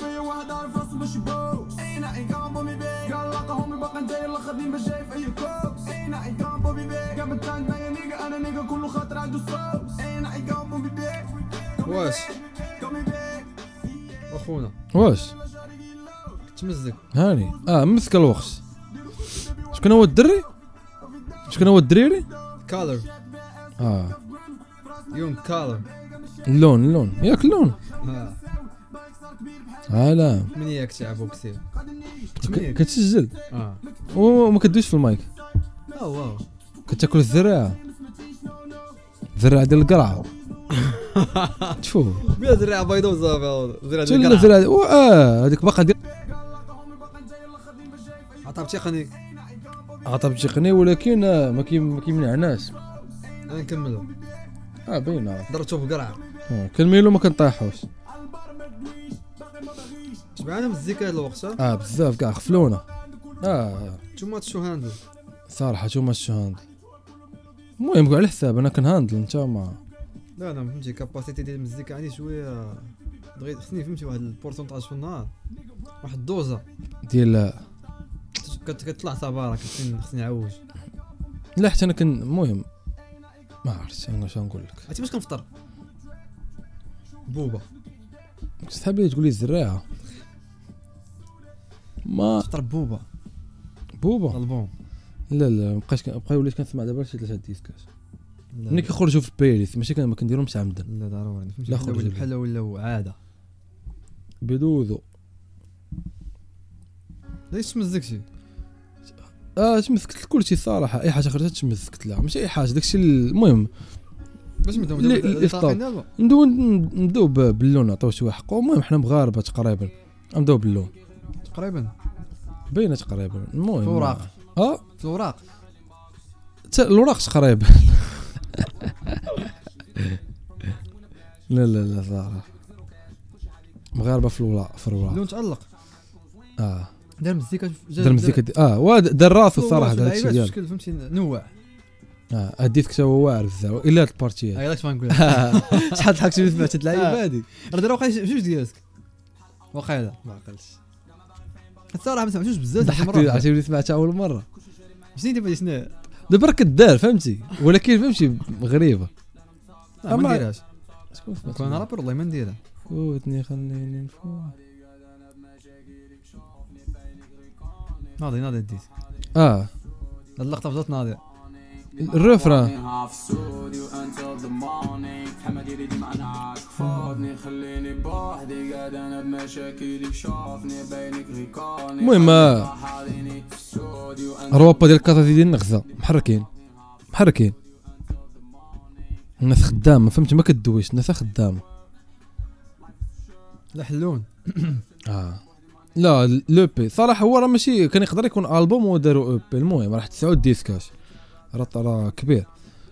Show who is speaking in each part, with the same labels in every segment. Speaker 1: ليا واحد عارف راسه مش بوس اينا ان كان بومي بي قال لقى همي بقى انت يلا خدني مش شايف اي كوس اينا ان كان بومي بي قام التانك ما يا نيجا انا نيجا كله خاطر عنده صوص اينا ان كان بومي بي
Speaker 2: واش
Speaker 1: قومي بي
Speaker 2: اخونا
Speaker 3: واش
Speaker 2: تمزك
Speaker 3: هاني اه مسك الوقت شكون هو الدري شكون هو الدريري
Speaker 2: كالر
Speaker 3: اه
Speaker 2: يون كالر
Speaker 3: اللون اللون ياك اللون
Speaker 2: آه.
Speaker 3: اه لا
Speaker 2: من ياك تلعبو كثير
Speaker 3: ك-
Speaker 2: تمنيك
Speaker 3: كتسجل
Speaker 2: اه
Speaker 3: وما كدويش في المايك
Speaker 2: اه واو
Speaker 3: كتاكل الذراعه الذراعه ديال القرعه تشوف
Speaker 2: بلا زرع بيضاء وزافي زرع
Speaker 3: تولي
Speaker 2: ديال
Speaker 3: الذراعه و- اه هذيك باقا ديال
Speaker 2: عطاب تقني
Speaker 3: عطب تقني آه، ولكن آه، ما كي- ما كيمنعناش
Speaker 2: انا نكملو
Speaker 3: اه باينه
Speaker 2: ضربته بقرعه
Speaker 3: آه، كالميلو ما كنطيحوش
Speaker 2: شبعانه من الزيكا هاد الوقت ها؟
Speaker 3: اه بزاف كاع خفلونا اه
Speaker 2: نتوما تشو هاندل
Speaker 3: صراحه شو ماتش هاندل المهم على حساب انا كنهاندل انت ما
Speaker 2: لا انا فهمتي كاباسيتي ديال المزيكا عندي شويه بغيت خصني فهمتي واحد البورسونتاج في النهار واحد الدوزه
Speaker 3: ديال
Speaker 2: كت- كتطلع صبارة خصني خصني نعوج
Speaker 3: لا حتى انا كن المهم ما عرفتش انا شنو نقول لك
Speaker 2: عرفتي باش كنفطر بوبا
Speaker 3: كنت تحب لي تقول لي الزراعه ما
Speaker 2: تفطر بوبا
Speaker 3: بوبا
Speaker 2: البوم
Speaker 3: لا لا مابقاش كن- بقى وليت كنسمع دابا شي ثلاثه ديسكات ملي كيخرجوا في البلايليست ماشي كان ما كنديرهمش عمدا
Speaker 2: لا ضروري أنا فهمتي
Speaker 3: لا
Speaker 2: بحال
Speaker 3: خرج
Speaker 2: ولا-
Speaker 3: لي.
Speaker 2: بحال ولا عاده
Speaker 3: بدوذو
Speaker 2: ليش تمزكتي
Speaker 3: اه تمسكت كلشي الصراحه اي حاجه خرجت تمسكت لها ماشي اي حاجه داكشي ال- المهم
Speaker 2: باش نبداو
Speaker 3: لي-
Speaker 2: نبداو-
Speaker 3: لي
Speaker 2: طافين
Speaker 3: طاب.
Speaker 2: دابا
Speaker 3: ندو ندو ب- باللون نعطيو شويه حقه المهم حنا مغاربه تقريبا نبداو باللون
Speaker 2: تقريبا
Speaker 3: باينه تقريبا المهم
Speaker 2: في الوراق.
Speaker 3: اه
Speaker 2: في الوراق
Speaker 3: تا الوراق قريب لا لا لا صراحة مغاربة في الوراق في الوراق
Speaker 2: اللون تعلق
Speaker 3: اه
Speaker 2: دار مزيكا جا-
Speaker 3: دار مزيكا دي- اه واد- دار راسو
Speaker 2: دار-
Speaker 3: الصراحة دار
Speaker 2: لعيبات
Speaker 3: الشيء ديالو
Speaker 2: بشكل فهمتي نوع
Speaker 3: اه الديسك تا هو واعر بزاف الا هاد البارتي هادي.
Speaker 2: هاي لاش فنقول
Speaker 3: شحال ضحكت ملي سمعت هاد
Speaker 2: آه.
Speaker 3: اللعيبة هادي
Speaker 2: راه دابا واقيلا جوج ديالك واقيلا
Speaker 3: ما عقلتش
Speaker 2: الصراحه ما سمعتوش بزاف واحد
Speaker 3: ضحكت
Speaker 2: المرة.
Speaker 3: عرفتي ملي سمعتها أول مرة
Speaker 2: شنو دابا شنو
Speaker 3: دابا راك كدار فهمتي ولكن فهمتي غريبة
Speaker 2: لا،
Speaker 3: أما-
Speaker 2: ما نديرهاش
Speaker 3: شكون سمعت
Speaker 2: كون رابر والله ما نديرها
Speaker 3: فوتني خليني نفوت
Speaker 2: ناضي ناضي ديت
Speaker 3: اه
Speaker 2: هاد اللقطه بدات ناضي
Speaker 3: الرفران
Speaker 4: في سودي وانتل ذا مورنينغ حمد يريد معنا فوتني خليني بوحدي قاعد انا بمشاكلي شوفني بينك غيكوني
Speaker 3: المهم، آه.
Speaker 4: حاليني في سودي وانتل
Speaker 3: روابا ديال الكازا ديال النغزة محركين محركين الناس خدامة فهمت ما كدويش الناس خدامة
Speaker 2: لا حلون
Speaker 3: اه لا لو بي صراحة هو راه ماشي كان يقدر يكون ألبوم وداروا او بي المهم راه تسعود ديسكات راه راه كبير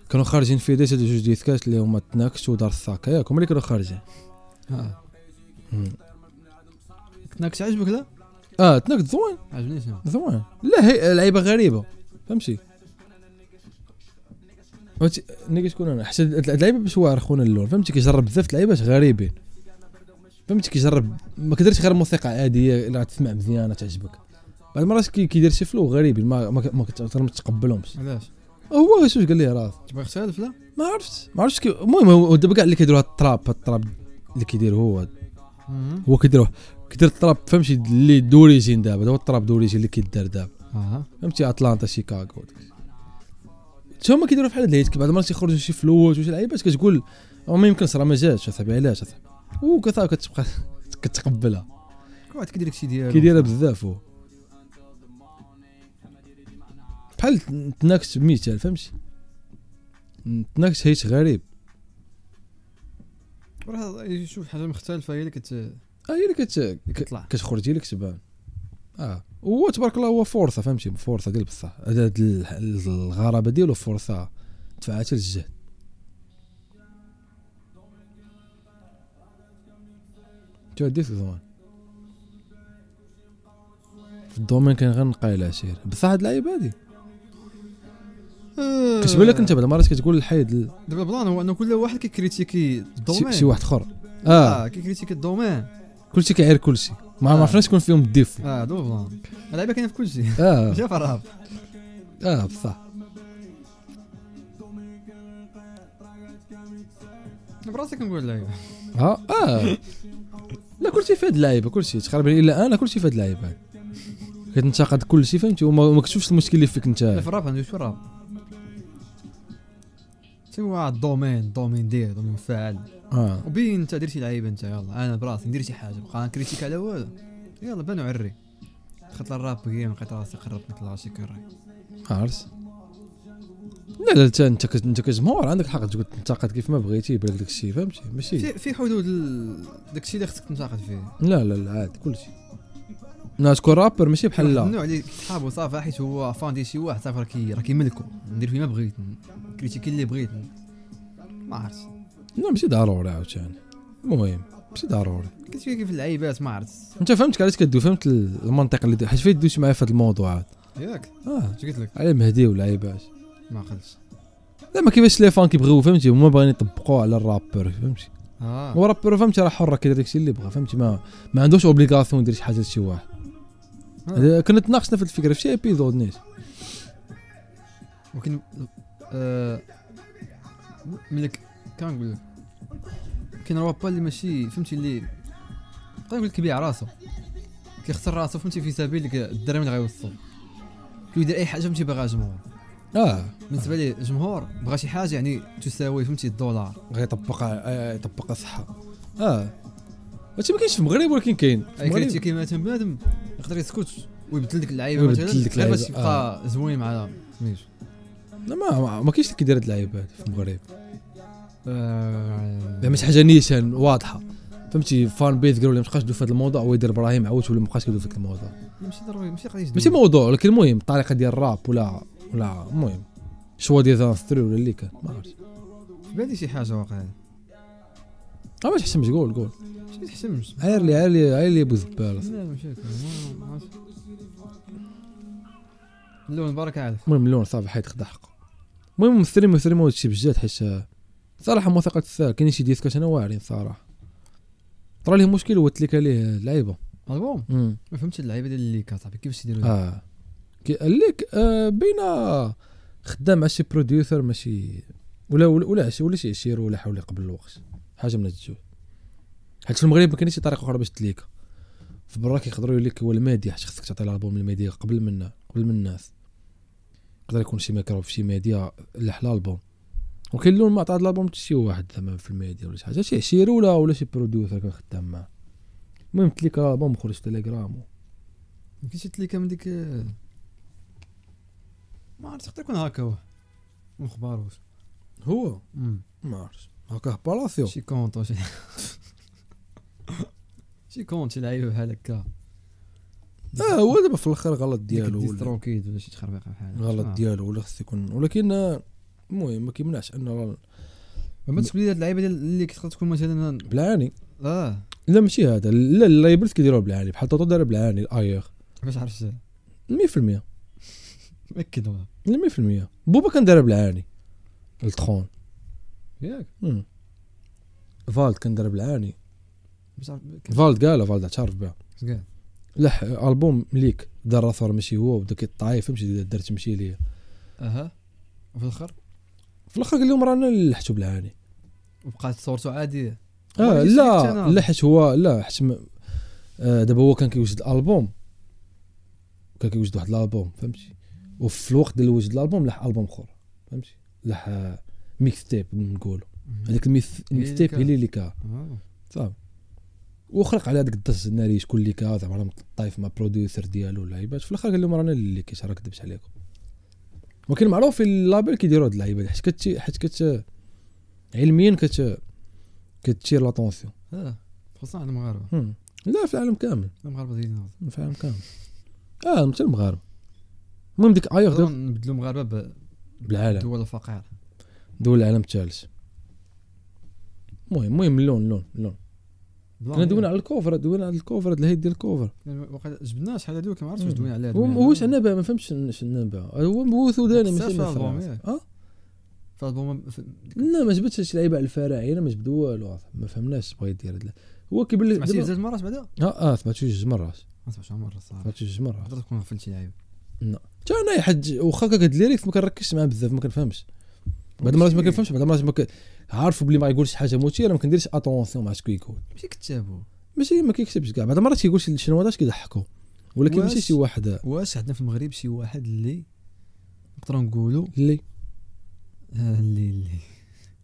Speaker 3: كانوا خارجين في ديت هادو جوج ديسكات اللي هما تناكش ودار الساكا ياك هما اللي كانوا خارجين
Speaker 2: ها
Speaker 3: مم.
Speaker 2: كناكش عجبك لا
Speaker 3: اه تناكش زوين
Speaker 2: عجبنيش انا
Speaker 3: زوين لا هي لعيبة غريبة فهمتي فهمتي، نيجي شكون انا حتى هاد اللعيبه باش واعر خونا اللون فهمتي كيجرب بزاف د اللعيبات غريبين فهمتي كيجرب ما كديرش غير موسيقى عاديه الا تسمع مزيانه تعجبك بعض المرات كي- كيدير شي فلو غريبين ما ما, ما كتعتر ما تتقبلهمش
Speaker 2: علاش
Speaker 3: هو غير شوف قال ليه راسه
Speaker 2: تبغي يختلف لا
Speaker 3: ما عرفتش ما عرفتش كي المهم هو هو دابا كاع اللي كيديروا هاد التراب هاد التراب اللي كيدير هو هاد.
Speaker 2: مهم.
Speaker 3: هو كيدير كيدير التراب فهمتي اللي دوريجين دابا هذا هو التراب دوريجين اللي كيدار دابا
Speaker 2: اها
Speaker 3: فهمتي اتلانتا شيكاغو حتى هما كيديروا بحال هاد الهيت بعض المرات يخرجوا شي فلوت وشي لعيبات كتقول "أو ما يمكنش راه ما جاتش اصاحبي علاش اصاحبي وكثر كتبقى كتقبلها
Speaker 2: كل واحد كيدير داكشي ديالو
Speaker 3: كيديرها بزاف هو بحال تناكش مثال فهمتي تناكش هيت غريب
Speaker 2: راه شوف حاجه مختلفه هي اللي كت
Speaker 3: اه هي اللي كت
Speaker 2: كتطلع
Speaker 3: كتخرجي لك تبان اه هو تبارك الله هو فرصه فهمتي فرصه ديال بصح هاد- هاد ال- ال- الغرابه ديالو فرصه دفعاتها للجهد تو ديت زمان في الدومين كان غنقاي العشير بصح هاد اللعيبه هادي كتبان لك انت بعض المرات كتقول الحيد ال-
Speaker 2: آه، دابا البلان هو انه كل واحد كيكريتيكي
Speaker 3: شي- آه.
Speaker 2: الدومين آه،
Speaker 3: شي واحد اخر اه
Speaker 2: كيكريتيكي الدومين
Speaker 3: كلشي كيعير كلشي ما عرفناش شكون فيهم الديفو
Speaker 2: اه دو بلان اللعيبه كاينه في كلشي
Speaker 3: اه
Speaker 2: جا في الراب
Speaker 3: اه بصح
Speaker 2: براسي كنقول اللعيبه
Speaker 3: آه. ها اه لا كلشي في هاد اللعيبه كلشي تقريبا الا انا كلشي في هاد اللعيبه هاد. كتنتقد كلشي فهمتي وما ما كتشوفش المشكل اللي فيك
Speaker 2: لا
Speaker 3: انت
Speaker 2: في الراب ندوز في الراب سوا الدومين الدومين دير دومين فعال
Speaker 3: اه
Speaker 2: وبين انت دير شي لعيبه انت يلا انا براسي ندير شي حاجه بقى نكريتيك على والو يلا بانو عري دخلت للراب كي لقيت راسي قربت نطلع شي كري
Speaker 3: عرفت لا لا انت انت كت- انت كجمهور عندك الحق تقول تنتقد كيف ما بغيتي يبان لك داكشي فهمتي ماشي
Speaker 2: في في حدود ال- داكشي اللي خصك تنتقد فيه
Speaker 3: لا لا لا عادي كلشي ناس تكون رابر ماشي بحال لا
Speaker 2: ممنوع عليك صحابو صافي حيت هو فان ديال شي واحد صافي راه كي راه كيملكو ندير فيه ما بغيت نكريتيكي اللي بغيت ما عرفتش
Speaker 3: لا ماشي ضروري عاوتاني المهم ماشي ضروري
Speaker 2: كتشوف كيف اللعيبات ما عرفتش
Speaker 3: انت فهمت علاش كدوي فهمت ال- المنطق اللي دو- حيت فين دويتي معايا في هاد الموضوعات
Speaker 2: ياك
Speaker 3: اه
Speaker 2: اش قلت لك
Speaker 3: على مهدي والعيبات
Speaker 2: ما عقلتش
Speaker 3: لا ما كيفاش لي فان كيبغيو فهمتي هما باغيين يطبقوه على الرابر فهمتي
Speaker 2: اه
Speaker 3: هو الرابر فهمتي راه حر كيدير داكشي اللي بغا فهمتي ما ما عندوش اوبليغاسيون يدير شي حاجه لشي واحد
Speaker 2: آه.
Speaker 3: هذا- كنا تناقشنا في الفكره في شي ابيزود نيت
Speaker 2: ولكن آه ملك كنقول لك كاين روابا اللي ماشي فهمتي اللي نقدر نقول لك كيبيع راسو كيخسر راسو فهمتي في سبيل ديك الدرهم اللي غيوصل كيدير اي حاجه فهمتي باغاها الجمهور
Speaker 3: اه
Speaker 2: بالنسبه ليه الجمهور بغا شي حاجه يعني تساوي فهمتي الدولار
Speaker 3: غيطبقها آه، يطبقها صحه اه هادشي ما كاينش في المغرب ولكن كاين في
Speaker 2: اي كريتي
Speaker 3: المغرب
Speaker 2: كيما مثلا بنادم يقدر يسكت ويبدل ديك اللعيبه
Speaker 3: ويبدل
Speaker 2: مثلا
Speaker 3: ديك
Speaker 2: غير باش
Speaker 3: اللعيبة، آه.
Speaker 2: يبقى زوين مع سميتو
Speaker 3: لا ما ما, ما كاينش اللي كيدير هاد اللعيبه هادي في المغرب
Speaker 2: آه،
Speaker 3: زعما شي حاجه نيشان واضحه فهمتي فان بيز قالوا لي مابقاش تدوي في هذا الموضوع ويدير ابراهيم عاود ولا مابقاش كيدوي في هذا الموضوع
Speaker 2: ماشي ضروري ماشي قضيه
Speaker 3: ماشي موضوع ولكن المهم الطريقه ديال الراب ولا ولا المهم شوا ديال زانستري ولا اللي كان ما عرفتش
Speaker 2: بالي شي حاجه واقيلا
Speaker 3: اه ما تحسمش قول قول
Speaker 2: ماشي تحشمش
Speaker 3: عير لي عير لي عير لي ابو زبال
Speaker 2: لا مشاكل ما- ما عرفتش. اللون بارك عليك
Speaker 3: المهم اللون صافي حيت خدا حقه المهم ممثلين ممثلين هادشي بجد حيت آه، صراحه موثقة الثار كاينين شي ديسكات انا واعرين صراحه طرا ليه مشكل هو تليك عليه اللعيبه
Speaker 2: البوم
Speaker 3: أمم.
Speaker 2: ما فهمتش اللعيبه ديال الليكا صاحبي كيفاش يديروا هاد
Speaker 3: اه كي قال لك آه بين خدام مع شي بروديوسر ماشي ولا ولا ولا شي ولا شي عشير ولا حولي قبل الوقت حاجه من هاد الجوج حيت في المغرب ما كاينش شي طريقه اخرى باش تليك في برا كيقدروا يقول لك هو المادي حيت خصك تعطي الالبوم المادي قبل من قبل من الناس يقدر يكون شي ميكرو في شي ميديا لح الالبوم وكاين اللون ما عطى الالبوم حتى شي واحد زعما في الميديا ولا شي حاجه شي عشير ولا ولا شي بروديوسر كان خدام معاه المهم تليك الالبوم خرج في تيليجرام
Speaker 2: ما كاينش الليكا من ديك آه، ما عرفت يقدر يكون هكا هو ما خباروش
Speaker 3: هو
Speaker 2: أمم.
Speaker 3: ما عرفتش هكا بالاسيو
Speaker 2: شي كونت وشي شي كونت شي لعيبه بحال هكا
Speaker 3: اه هو دابا في الاخر غلط
Speaker 2: ديك
Speaker 3: ديالو ولا
Speaker 2: الديستروكيد ولا شي تخربيقه بحال هكا.
Speaker 3: غلط
Speaker 2: آه.
Speaker 3: ديالو ولا خص يكون ولكن آه، المهم ما كيمنعش انه
Speaker 2: ما تقول لي هاد اللعيبه ديال اللي كتقدر تكون مثلا
Speaker 3: بالعاني
Speaker 2: اه
Speaker 3: لا ماشي هذا لا اللايبرز كيديروها بالعاني بحال طوطو دار بالعاني الايغ
Speaker 2: باش عرفت
Speaker 3: 100%
Speaker 2: مأكد والله
Speaker 3: لا 100% بوبا كان دارها بالعاني التخون
Speaker 2: ياك
Speaker 3: مم. فالد كان دار بالعاني
Speaker 2: باش عرفت
Speaker 3: فالد قالها فالد تعرف بها
Speaker 2: كاع
Speaker 3: لح البوم ليك دار راسو راه ماشي هو وداك الطايف فهمتي دار تمشي ليه
Speaker 2: اها وفي الاخر
Speaker 3: في الاخر قال لهم رانا لحتو بالعاني
Speaker 2: وبقات صورته عاديه
Speaker 3: اه
Speaker 2: ولكن سلكت
Speaker 3: لا
Speaker 2: أنا.
Speaker 3: لا حيت هو لا حيت م- آه دابا هو كان كيوجد الالبوم كان كيوجد واحد الالبوم فهمتي وفي الوقت اللي وجد الالبوم لاح البوم اخر فهمتي لاح آه، ميكس تيب نقولوا هذاك الميكس
Speaker 2: هي
Speaker 3: الميكس
Speaker 2: اللي
Speaker 3: تيب
Speaker 2: كا.
Speaker 3: هي اللي كا
Speaker 2: آه.
Speaker 3: صافي وخلق على هذاك الدس الناري شكون اللي كا زعما راه مطايف مع بروديوسر ديالو اللعيبات في الاخر قال لهم رانا اللي كاش راه كدبت عليكم ولكن معروف في اللابيل كيديروا هاد اللعيبات حيت كت حيت كت علميا كت كتشير لاتونسيون
Speaker 2: اه خصوصا على المغاربه
Speaker 3: مم. لا في العالم كامل
Speaker 2: المغاربه ديالنا
Speaker 3: في العالم كامل اه مثل المغاربه المهم ديك ايوغ
Speaker 2: نقدروا
Speaker 3: دار
Speaker 2: نبدلوا المغاربه
Speaker 3: بالعالم
Speaker 2: بدول الفقير
Speaker 3: دول العالم الثالث المهم المهم اللون اللون اللون
Speaker 2: بلان
Speaker 3: كنا دوينا على الكوفر دوينا على الكوفر هاد الهيد ديال الكوفر
Speaker 2: يعني وقيلا جبنا شحال هذيك ما عرفتش واش دوينا عليها
Speaker 3: هو هو شنو بها ما فهمتش شنو بها هو هو سوداني
Speaker 2: بس
Speaker 3: ماشي
Speaker 2: في
Speaker 3: من
Speaker 2: الألبوم،
Speaker 3: فرنسا.
Speaker 2: ياك.
Speaker 3: اه
Speaker 2: فالبوم في-
Speaker 3: لا ما جبتش شي لعيبه على الفراعنه ما جبد والو ما فهمناش بغا يدير هاد ال- هو كيبان لك
Speaker 2: سمعتيه
Speaker 3: دابا-
Speaker 2: بزاف مرات بعدا
Speaker 3: اه اه سمعتو جوج مرات
Speaker 2: ما سمعتش مره صراحه
Speaker 3: سمعتو جوج مرات
Speaker 2: تقدر تكون غفلتي لعيب
Speaker 3: حتى انا حد واخا كاك هاد الليريكس ما كنركزش معاه بزاف ما كنفهمش بعض المرات ما كنفهمش بعض المرات ما ك... عارفوا بلي ما يقولش شي حاجه مثيره ما كنديرش اتونسيون مع شكون يقول
Speaker 2: ماشي كتابو
Speaker 3: ماشي ما كيكتبش كاع بعض المرات كيقول شي شنوضات كيضحكوا ولكن
Speaker 2: واش-
Speaker 3: ماشي شي واحد
Speaker 2: واش عندنا في المغرب شي واحد اللي نقدروا نقولوا
Speaker 3: اللي
Speaker 2: آه، اللي اللي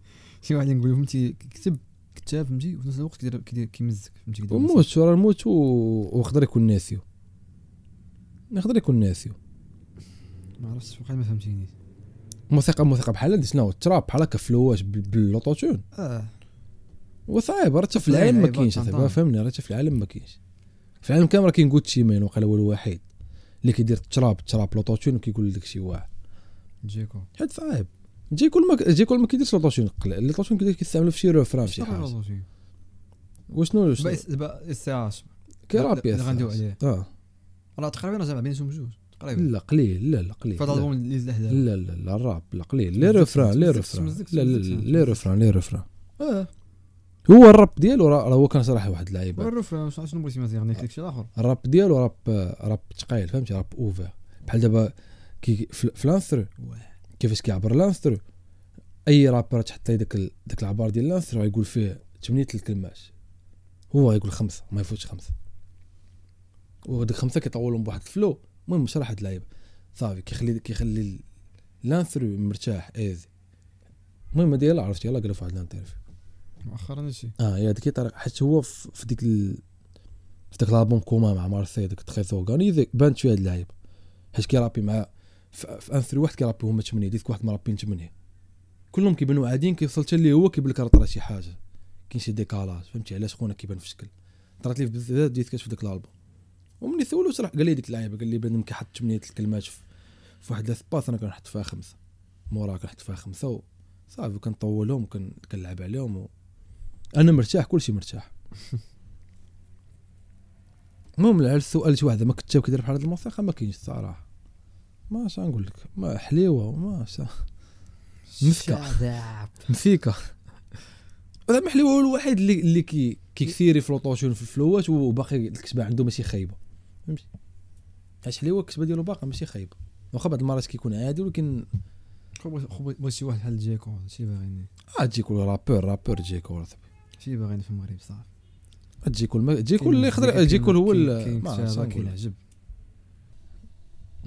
Speaker 2: شي واحد نقولوا فهمتي كتب كتاب فهمتي وفي نفس الوقت كيدير كيدير كيمزك فهمتي كيدير مسك.
Speaker 3: موت راه الموت و- ويقدر يكون ناسيو يقدر يكون ناسيو
Speaker 2: ما عرفتش واقيلا ما فهمتينيش
Speaker 3: موسيقى موسيقى بحال هادي شنو التراب بحال هكا فلواش بال- بالاوتوتون
Speaker 2: اه
Speaker 3: وصعيب راه حتى في
Speaker 2: لا،
Speaker 3: العالم ما
Speaker 2: لعيبة
Speaker 3: كاينش
Speaker 2: طنطان.
Speaker 3: صاحبي، فهمني راه حتى في العالم ما كاينش في العالم كامل راه كاين جوتشي مان وقال هو الوحيد اللي كيدير التراب التراب لوطوتون وكيقول لك شي واحد
Speaker 2: جيكو
Speaker 3: حيت صعيب جاي كل ما جاي كل ما كيديرش لوطوتون قل- لوطوتون كيدير كيستعملو في شي روفران في شي حاجه وشنو شنو-
Speaker 2: دابا اس اش
Speaker 3: كيرابي
Speaker 2: اللي غندوي عليه.
Speaker 3: اه
Speaker 2: راه تقريبا راه جامع بينهم جوج تقريبا
Speaker 3: لا قليل لا لا قليل
Speaker 2: فهاد
Speaker 3: لا.
Speaker 2: الالبوم اللي زلح دابا
Speaker 3: لا لا لا الراب لا قليل لي
Speaker 2: مزيكس-
Speaker 3: ريفران لي
Speaker 2: مزيكس-
Speaker 3: ريفران
Speaker 2: مزيكس-
Speaker 3: لا لا
Speaker 2: مزيكس-
Speaker 3: لا لي ريفران لي ريفران
Speaker 2: اه
Speaker 3: هو الراب ديالو راه راه هو كان صراحه واحد اللعيبه
Speaker 2: والروف راه شنو شنو بغيتي ما تغني لك شي اخر
Speaker 3: الراب ديالو راب راب ثقيل فهمتي راب اوفر بحال دابا كي في في لانسترو
Speaker 2: واه.
Speaker 3: كيفاش كيعبر لانسترو اي رابر تحط ليه داك ال- داك العبار ديال لانسترو غيقول فيه ثمانيه الكلمات هو غيقول خمسه ما يفوتش خمسه وديك خمسه كيطولهم بواحد الفلو المهم شرح اللعيبه صافي كيخلي كيخلي ال- لانثرو مرتاح ايزي المهم هادي يلاه عرفت يلاه قالها في واحد الانترفيو
Speaker 2: مؤخرا هادشي
Speaker 3: اه هي هذيك طريقه حيت هو في في ديك ال... في ديك لابون كوما مع مارسي ديك تخي اورغانيزي بانت شويه هاد اللعيبه حيت كيرابي مع في, في انثرو واحد كيرابي هما ثمانيه ديك واحد مرابين ثمانيه كلهم كيبانوا عاديين كيوصل حتى اللي هو كيبان لك راه طرا شي حاجه كاين شي ديكالاج فهمتي علاش خونا كيبان في الشكل طرات لي بزاف ديت كتشوف ديك الالبوم وملي سولو شرح قال لي ديك اللعيبه قال لي بنادم كيحط ثمانيه الكلمات في, في واحد لاسباس انا كنحط فيها خمسه موراها كنحط فيها خمسه و صافي كنطولهم وكن- كنلعب عليهم و... انا مرتاح كلشي مرتاح المهم على السؤال شي واحد ما كتاب كيدير بحال هاد الموسيقى ما كاينش الصراحه ما اش نقول لك ما حليوه ما اش مسكة.
Speaker 2: شعب.
Speaker 3: مسيكه زعما حليوه هو الوحيد اللي اللي كي كيكثيري في لوطوشون في الفلوات وباقي الكتبه عنده ماشي خايبه فهمتي علاش حليوه الكتبه ديالو باقا ماشي خايبه واخا بعض المرات كيكون عادي ولكن
Speaker 2: خو بغيت- خو بغيت بغيت شي واحد بحال جيكو شي باغيني
Speaker 3: عاد تجيكول رابور رابور تجيكول
Speaker 2: شي باغيني في المغرب صافي
Speaker 3: تجيكول ما تجيكول اللي يقدر تجيكول هو ال-
Speaker 2: كاين
Speaker 3: ما عرفتش
Speaker 2: كتابة
Speaker 3: نقول
Speaker 2: كاين
Speaker 3: لك.
Speaker 2: عجب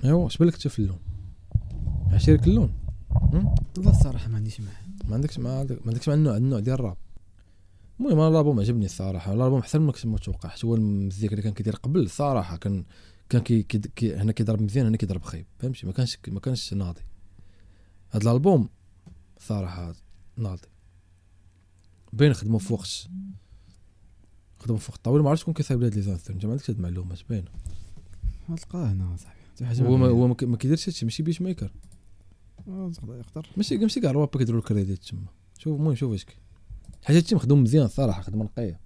Speaker 3: ايوا اش بالك انت في اللون عشيرك اللون
Speaker 2: والله الصراحه ما عنديش معاه
Speaker 3: ما عندكش ما عندك- ما عندكش مع النوع النوع ديال الراب المهم انا الالبوم عجبني الصراحه الالبوم احسن ما كنت متوقع حيت هو المزيك اللي كان كيدير قبل الصراحه كان كان كي كي كي هنا كيضرب مزيان هنا كيضرب خايب فهمتي ما كانش ما كانش ناضي هذا الالبوم صراحه ناضي باين خدموا فوقش خدموا فوق الطاوله ما عرفتش شكون كيصايب لهاد لي زانسيون انت ما عندكش هاد المعلومات باينه
Speaker 2: ما تلقاه هنا صاحبي حتى حاجه
Speaker 3: هو ما
Speaker 2: معايا.
Speaker 3: هو ما كي- ما كيديرش هادشي ماشي بيش ميكر
Speaker 2: آه، تقدر يقدر
Speaker 3: ماشي ماشي كاع الوابا كيديروا الكريديت تما شوف المهم شوف اش كاين حاجه هادشي مخدوم مزيان الصراحه خدمه نقيه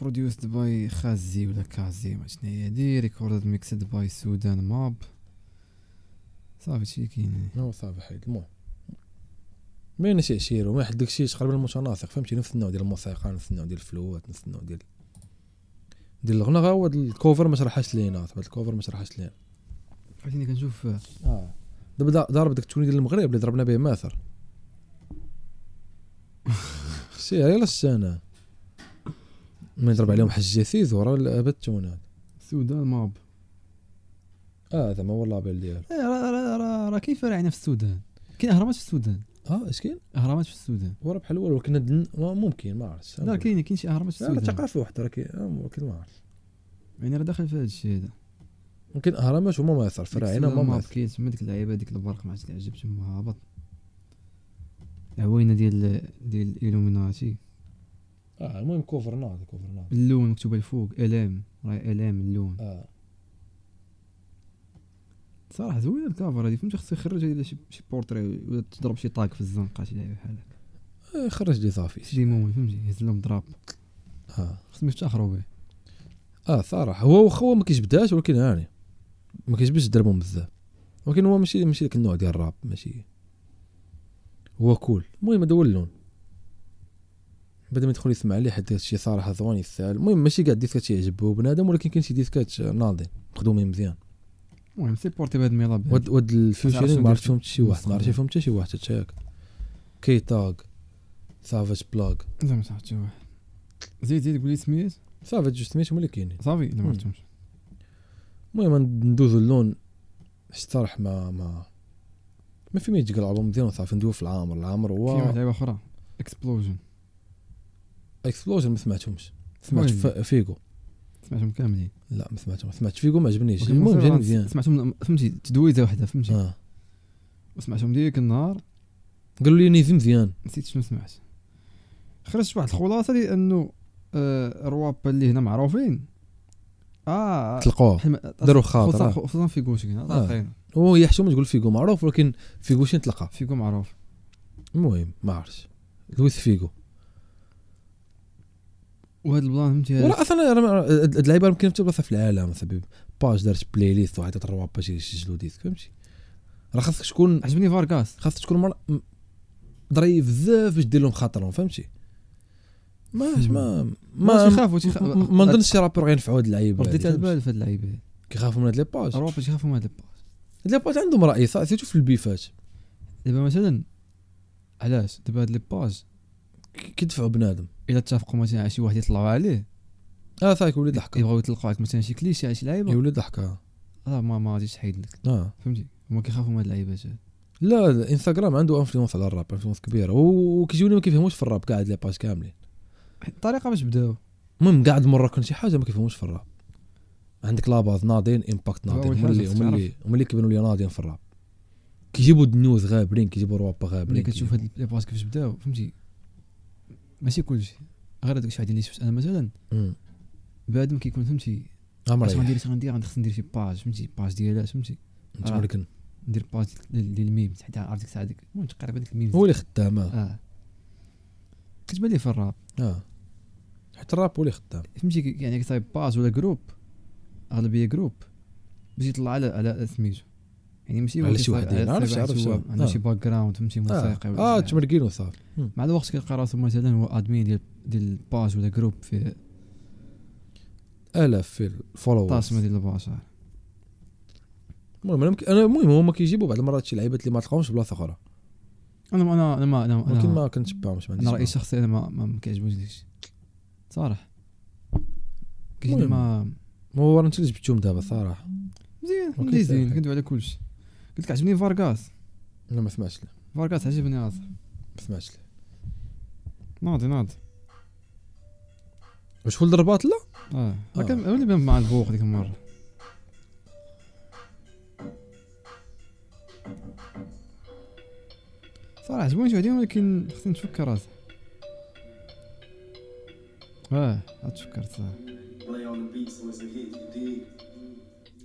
Speaker 2: بروديوسد باي آه، خازي ولا كازي ما شنو هي هادي ريكوردد ميكسد باي سودان ماب صافي شي يعني. كاين
Speaker 3: هو صافي حيد المهم باين شي عشير وما حد داكشي تقريبا متناسق فهمتي نفس النوع ديال الموسيقى نفس النوع ديال الفلوات نفس النوع ديال ديال الغنى غا هو هاد الكوفر ما شرحهاش لينا صاحبي الكوفر ما شرحهاش لينا
Speaker 2: عرفتيني كنشوف آه،
Speaker 3: اه دابا دا- ضارب داك التوني ديال المغرب اللي ضربنا به ماثر شي يلا السنه ما يضرب عليهم حج جثيث ورا الابد التونات
Speaker 2: سودان ماب
Speaker 3: اه زعما هو اللابيل ديالو
Speaker 2: إيه، راه راه راه راه كاين فرع هنا في السودان كاين اهرامات في السودان
Speaker 3: اه اش كاين
Speaker 2: اهرامات في السودان
Speaker 3: هو راه بحال الاول ولكن هاد الن- ما- ممكن ما عرفتش
Speaker 2: لا كاين كاين شي اهرامات في
Speaker 3: لا لا،
Speaker 2: السودان
Speaker 3: ثقافه وحده راه كاين آه، ولكن ما عرفتش
Speaker 2: يعني راه داخل في هذا الشيء هذا
Speaker 3: ممكن اهرامات هما ما يصرف راه هنا هما ما
Speaker 2: ماب
Speaker 3: يصرف
Speaker 2: كاين تما ديك اللعيبه ديك البرق ما عرفتش كيعجب تما هابط العوينه ديال ديال الالوميناتي
Speaker 3: اه المهم كوفر ناضي كوفر ناضي
Speaker 2: اللون مكتوبه الفوق الام راه الام اللون
Speaker 3: اه
Speaker 2: صراحه زوينه الكافر هذه فهمتي خصو يخرج هذا شي شي بورتري ولا تضرب شي طاق في الزنقه شي لعبه بحال هكا
Speaker 3: آه، خرج لي صافي
Speaker 2: شي مومون فهمتي يهز لهم ضراب
Speaker 3: اه
Speaker 2: خصهم يفتخروا به
Speaker 3: اه صراحه هو واخا هو ما كيجبدهاش ولكن هاني ما كيجبدش دربهم بزاف ولكن هو ماشي ماشي داك النوع ديال الراب ماشي هو كول المهم هذا هو اللون بعد ما يدخل يسمع لي حيت هادشي صراحه ثواني السهل المهم ماشي كاع الديسكات يعجبو بنادم ولكن كاين شي ديسكات ناضين مخدومين مزيان
Speaker 2: المهم سيبورتي بهاد الميضه
Speaker 3: واد واد
Speaker 2: عرفتش
Speaker 3: الفيوتشرين ما عرفتش
Speaker 2: ندير
Speaker 3: فيهم حتى شي واحد ما عرفتش فيهم حتى شي واحد حتى ياك كي تاغ سافاج بلاغ
Speaker 2: زعما تعرف واحد زيد زيد قول لي سميات
Speaker 3: سافاج جوج سميتهم اللي كاينين
Speaker 2: صافي لا ما
Speaker 3: مم.
Speaker 2: عرفتهمش
Speaker 3: المهم ندوزو اللون حيت صراحه ما ما ما في ما يتقال الالبوم مزيان صافي ندوز في العامر العامر
Speaker 2: كاين واحد
Speaker 3: هو
Speaker 2: لعيبه اخرى اكسبلوجن
Speaker 3: اكسبلوجن ما سمعتهمش سمعت
Speaker 2: المهم.
Speaker 3: ف- فيغو
Speaker 2: سمعتهم كاملين
Speaker 3: لا ما سمعتهم سمعت فيغو ما عجبنيش
Speaker 2: ولكن
Speaker 3: المهم
Speaker 2: مصير
Speaker 3: جاني
Speaker 2: راه
Speaker 3: مزيان
Speaker 2: سمعتهم فهمتي تدويزه وحده فهمتي
Speaker 3: اه
Speaker 2: وسمعتهم ديك النهار
Speaker 3: قالوا لي نيزي مزيان
Speaker 2: نسيت شنو سمعت خرجت واحد الخلاصه لانه آه الروابا اللي هنا معروفين اه
Speaker 3: تلقوه
Speaker 2: حما-
Speaker 3: داروا خاطر
Speaker 2: خصوصا
Speaker 3: آه.
Speaker 2: خصوصا في كوش هنا
Speaker 3: آه.
Speaker 2: طاقين
Speaker 3: هو يحشم تقول فيغو معروف ولكن فيغو شين تلقى
Speaker 2: فيكم معروف
Speaker 3: المهم ما عرفتش لويس فيغو
Speaker 2: وهاد البلان فهمتي هاد-
Speaker 3: ولا اصلا راه ما- هاد- هاد اللعيبه راه ممكن حتى بلاصه في العالم سبب باج دارت بلاي ليست وعطات الرواب باش يسجلوا ديسك فهمتي راه خاصك تكون
Speaker 2: عجبني فارغاس
Speaker 3: خاصك تكون مر... م- ظريف بزاف باش دير لهم خاطرهم فهمتي ما ما ما
Speaker 2: ما تيخافوا تيخ-
Speaker 3: ما- ما نظنش شي رابور غينفعوا هاد اللعيبه
Speaker 2: رديت على البال في هاد اللعيبه
Speaker 3: كيخافوا من هاد لي باج هاد
Speaker 2: الروابا تيخافوا من هاد الباس
Speaker 3: لي باج عندهم راي صح سيرتو في البيفات
Speaker 2: دابا مثلا علاش دابا هاد لي باج
Speaker 3: ك- كيدفعوا بنادم
Speaker 2: الا اتفقوا مثلا على شي واحد يطلعوا عليه
Speaker 3: اه صافي ولد الحكا
Speaker 2: يبغاو يطلقوا عليك مثلا شي كليشي على شي
Speaker 3: يا
Speaker 2: لعيبه
Speaker 3: ولد الحكا
Speaker 2: راه ما ما غاديش تحيد لك
Speaker 3: اه
Speaker 2: فهمتي هما كيخافوا من هاد اللعيبات هاد.
Speaker 3: لا الانستغرام عنده انفلونس على الراب انفلونس كبيره و- وكيجيوني ما كيفهموش في الراب كاع هاد لي باج كاملين
Speaker 2: الطريقه باش بداو
Speaker 3: المهم قاعد مره كان شي حاجه ما كيفهموش في الراب عندك لاباز ناضين امباكت
Speaker 2: هو
Speaker 3: ناضين
Speaker 2: أول
Speaker 3: هما اللي
Speaker 2: حاجة
Speaker 3: هما اللي هما اللي كيبانوا لي ناضين في الراب كيجيبوا النيوز غابرين كيجيبوا روابا
Speaker 2: ملي
Speaker 3: غابرين
Speaker 2: كتشوف هاد لي باج كيفاش بداو فهمتي ماشي كلشي غير هذاك الشيء اللي شفت انا مثلا
Speaker 3: كيجيبوا-
Speaker 2: بعد ما كيكون فهمتي
Speaker 3: أمم.
Speaker 2: اش
Speaker 3: امريكا
Speaker 2: غندير اش غندير غندير- خصني ندير شي باج فهمتي باج ديالها فهمتي
Speaker 3: انت
Speaker 2: آه.
Speaker 3: امريكان
Speaker 2: ندير باج ديال ديال الميم حيت عرفت ديك الساعه ديك المهم تقريبا ديك الميم
Speaker 3: هو اللي خدام آه.
Speaker 2: اه كتبان لي في الراب
Speaker 3: اه حتى الراب هو اللي خدام
Speaker 2: فهمتي كي- يعني كتصايب باج ولا جروب اغلبيه جروب باش يطلع على على سميتو يعني ماشي هو
Speaker 3: على شي
Speaker 2: كيصايب-
Speaker 3: واحد ديال-
Speaker 2: على
Speaker 3: عارف
Speaker 2: صايب
Speaker 3: شي-
Speaker 2: واحد
Speaker 3: عارف
Speaker 2: هو
Speaker 3: شي.
Speaker 2: عنده
Speaker 3: آه.
Speaker 2: شي باك جراوند فهمتي موسيقي ولا
Speaker 3: اه
Speaker 2: شي حاجة.
Speaker 3: تمرقين وصافي
Speaker 2: مع الوقت كيلقى راسو مثلا هو ادمين ديال ديال الباج ولا جروب في
Speaker 3: الاف في الفولورز
Speaker 2: الطاسمه ديال الباج
Speaker 3: المهم انا مك- أنا- المهم هما كيجيبوا بعض المرات شي لعيبات اللي ما تلقاهمش في بلاصه اخرى
Speaker 2: انا ما انا انا ما انا
Speaker 3: ولكن
Speaker 2: انا,
Speaker 3: ما كنتبعهمش ما عنديش
Speaker 2: آه. أنا رايي
Speaker 3: معاهم.
Speaker 2: الشخصي انا ما ما ما كيعجبنيش داكشي صراحه كيجيني
Speaker 3: المهم.
Speaker 2: ما
Speaker 3: هو راه انت اللي جبتهم دابا صراحه
Speaker 2: مزيان
Speaker 3: ولكن
Speaker 2: مزيان زين
Speaker 3: صحيح.
Speaker 2: كندوي على كلشي قلت لك عجبني فارغاس
Speaker 3: انا ما سمعتش له
Speaker 2: فارغاس عجبني اصاحبي
Speaker 3: ما سمعتش له
Speaker 2: ناضي ناضي
Speaker 3: وشغل الرباط لا
Speaker 2: اه
Speaker 3: آه.
Speaker 2: لكن هو اللي بان مع البوق ديك المره صراحه عجبوني شي وحدين ولكن خصني نتفكر راسي اه عاد تفكرت صح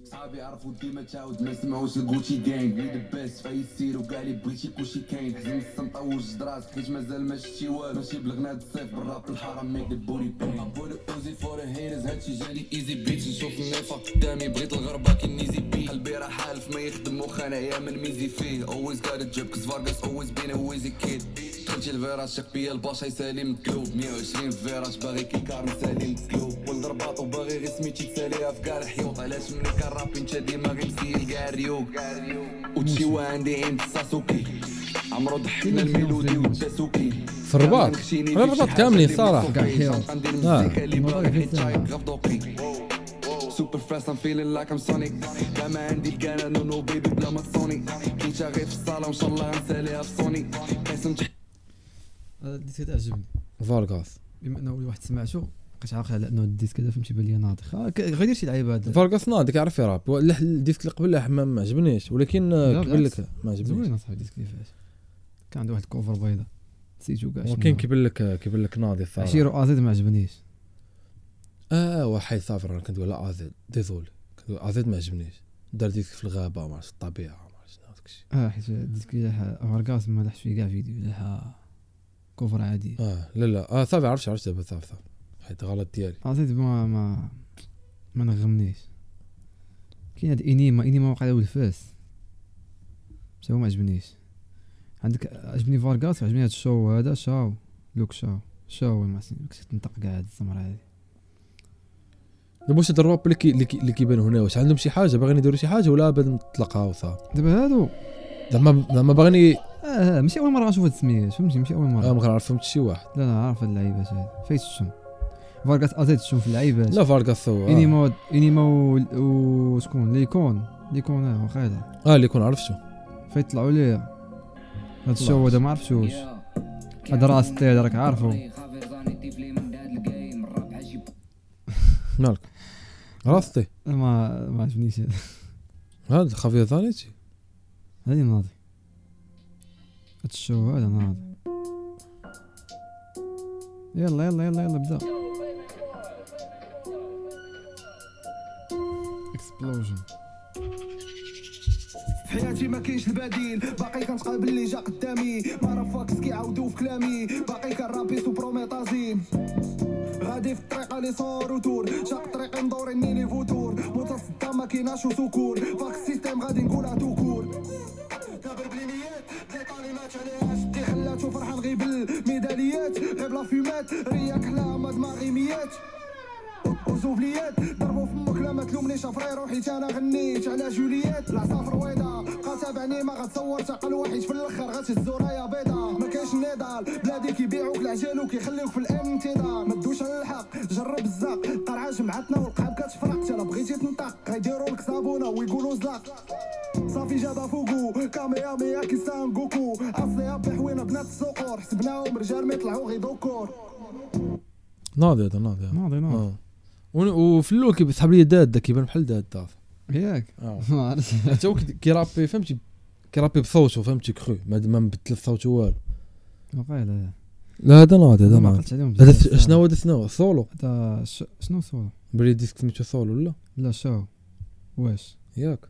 Speaker 4: صحابي عرفوا ديما تعاود ما سمعوش الكوتشي جانج وي ذا بيست فاي سير وكاع اللي بغيتي كلشي كاين حزين السنطة ووجد راسك حيت مازال ما شتي والو ماشي بلغناد الصيف بالراب الحرام ميك ذا بوري بين بوري اوزي فور هيرز هادشي جالي ايزي بيت نشوف النيفا قدامي بغيت الغربة كي نيزي بي قلبي راه حالف ما يخدم وخنايا من ميزي فيه always got a job cause Vargas always been a wheezy kid دخلتي الفيراج شق بيا الباشا يسالي مقلوب 120 فيراج باغي كيكار مسالي مقلوب ولد رباط وباغي غير سميتي تساليها في كاع الحيوط علاش ملي كنرابي انت ديما غير مسيل كاع الريوق وتشيوا عندي عند ساسوكي عمرو ضحكنا الميلودي والداسوكي
Speaker 3: في الرباط. على الرباط كاملين صراحة.
Speaker 2: كاع الحيوط.
Speaker 3: آه.
Speaker 4: سوبر فاست ام فيلين لايك ام سونيك لا ما عندي الكان نو نو بيبي بلا ما تصوني لقيتها غير في الصاله وان شاء الله غنساليها في صوني قاسم
Speaker 2: هذا الديسك عجبني
Speaker 3: فارغاس
Speaker 2: بما انه اول واحد سمعته بقيت عاقل على انه الديسك هذا فهمتي بان لي ناضخ آه، ك- غير شي لعيبه هذا
Speaker 3: فارغاس ناضي كيعرف يراب ولا الديسك اللي قبل لا ما ما عجبنيش ولكن
Speaker 2: لا،
Speaker 3: آه، كيبان
Speaker 2: بالعكس.
Speaker 3: لك ما عجبنيش
Speaker 2: زوين اصاحبي الديسك اللي فات كان عنده واحد الكوفر بيضاء نسيتو كاع
Speaker 3: ولكن كيبان لك آه، كيبان لك ناضي صراحه
Speaker 2: عشيرو ازيد ما عجبنيش
Speaker 3: اه واحد صافي راه كندوي على ازيد ديزول كندوي ازيد ما عجبنيش دار ديسك في الغابه ما عرفتش الطبيعه ما عرفتش شنو هذاك الشيء
Speaker 2: اه حيت الديسك لاح فارغاس ما لاحش فيه كاع فيديو لاح كوفر عادي
Speaker 3: اه لا لا اه صافي عرفت عرفت دابا صافي صافي حيت غلط ديالي
Speaker 2: ازيد ما ما ما نغمنيش كاين هاد انيما انيما وقع له الفاس حتى هو ما عجبنيش عندك عجبني فارغاس وعجبني هاد الشو هذا شاو لوك شاو شو هو المحسن كنت تنطق كاع هاد الزمره هادي
Speaker 3: دابا واش هاد الرواب اللي كي- اللي كي- اللي كيبان هنا واش عندهم شي حاجه باغيين يديروا شي حاجه ولا بعد مطلقها وصافي
Speaker 2: دابا هادو
Speaker 3: زعما زعما باغيين آه،
Speaker 2: اه آه، ماشي اول مره نشوف هاد السميات فهمتي ماشي اول مره
Speaker 3: ما كنعرف شي واحد
Speaker 2: لا انا عارف هاد اللعيبات هادي فايت الشم فارغاس ازيت الشم في اللعيبات
Speaker 3: لا فارغاس هو آه.
Speaker 2: انيما انيما و- وشكون ليكون ليكون اه واقيلا
Speaker 3: اه اللي كون عرفتو
Speaker 2: فايت طلعوا ليه هاد الشو هذا ما عرفتوش
Speaker 5: هذا راس
Speaker 2: الطير
Speaker 5: الطير
Speaker 2: راك
Speaker 5: راك
Speaker 2: عارفه.
Speaker 5: عارفه
Speaker 3: مالك عرفتي
Speaker 2: ما ما عجبنيش هذا.
Speaker 3: هاد خافيه زانيتي
Speaker 2: هادي ناضي هاد الشو هذا ناضي يلا يلا يلا يلا بدا اكسبلوجن
Speaker 1: في حياتي ما كاينش البديل باقي كنتقابل اللي جا قدامي ما رفاكس كيعاودو في كلامي باقي كنرابي سو بروميتازيم غادي في الطريقة لي صور وتور شاق طريقي مدور اني لي فوتور متصدى ما كايناش وسكور فاك السيستيم غادي نقولها توكور كابر بلي نيات تليطاني ما تعليهاش دي خلاتو فرحان غير بالميداليات غير بلا فيمات رياك حلاها ما دماغي ميات وزوبليات ضربوا فمك لا ما تلومنيش افريرو حيت انا غنيت على جوليات العصافر ويضا بقى تابعني ما غتصور تقل واحد في الاخر غتهز رايا بيضا ما كاينش النضال بلادي كيبيعوك العجل وكيخليوك في الانتظار ما تدوش على الحق جرب الزاق القرعه جمعتنا والقاب كتفرق تلا بغيتي تنطق غيديروا لك صابونه ويقولوا زلاق صافي جابها فوقو كاميا ميا كيسان جوكو اصلي ابي حوينا بنات الصقور حسبناهم رجال ما يطلعوا غي ذكور
Speaker 3: ناضي هذا ناضي
Speaker 2: ناضي ناضي
Speaker 3: اه ون- وفي الاول كيسحب لي داد كيبان بحال داد صافي
Speaker 2: ياك
Speaker 3: اه
Speaker 2: ما عرفتش
Speaker 3: حتى هو كي- كيرابي فهمتي كيرابي بصوته فهمتي كخو ما ما مبدل في صوته والو
Speaker 2: واقيلا
Speaker 3: لا هذا ناضي هذا
Speaker 2: ما
Speaker 3: ناضي
Speaker 2: عقلتش عليهم
Speaker 3: هذا
Speaker 2: بزاف.
Speaker 3: س- شنو هو هذا شنو هو سولو
Speaker 2: هذا ش- شنو صورة
Speaker 3: بري ديسك سميتو سولو ولا
Speaker 2: لا شو واش
Speaker 3: ياك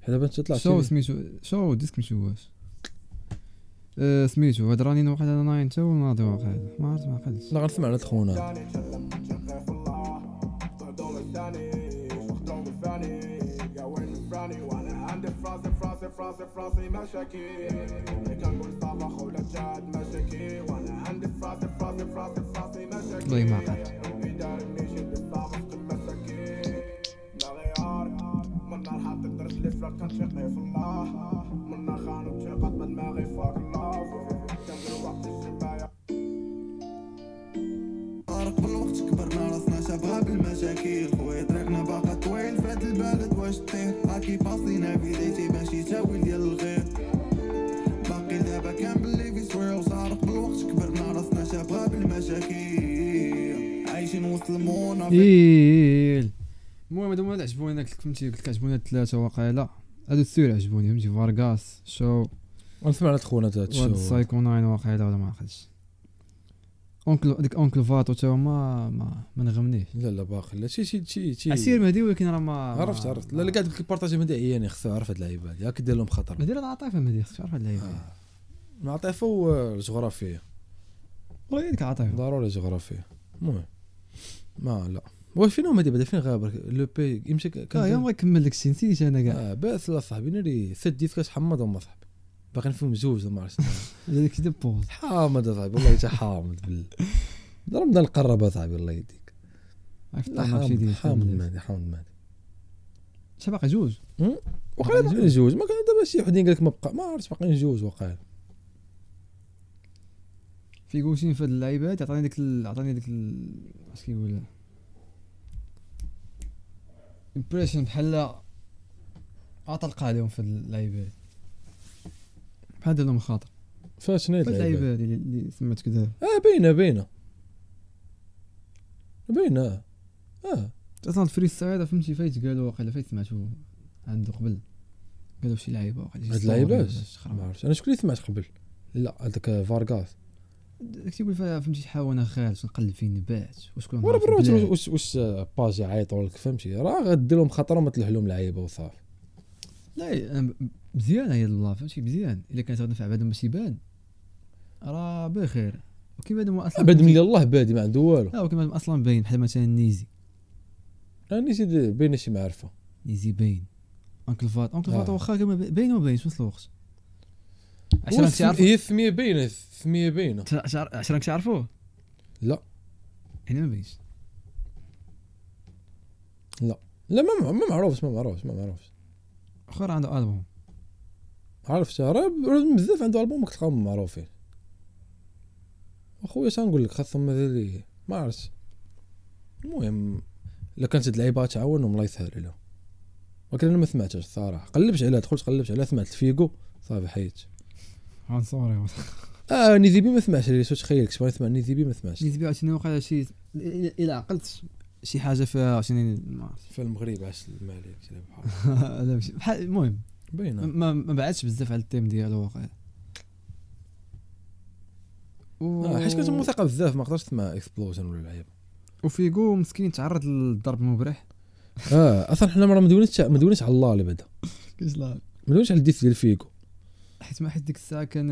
Speaker 3: حيت دابا انت طلعت
Speaker 2: شو سميتو شو ديسك مشي واش آه، سميتو هاد راني واحد انا ناين تا وناضي واقيلا ما عرفت ما عقلتش
Speaker 3: لا غنسمع على تخونا
Speaker 2: والله ما عقلت
Speaker 1: طارق بالوقت كبرنا راسنا شابغا بالمشاكل خويا طريقنا باقا طويل فهاد البلد واش طير راكي باصينا في ديتي ماشي تاويل ديال الغير باقي دابا كان باللي في سوير طارق بالوقت كبرنا راسنا شابغا بالمشاكل عايشين وسط المونا
Speaker 2: إيه.
Speaker 1: في
Speaker 2: ايل المهم هادو هما اللي عجبوني انا فهمتي قلت لك عجبوني هاد الثلاثه واقيلا هادو السور عجبوني فهمتي فارغاس شو
Speaker 3: غنسمع على تخونا هذا
Speaker 2: وهاد
Speaker 3: الشيء
Speaker 2: السايكو ناين واقيلا ولا ما عقلتش اونكل ديك اونكل فاتو تا هو ما ما ما نغمنيش
Speaker 3: لا لا باقي لا شي شي شي شي
Speaker 2: عسير مهدي ولكن راه ما
Speaker 3: عرفت
Speaker 2: ما-
Speaker 3: عرفت لا لا قاعد قلت لك بارطاجي مهدي عياني خصو يعرف هاد اللعيبه هادي هاك دير لهم خطر
Speaker 2: مهدي راه العاطفه مهدي خصك تعرف هاد اللعيبه
Speaker 3: آه. مع آه، طيفه والجغرافيه
Speaker 2: والله هي ديك العاطفه
Speaker 3: ضروري جغرافيا المهم ما لا واش فين هما دابا فين غابر لو بي يمشي ك-
Speaker 2: كان يوم
Speaker 3: كان
Speaker 2: غيكمل داكشي نسيت انا كاع
Speaker 3: اه باس لا صاحبي ناري ست ديسكات حمض هما صاحبي باقيين فيهم زوج ما عرفتش
Speaker 2: على داكشي ديال بوز
Speaker 3: حامض صاحبي والله حتى حامض بال رمضان قرب صاحبي الله يديك
Speaker 2: عرفت
Speaker 3: لا
Speaker 2: انا ماشي
Speaker 3: حامض
Speaker 2: ديال
Speaker 3: حامض مهدي حامض مهدي
Speaker 2: شحال باقي جوج
Speaker 3: وقال باقيين جوج ما كان دابا شي وحدين قال لك ما بقى ما عرفتش باقيين جوج وقال
Speaker 2: في كلشي في هاد اللعيبه هادي عطاني ديك ال- عطاني ديك ال- اش كيقول امبريشن بحال عطلق عليهم في هاد اللعيبه هادي. بحال دار لهم خاطر
Speaker 3: فاش شنو هاد
Speaker 2: في هاد اللعيبه
Speaker 3: اللعيبه
Speaker 2: هادي اللي- اللي سمعتك دابا
Speaker 3: اه باينه باينه باينه آه. اه
Speaker 2: اصلا الفري ستايل فهمتي فايت قالوا واقيلا فايت سمعتو عنده قبل قالوا شي لعيبه واقيلا شي
Speaker 3: هاد
Speaker 2: صور
Speaker 3: اللعيبه
Speaker 2: ولا شي خرا.
Speaker 3: ما عرفتش انا شكون اللي سمعت قبل لا هذاك فارغاس
Speaker 2: داك تيقول فيها فهمتي شحال وانا خارج نقلب فين نبات وشكون
Speaker 3: ورا
Speaker 2: عارف
Speaker 3: بالروت
Speaker 2: البلاد.
Speaker 3: واش واش باج يعيطوا لك فهمتي راه غدير لهم خطره وما تلح لهم لعيبه وصافي
Speaker 2: لا أنا ب- مزيان هي الله فهمتي مزيان الا كانت غتنفع بعد ما تيبان راه بخير وكيما هادو هما اصلا
Speaker 3: بعد من الله بادي ما عنده والو
Speaker 2: لا وكيما هادو هما اصلا باين بحال مثلا نيزي
Speaker 3: راني سيدي بين شي معرفه
Speaker 2: نيزي باين انكل فات انكل فات
Speaker 3: آه.
Speaker 2: واخا كما ب- باين وما باينش في نفس الوقت
Speaker 3: هو
Speaker 2: عشان
Speaker 3: السم-
Speaker 2: تعرف
Speaker 3: إيه؟ هي السميه باينه السميه باينه
Speaker 2: عشان تعرفوه
Speaker 3: لا
Speaker 2: هنا ما بينش
Speaker 3: لا ما ما- ما معروفش ما معروفش ما معروفش
Speaker 2: اخر عنده البوم
Speaker 3: عرفت راه ب- بزاف عنده البوم كتلقاهم معروفين اخويا شنقول لك خاصهم هذا اللي ما عرفتش المهم الا كانت هاد اللعيبه تعاونهم الله يسهل عليهم ولكن انا ما سمعتهاش الصراحه قلبت عليها دخلت قلبت عليها سمعت فيغو صافي حيت
Speaker 2: عنصري
Speaker 3: اه نيزيبي ما سمعش ليه شو تخيل كنت بغيت نسمع نيزيبي ما سمعش
Speaker 2: اللي تبيع شنو وقع شي الى عقلت شي حاجه فيها شنو ما عرفت.
Speaker 3: في المغرب عاش المالك شي لعبة بحال
Speaker 2: هذا ماشي- بحال المهم
Speaker 3: باينه
Speaker 2: ما ما بعدش بزاف على التيم ديالو واقع و...
Speaker 3: آه، حيت كانت موثقه بزاف ما قدرتش تسمع اكسبلوجن ولا لعيبه
Speaker 2: وفيغو مسكين تعرض للضرب المبرح
Speaker 3: اه اصلا حنا راه ما دونيتش ما دونيتش على الله اللي بعدا
Speaker 2: كيجلا
Speaker 3: ما دونيتش على الديث ديال فيكو
Speaker 2: حيت ما حيت ديك الساعه كان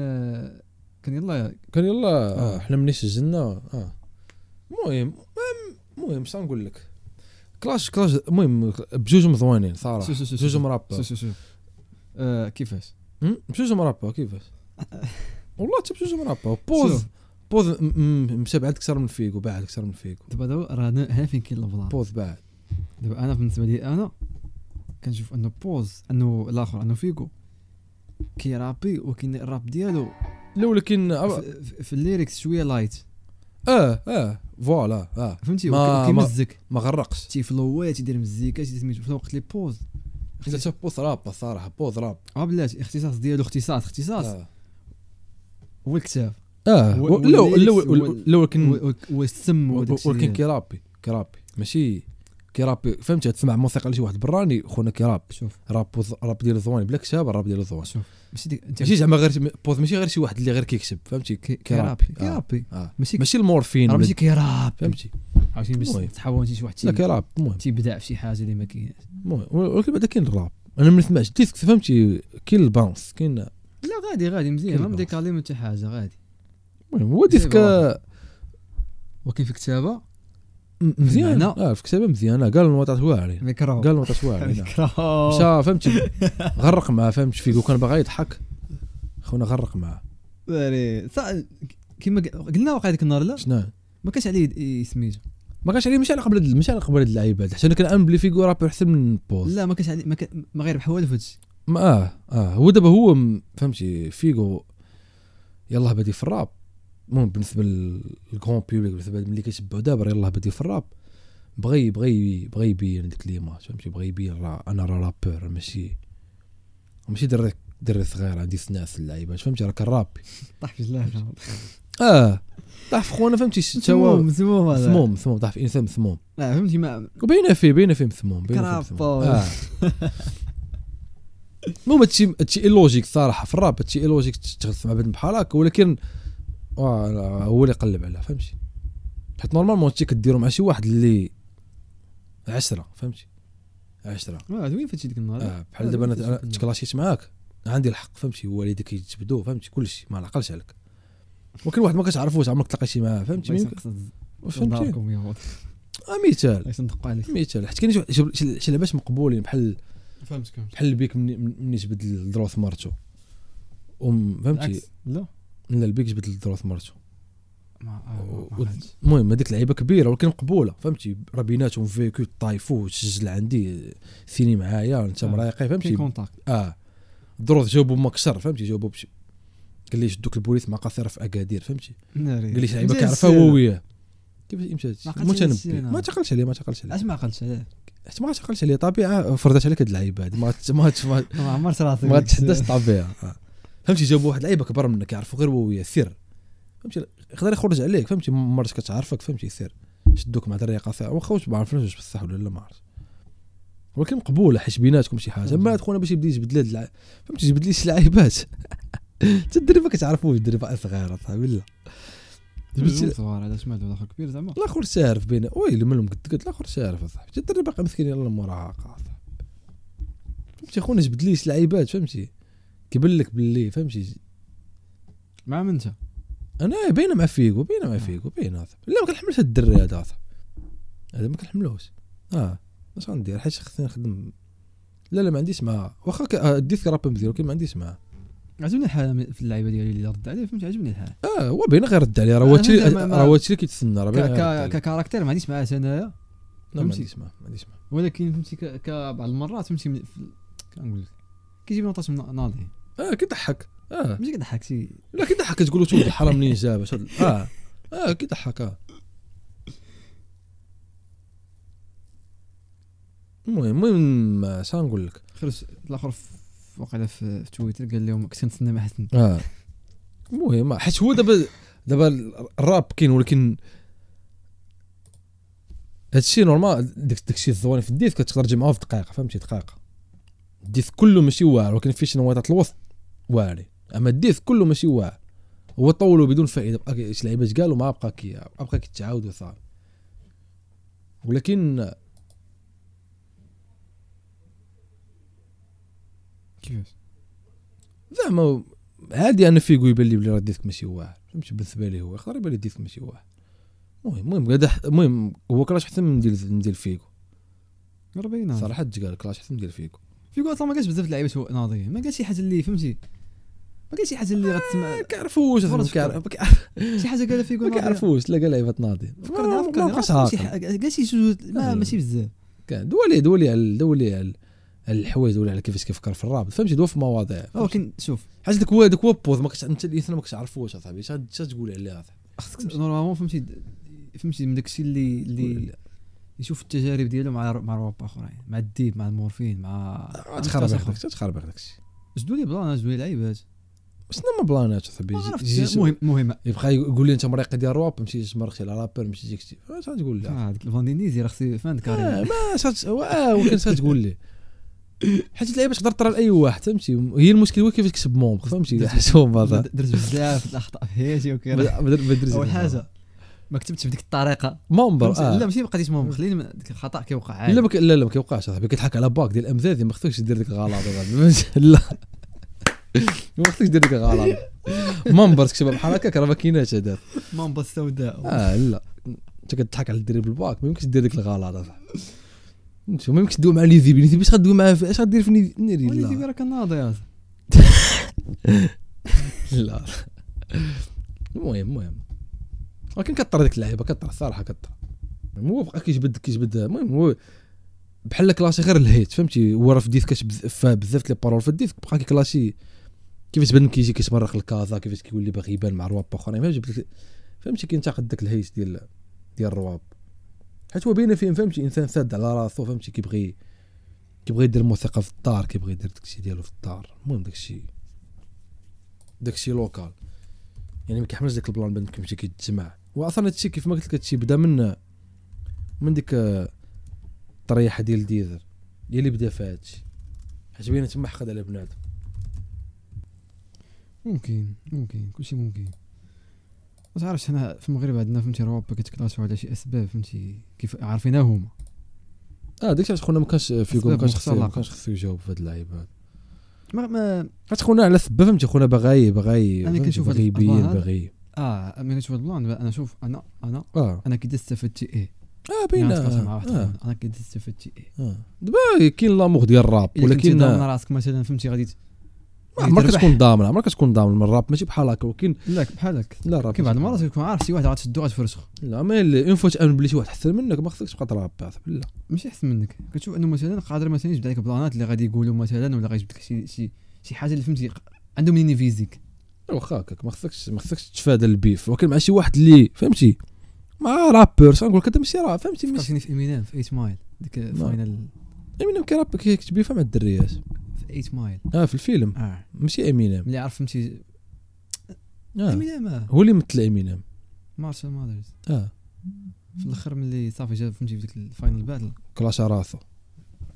Speaker 2: كان يلا
Speaker 3: كان يلا آه.
Speaker 2: آه.
Speaker 3: حنا مني سجلنا اه المهم المهم- المهم شنو نقول لك كلاش كلاش المهم بجوج مزوانين صراحه
Speaker 2: شو- شو- شو-
Speaker 3: بجوج
Speaker 2: شو.
Speaker 3: مرابا
Speaker 2: شوف شوف شوف آه، كيفاش
Speaker 3: أم؟ بجوج مرابا كيفاش والله حتى بجوج مرابا بوز
Speaker 2: شوف،
Speaker 3: بوز م- م- مشى بعد اكثر من فيكو بعد اكثر من فيكو
Speaker 2: دابا دابا راه أنا- هنا فين كاين البلان
Speaker 3: بوز بعد
Speaker 2: دابا انا بالنسبه لي انا كنشوف انه بوز انه الاخر انه فيغو كيرابي ولكن الراب ديالو
Speaker 3: الاول كاين
Speaker 2: في- في- في الليركس شويه لايت
Speaker 3: اه اه فوالا اه
Speaker 2: فهمتي
Speaker 3: ما- ما-
Speaker 2: كيمزك
Speaker 3: ما غرقش
Speaker 2: تيفلوي تيدير مزيكا تيدير سميتو في الوقت اللي بوز
Speaker 3: انت شاف بوز راب الصراحه بوز راب
Speaker 2: اه بلاتي اختصاص ديالو اختصاص اختصاص
Speaker 3: اه
Speaker 2: هو الكتاب
Speaker 3: اه
Speaker 2: و-
Speaker 3: و- لو
Speaker 2: والليركس
Speaker 3: لو
Speaker 2: وال-
Speaker 3: لو كان
Speaker 2: و- و- والسم وداكشي
Speaker 3: ولكن
Speaker 2: ديالو.
Speaker 3: كيرابي كيرابي ماشي كيرابي فهمت تسمع موسيقى لشي واحد براني خونا كيرابي
Speaker 2: شوف
Speaker 3: راب وز- راب ديال الزواني بلا كتاب الراب ديال الزواني
Speaker 2: شوف ماشي ديك انت
Speaker 3: ماشي زعما غير بوز ماشي غير شي واحد اللي غير كيكتب فهمتي
Speaker 2: كي-
Speaker 3: كيرابي.
Speaker 2: كيرابي كيرابي
Speaker 3: اه
Speaker 2: ماشي
Speaker 3: ماشي المورفين
Speaker 2: راه ماشي
Speaker 3: ولا-
Speaker 2: كيرابي طيب.
Speaker 3: فهمتي
Speaker 2: عاوتاني باش
Speaker 3: المهم.
Speaker 2: تحول انت شي واحد
Speaker 3: لا
Speaker 2: تي-
Speaker 3: كيرابي المهم
Speaker 2: تيبدع في شي حاجه اللي ما كايناش
Speaker 3: المهم ولكن بعدا كاين الراب انا ما نسمعش ديسك فهمتي كاين الباونس كاين
Speaker 2: لا غادي غادي مزيان ما
Speaker 3: كيرابي.
Speaker 2: مديكالي من حتى حاجه غادي
Speaker 3: المهم
Speaker 2: إيه،
Speaker 3: هو ديسك
Speaker 2: زي ولكن في كتابه
Speaker 3: م- مزيان
Speaker 2: المعنى.
Speaker 3: اه في كتابه مزيانه قال الوطا واعرين
Speaker 2: ميكرو
Speaker 3: قال الوطا واعرين
Speaker 2: ميكرو
Speaker 3: مشى فهمتي غرق معاه فهمت فيكو كان باغي يضحك خونا غرق معاه
Speaker 2: فري صا- كيما ق- قلنا واقع ديك النهار لا
Speaker 3: شنو
Speaker 2: ما كانش عليه يد- ي- سميتو
Speaker 3: ما كانش عليه ماشي على قبل هاد- ماشي على قبل هاد اللعيبه هاد، حتى انا كنامن بلي فيكو راه احسن من بوز
Speaker 2: لا ما كانش عليه ما, كان ما غير بحوال في هادشي
Speaker 3: ما اه اه هو دابا هو م- فهمتي فيكو يلاه بادي في الراب المهم بالنسبه للكرون بيبليك بالنسبه ملي كيتبعو دابا راه يلاه بادي في الراب بغى بغى بغى يبين ديك ليماج فهمتي بغى يبين راه انا راه رابور راه ماشي ماشي دري دري صغير عندي سناس اللعيبه فهمتي راه كنرابي
Speaker 2: طاح في جلاله
Speaker 3: اه طاح في خونا فهمتي
Speaker 2: مسموم
Speaker 3: التوا
Speaker 2: مسموم هذا.
Speaker 3: مسموم مسموم طاح في انسان مسموم
Speaker 2: لا فهمتي ما
Speaker 3: وباينه فيه باينه فيه مسموم باينه فيه
Speaker 2: كراب
Speaker 3: مسموم
Speaker 2: طول.
Speaker 3: آه. المهم هادشي هادشي اي لوجيك صراحه في الراب هادشي اي لوجيك تغلط مع بنت بحال هكا ولكن آه، لا، هو اللي قلب عليها فهمتي حيت نورمالمون هادشي كديرو مع شي واحد اللي عشرة فهمتي عشرة
Speaker 2: آه، دوين فهادشي ديك النهار
Speaker 3: آه بحال دابا
Speaker 2: فهمتي
Speaker 3: انا
Speaker 2: شنو كنا.
Speaker 3: تكلاشيت معاك عندي الحق فهمتي والديك يجبدو فهمتي كلشي ما نعقلش عليك ولكن واحد ما كتعرفوش عمرك تلاقيتي معاه فهمتي
Speaker 2: بغيت
Speaker 3: يمكن-
Speaker 2: نقصد
Speaker 3: فهمتي
Speaker 2: داركم يا ولد
Speaker 3: آه، مثال
Speaker 2: بغيت ندقوا عليك
Speaker 3: مثال حيت كاين شي- شي- شي- شي لعبات مقبولين بحال
Speaker 2: فهمتك فهمتك
Speaker 3: بحال البيك مني مني جبد الدروس مرتو وم- فهمتي
Speaker 2: العكس لا
Speaker 3: لا البيك جبد الدروس مرتو
Speaker 2: ما آه،
Speaker 3: و-
Speaker 2: ما- ما غاديش.
Speaker 3: المهم هذيك لعيبه كبيره ولكن مقبوله فهمتي راه بيناتهم فيكو طايفو سجل عندي سيني معايا انت
Speaker 2: آه.
Speaker 3: مرايقي
Speaker 2: كاين
Speaker 3: فهمتي
Speaker 2: كونتاكت
Speaker 3: اه الدروس جاوبوا مكسر فهمتي جاوبوا بشي قال لي شدوك البوليس مع قاصره في اكادير فهمتي
Speaker 2: ناري
Speaker 3: قال لي شي لعيبه
Speaker 2: مزيان
Speaker 3: كيعرفها
Speaker 2: السير.
Speaker 3: هو وياه كيفاش يمشي هادشي
Speaker 2: ما عقلتش على
Speaker 3: متنبي
Speaker 2: السير أنا.
Speaker 3: ما تعقلش عليه ما تعقلش عليه
Speaker 2: علاش ما عقلتش عليه
Speaker 3: حيت ما تعقلش عليه طبيعه فرضت عليك هاد اللعيبه هادي ما غات- ما غات- ما غات-
Speaker 2: ما عمرت راسي
Speaker 3: ما تحداش الطبيعه آه. فهمتي جابوا واحد لعيبه كبر منك يعرفوا غير هو وياه سير فهمتي يقدر يخرج عليك فهمتي مرات كتعرفك فهمتي سير شدوك مع دريه قاصعه واخا واش ما عرفناش واش بصح ولا لا ما عرفت ولكن مقبوله حيت بيناتكم شي حاجه اما هاد خونا باش يبدا يجبد لي هاد الع- فهمتي يجبد لي شي لعيبات حتى الدري ما كتعرفوش الدري باقي صغير اصاحبي لا جبدتي-
Speaker 2: صغار علاش مالو الاخر كبير زعما
Speaker 3: الاخر شارف بين ويلي مالهم قد قلت الاخر شارف اصاحبي حتى الدري باقي مسكين يلاه المراهقه اصاحبي فهمتي خونا جبد لي شي لعيبات فهمتي كيبان لك باللي فهمتي
Speaker 2: مع من انت
Speaker 3: انا باينه مع فيكو باينه مع فيكو باينه هذا لا ما كنحملش هاد الدري هذا هذا هذا ما كنحملوش اه اش غندير آه، حيت خصني نخدم لا لا ما عنديش معاه واخا ك- آه، الديسك راب مزيان ولكن ما عنديش معاه
Speaker 2: عجبني الحال في اللعيبه ديالي اللي رد عليه فهمتي عجبني الحال
Speaker 3: اه هو باين غير رد عليه راه هو
Speaker 2: آه،
Speaker 3: هادشي
Speaker 2: زعما ما-
Speaker 3: راه هو هادشي اللي كيتسنى راه
Speaker 2: ك-
Speaker 3: باين غير رد
Speaker 2: ك-
Speaker 3: عليه.
Speaker 2: ككاركتير ما عنديش معاه انايا
Speaker 3: لا، ما
Speaker 2: فهمتي؟
Speaker 3: عنديش ما عنديش ما
Speaker 2: ولكن فهمتي ك- كبعض المرات فهمتي من- في- كنقول لك كيجيب نوطات من ناضي
Speaker 3: اه كيضحك اه
Speaker 2: ماشي كضحك شي
Speaker 3: لا كيضحك تقول له تولد الحرام منين جاب اش هاد- اه اه كيضحك اه المهم المهم آه، شنو نقول لك
Speaker 2: خرج الاخر في- وقيلا في في تويتر قال لهم كنت كنتسنى مع حسن
Speaker 3: اه المهم حيت هو دابا دابا الراب كاين ولكن هادشي نورمال داك داكشي الزوين في الديسك كتقدر تجمعوه في دقيقه فهمتي دقيقه الديسك كله ماشي واعر ولكن فيه شي نواطات الوسط واعرين اما الديسك كله ماشي واعر هو طولوا بدون فائده بقى كي- شي لعيبات قالوا ما بقى كي بقى كيتعاود وصافي ولكن
Speaker 2: كيفاش
Speaker 3: زعما عادي انا فيغو يبان لي بلي راه الديسك ماشي واعر فهمتي بالنسبه لي هو يقدر يبان لي الديسك ماشي واعر المهم المهم قاد أح- المهم هو كلاش احسن من ديال من ديال فيغو
Speaker 2: راه باينه
Speaker 3: صراحه تجال كلاش احسن من ديال فيغو
Speaker 2: فيكو اصلا ما كانش بزاف د اللعيبات هو ناضي ما كانش شي حاجه اللي فهمتي ما كانش شي حاجه اللي غتسمع
Speaker 3: كيعرفوش
Speaker 2: فرض
Speaker 3: ما
Speaker 2: فكر.
Speaker 3: كيعرف-
Speaker 2: شي حاجه قالها فيكو
Speaker 3: ما
Speaker 2: ناضي
Speaker 3: كيعرفوش لا قال لعيبه ناضي
Speaker 2: فكرنا
Speaker 3: ما-
Speaker 2: فكرنا
Speaker 3: ما بقاش
Speaker 2: راه شي
Speaker 3: عاقل
Speaker 2: حاجة- قال شي جوج ما
Speaker 3: آه.
Speaker 2: ماشي بزاف
Speaker 3: كان دولي دولي على دولي على على الحوايج ولا على كيفاش كيفكر في الرابط فهمتي دوا في مواضيع
Speaker 2: ولكن شوف
Speaker 3: حيت داك هو داك هو بوز ما كنتش انت الانسان ما كنتش عارفوش اصاحبي اش غاد- اش غتقول عليه اصاحبي
Speaker 2: خصك نورمالمون فهمتي فهمتي من داكشي اللي اللي يشوف التجارب ديالو مع مع رواب اخرين مع الديب مع المورفين مع
Speaker 3: تخربق
Speaker 2: أشخاص آخرين.
Speaker 3: داكشي تخربق داكشي
Speaker 2: جدو لي بلان جدو لي لعيبات
Speaker 3: شنو ما بلانات اصاحبي
Speaker 2: ما
Speaker 3: جي-
Speaker 2: عرفتش
Speaker 3: جي-
Speaker 2: المهم المهم
Speaker 3: يبقى يقول لي انت مريقي ديال الرواب مشي تمرقتي على رابر مشي ديك شتي اش غتقول لها؟
Speaker 2: آه، ديك الفاندينيزي راه خصي فان
Speaker 3: آه،
Speaker 2: كاري
Speaker 3: ما شات واه ولكن اش غتقول لي حيت اللعيبه تقدر طرا لاي واحد فهمتي هي المشكل هو كيفاش كسب مومب فهمتي حسهم هذا
Speaker 2: درت بزاف د الاخطاء في حياتي وكذا
Speaker 3: بدا- بدا- بدا-
Speaker 2: اول حاجه ما كتبتش بديك الطريقه
Speaker 3: مومب
Speaker 2: فهمتي؟
Speaker 3: آه.
Speaker 2: لا ماشي ما بقيتيش مهم خليني من ديك الخطا كيوقع عادي
Speaker 3: لا ما ك- لا لا ما كيوقعش صاحبي كتضحك على باك ديال امزازي ما خصكش دير ديك الغلط هذا. لا ما خصكش دير ديك الغلط ممبر تكتبها بحال هكاك راه ما كايناش هذا
Speaker 2: مامبا السوداء
Speaker 3: اه لا انت كتضحك على الدري بالباك ما يمكنش دير ديك الغلط اصاحبي فهمتي ما يمكنش تدوي مع ليزيبي ليزيبي اش غدوي معاه في- اش غدير في نيزي- نيري
Speaker 2: وليدي
Speaker 3: لا
Speaker 2: راه كان ناضي يا زلمة.
Speaker 3: لا المهم المهم ولكن كثر ديك اللعيبه كثر الصراحه كثر هو بقى كيجبد كيجبد المهم هو بحال كلاشي غير الهيت فهمتي هو راه في الديسك كاش بز- فيها بزاف لي بارول في الديسك بقى كيكلاشي كيفاش بان كيجي كيتمرق الكازا كيفاش كيولي باغي يبان مع رواب اخرين فهمتي جبت- فهمتي كينتقد داك الهيت ديال ديال الرواب حيت هو باينه فيهم فهمتي انسان ساد على راسو فهمتي كيبغي كيبغي يدير الموسيقى في الدار كيبغي يدير داكشي ديالو في الدار المهم داكشي داكشي لوكال يعني ما كيحملش داك البلان بان كيمشي كيتجمع واصلا هادشي كيف ما قلت لك هادشي بدا من من ديك آه، الطريحه ديال ديزر هي اللي بدا في هادشي حيت بينا تما حقد على بنادم
Speaker 2: ممكن ممكن كلشي ممكن ما تعرفش هنا في المغرب عندنا فهمتي روابا كيتكلاشوا على شي اسباب فهمتي كيف عارفينها هما
Speaker 3: اه ديك الساعه خونا ما كانش فيكو ما
Speaker 2: أسباب
Speaker 3: كانش خصو ما
Speaker 2: مختلقة.
Speaker 3: كانش خصو يجاوب في هاد اللعيبه هاد.
Speaker 2: ما, ما
Speaker 3: حيت خونا على سبه فهمتي خونا باغي باغي
Speaker 2: أنا
Speaker 3: فهمتي،
Speaker 2: كنشوف هاد
Speaker 3: باغي يبين
Speaker 2: الأطباء هاد.
Speaker 3: باغي
Speaker 2: اه ملي كنشوف هاد البلان انا شوف انا انا
Speaker 3: اه
Speaker 2: انا كي استفدت ايه
Speaker 3: اه
Speaker 2: يعني
Speaker 3: باينه
Speaker 2: نتقاسم مع واحد
Speaker 3: آه،
Speaker 2: آخر. انا كي استفدت ايه
Speaker 3: آه. دابا كاين لامور ديال الراب
Speaker 2: ولكن
Speaker 3: ولكن
Speaker 2: ضامن
Speaker 3: آه،
Speaker 2: راسك مثلا فهمتي غادي ت-
Speaker 3: ما عمرك
Speaker 2: تربح.
Speaker 3: تكون ضامن عمرك تكون ضامن من الراب ماشي بحال هكا ولكن
Speaker 2: لا بحالك
Speaker 3: لا الراب
Speaker 2: كاين بعض
Speaker 3: ماشي
Speaker 2: المرات كتكون عارف شي واحد غتشدو غتفرسخ
Speaker 3: لا ما اون فوا تامن بلي شي واحد احسن منك ما خصكش تبقى ترابع لا
Speaker 2: ماشي احسن منك كتشوف انه مثلا قادر مثلا يجبد عليك بلانات اللي غادي يقولوا مثلا ولا غيجبد لك شي شي شي حاجه اللي فهمتي ق- عندهم منين يفيزيك
Speaker 3: واخا هكاك ما خصكش ما خصكش تتفادى البيف ولكن مع شي واحد اللي فهمتي مع رابر شنقول لك هذا ماشي راب فهمتي ماشي نعم.
Speaker 2: فكرتيني في امينيم في 8 مايل ديك فاينل
Speaker 3: امينيم كيراب كيكتب بيفا مع الدريات
Speaker 2: في 8 مايل
Speaker 3: اه في الفيلم
Speaker 2: اه
Speaker 3: ماشي امينيم
Speaker 2: ملي عرف فهمتي
Speaker 3: آه.
Speaker 2: امينيم آه.
Speaker 3: هو اللي مثل امينيم
Speaker 2: مارشال ماذرز
Speaker 3: اه
Speaker 2: في الاخر ملي صافي جا فهمتي في ديك الفاينل باتل
Speaker 3: كلاش على راسو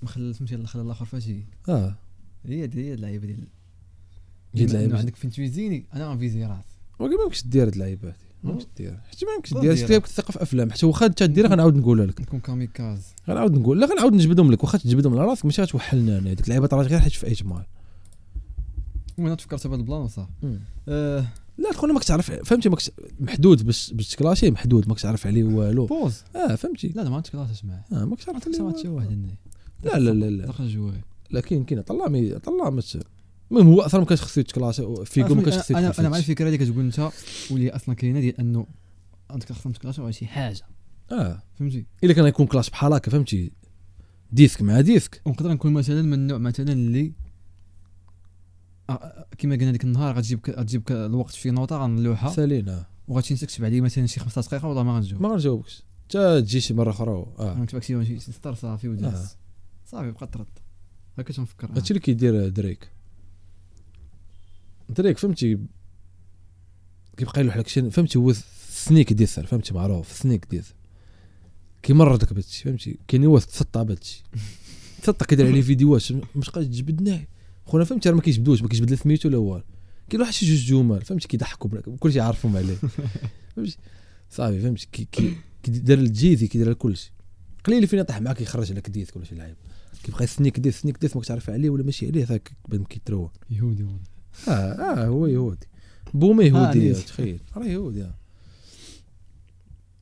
Speaker 2: ما خلى فهمتي الله خلى الاخر فاشي
Speaker 3: اه
Speaker 2: هي هي هي اللعيبه ديال
Speaker 3: هي
Speaker 2: إنه
Speaker 3: اللعيبة.
Speaker 2: عندك فين تويزيني انا انفيزي راسي
Speaker 3: ولكن ما يمكنش دير هاد اللعيبات ما يمكنش دير حيت ما يمكنش
Speaker 2: لا
Speaker 3: دير
Speaker 2: ديرها.
Speaker 3: كتاب الثقه في افلام حتى واخا انت ديرها غنعاود نقولها لك
Speaker 2: نكون كاميكاز
Speaker 3: غنعاود نقول لا غنعاود نجبدهم لك واخا تجبدهم على راسك ماشي غتوحلنا انا ديك اللعيبه طرات غير حيت في اجمال
Speaker 2: وانا تفكرت بهذا البلان وصافي
Speaker 3: مم.
Speaker 2: آه،
Speaker 3: لا تكون ما كتعرف فهمتي ما كتش- محدود باش باش تكلاشي محدود ما كتعرف عليه والو
Speaker 2: بوز
Speaker 3: اه فهمتي
Speaker 2: لا لا ما نتكلاشش معاه
Speaker 3: اه ما كتعرف
Speaker 2: حتى ما
Speaker 3: عليه
Speaker 2: تشوه هنا
Speaker 3: لا لا لا لا
Speaker 2: دخل جواه
Speaker 3: لا كاين كاين طلع مي طلع ما ت- المهم هو اصلا ما كانش خصو يتكلاش فيكو ما
Speaker 2: أنا-
Speaker 3: كانش خصو
Speaker 2: انا انا
Speaker 3: يتكلاش
Speaker 2: مع الفكره اللي كتقول انت واللي اصلا كاينه ديال انه انت خصك تكلاش على شي حاجه
Speaker 3: اه
Speaker 2: فهمتي
Speaker 3: الا كان يكون كلاش بحال هكا فهمتي ديسك مع ديسك
Speaker 2: ونقدر نكون مثلا من النوع مثلا اللي آه، آه، كما قلنا ديك النهار غتجيب ك- غتجيب ك- الوقت في نوطه غنلوحها
Speaker 3: سالينا
Speaker 2: وغتمشي تكتب عليه مثلا شي 15 دقيقه والله ما غنجاوب
Speaker 3: ما غنجاوبكش حتى تجي شي مره اخرى اه
Speaker 2: غنكتب شي شي ستار صافي وداز
Speaker 3: آه.
Speaker 2: صافي بقى ترد هكا تنفكر
Speaker 3: هادشي اللي كيدير دريك دريك فهمتي كيبقى يلوح لك شي فهمتي هو سنيك ديسر فهمتي معروف سنيك ديسر كيمرضك بهادشي فهمتي كاين هو تسطى بهادشي تسطى كيدير عليه فيديوهات مش قادر تجبدنا خونا فهمتي راه ما كيجبدوش ما كيجبد لا سميتو لا والو كاين واحد شي جوج جمل فهمتي كيضحكوا بلا- كلشي عارفهم عليه فهمتي صافي فهمتي كي كي كيدير الجيزي كيدير كلشي قليل فين يطيح معاك يخرج لك ديسك ولا شي لعيب كيبقى يسنيك ديس سنيك ديس ما كتعرف عليه ولا ماشي عليه هذاك كيبان كيتروا
Speaker 2: يهودي والله
Speaker 3: اه اه هو يهودي بومه يهودي
Speaker 2: نيت.
Speaker 3: تخيل راه يهودي آه.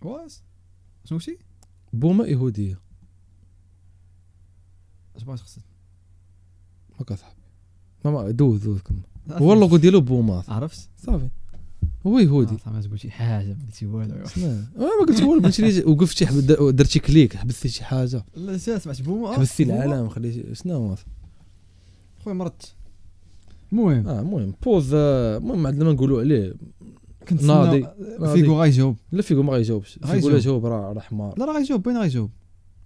Speaker 2: واس شنو قلتي؟
Speaker 3: بومه يهوديه
Speaker 2: اش بغيت خصك
Speaker 3: هكا صاحبي ما ما دوز دوز كم هو اللوغو ديالو بومه
Speaker 2: عرفت؟
Speaker 3: صافي هو يهودي
Speaker 2: آه، ما تقول شي حاجه ما قلتي والو
Speaker 3: لا، ما قلت والو ما شريت وقفت شي حب- درت شي كليك حبستي شي حاجه
Speaker 2: لا شا سمعت بوما
Speaker 3: حبستي
Speaker 2: بوما.
Speaker 3: العالم خليتي شنو هو
Speaker 2: خويا مرضت المهم
Speaker 3: اه المهم بوز آه، المهم عندنا ما نقولوا عليه
Speaker 2: كنت
Speaker 3: ناضي. ناضي.
Speaker 2: فيكو غيجاوب
Speaker 3: لا فيكو ما غايجاوبش فيكو لا
Speaker 2: غايجاوب.
Speaker 3: جاوب راه راه حمار
Speaker 2: لا راه غيجاوب باين غيجاوب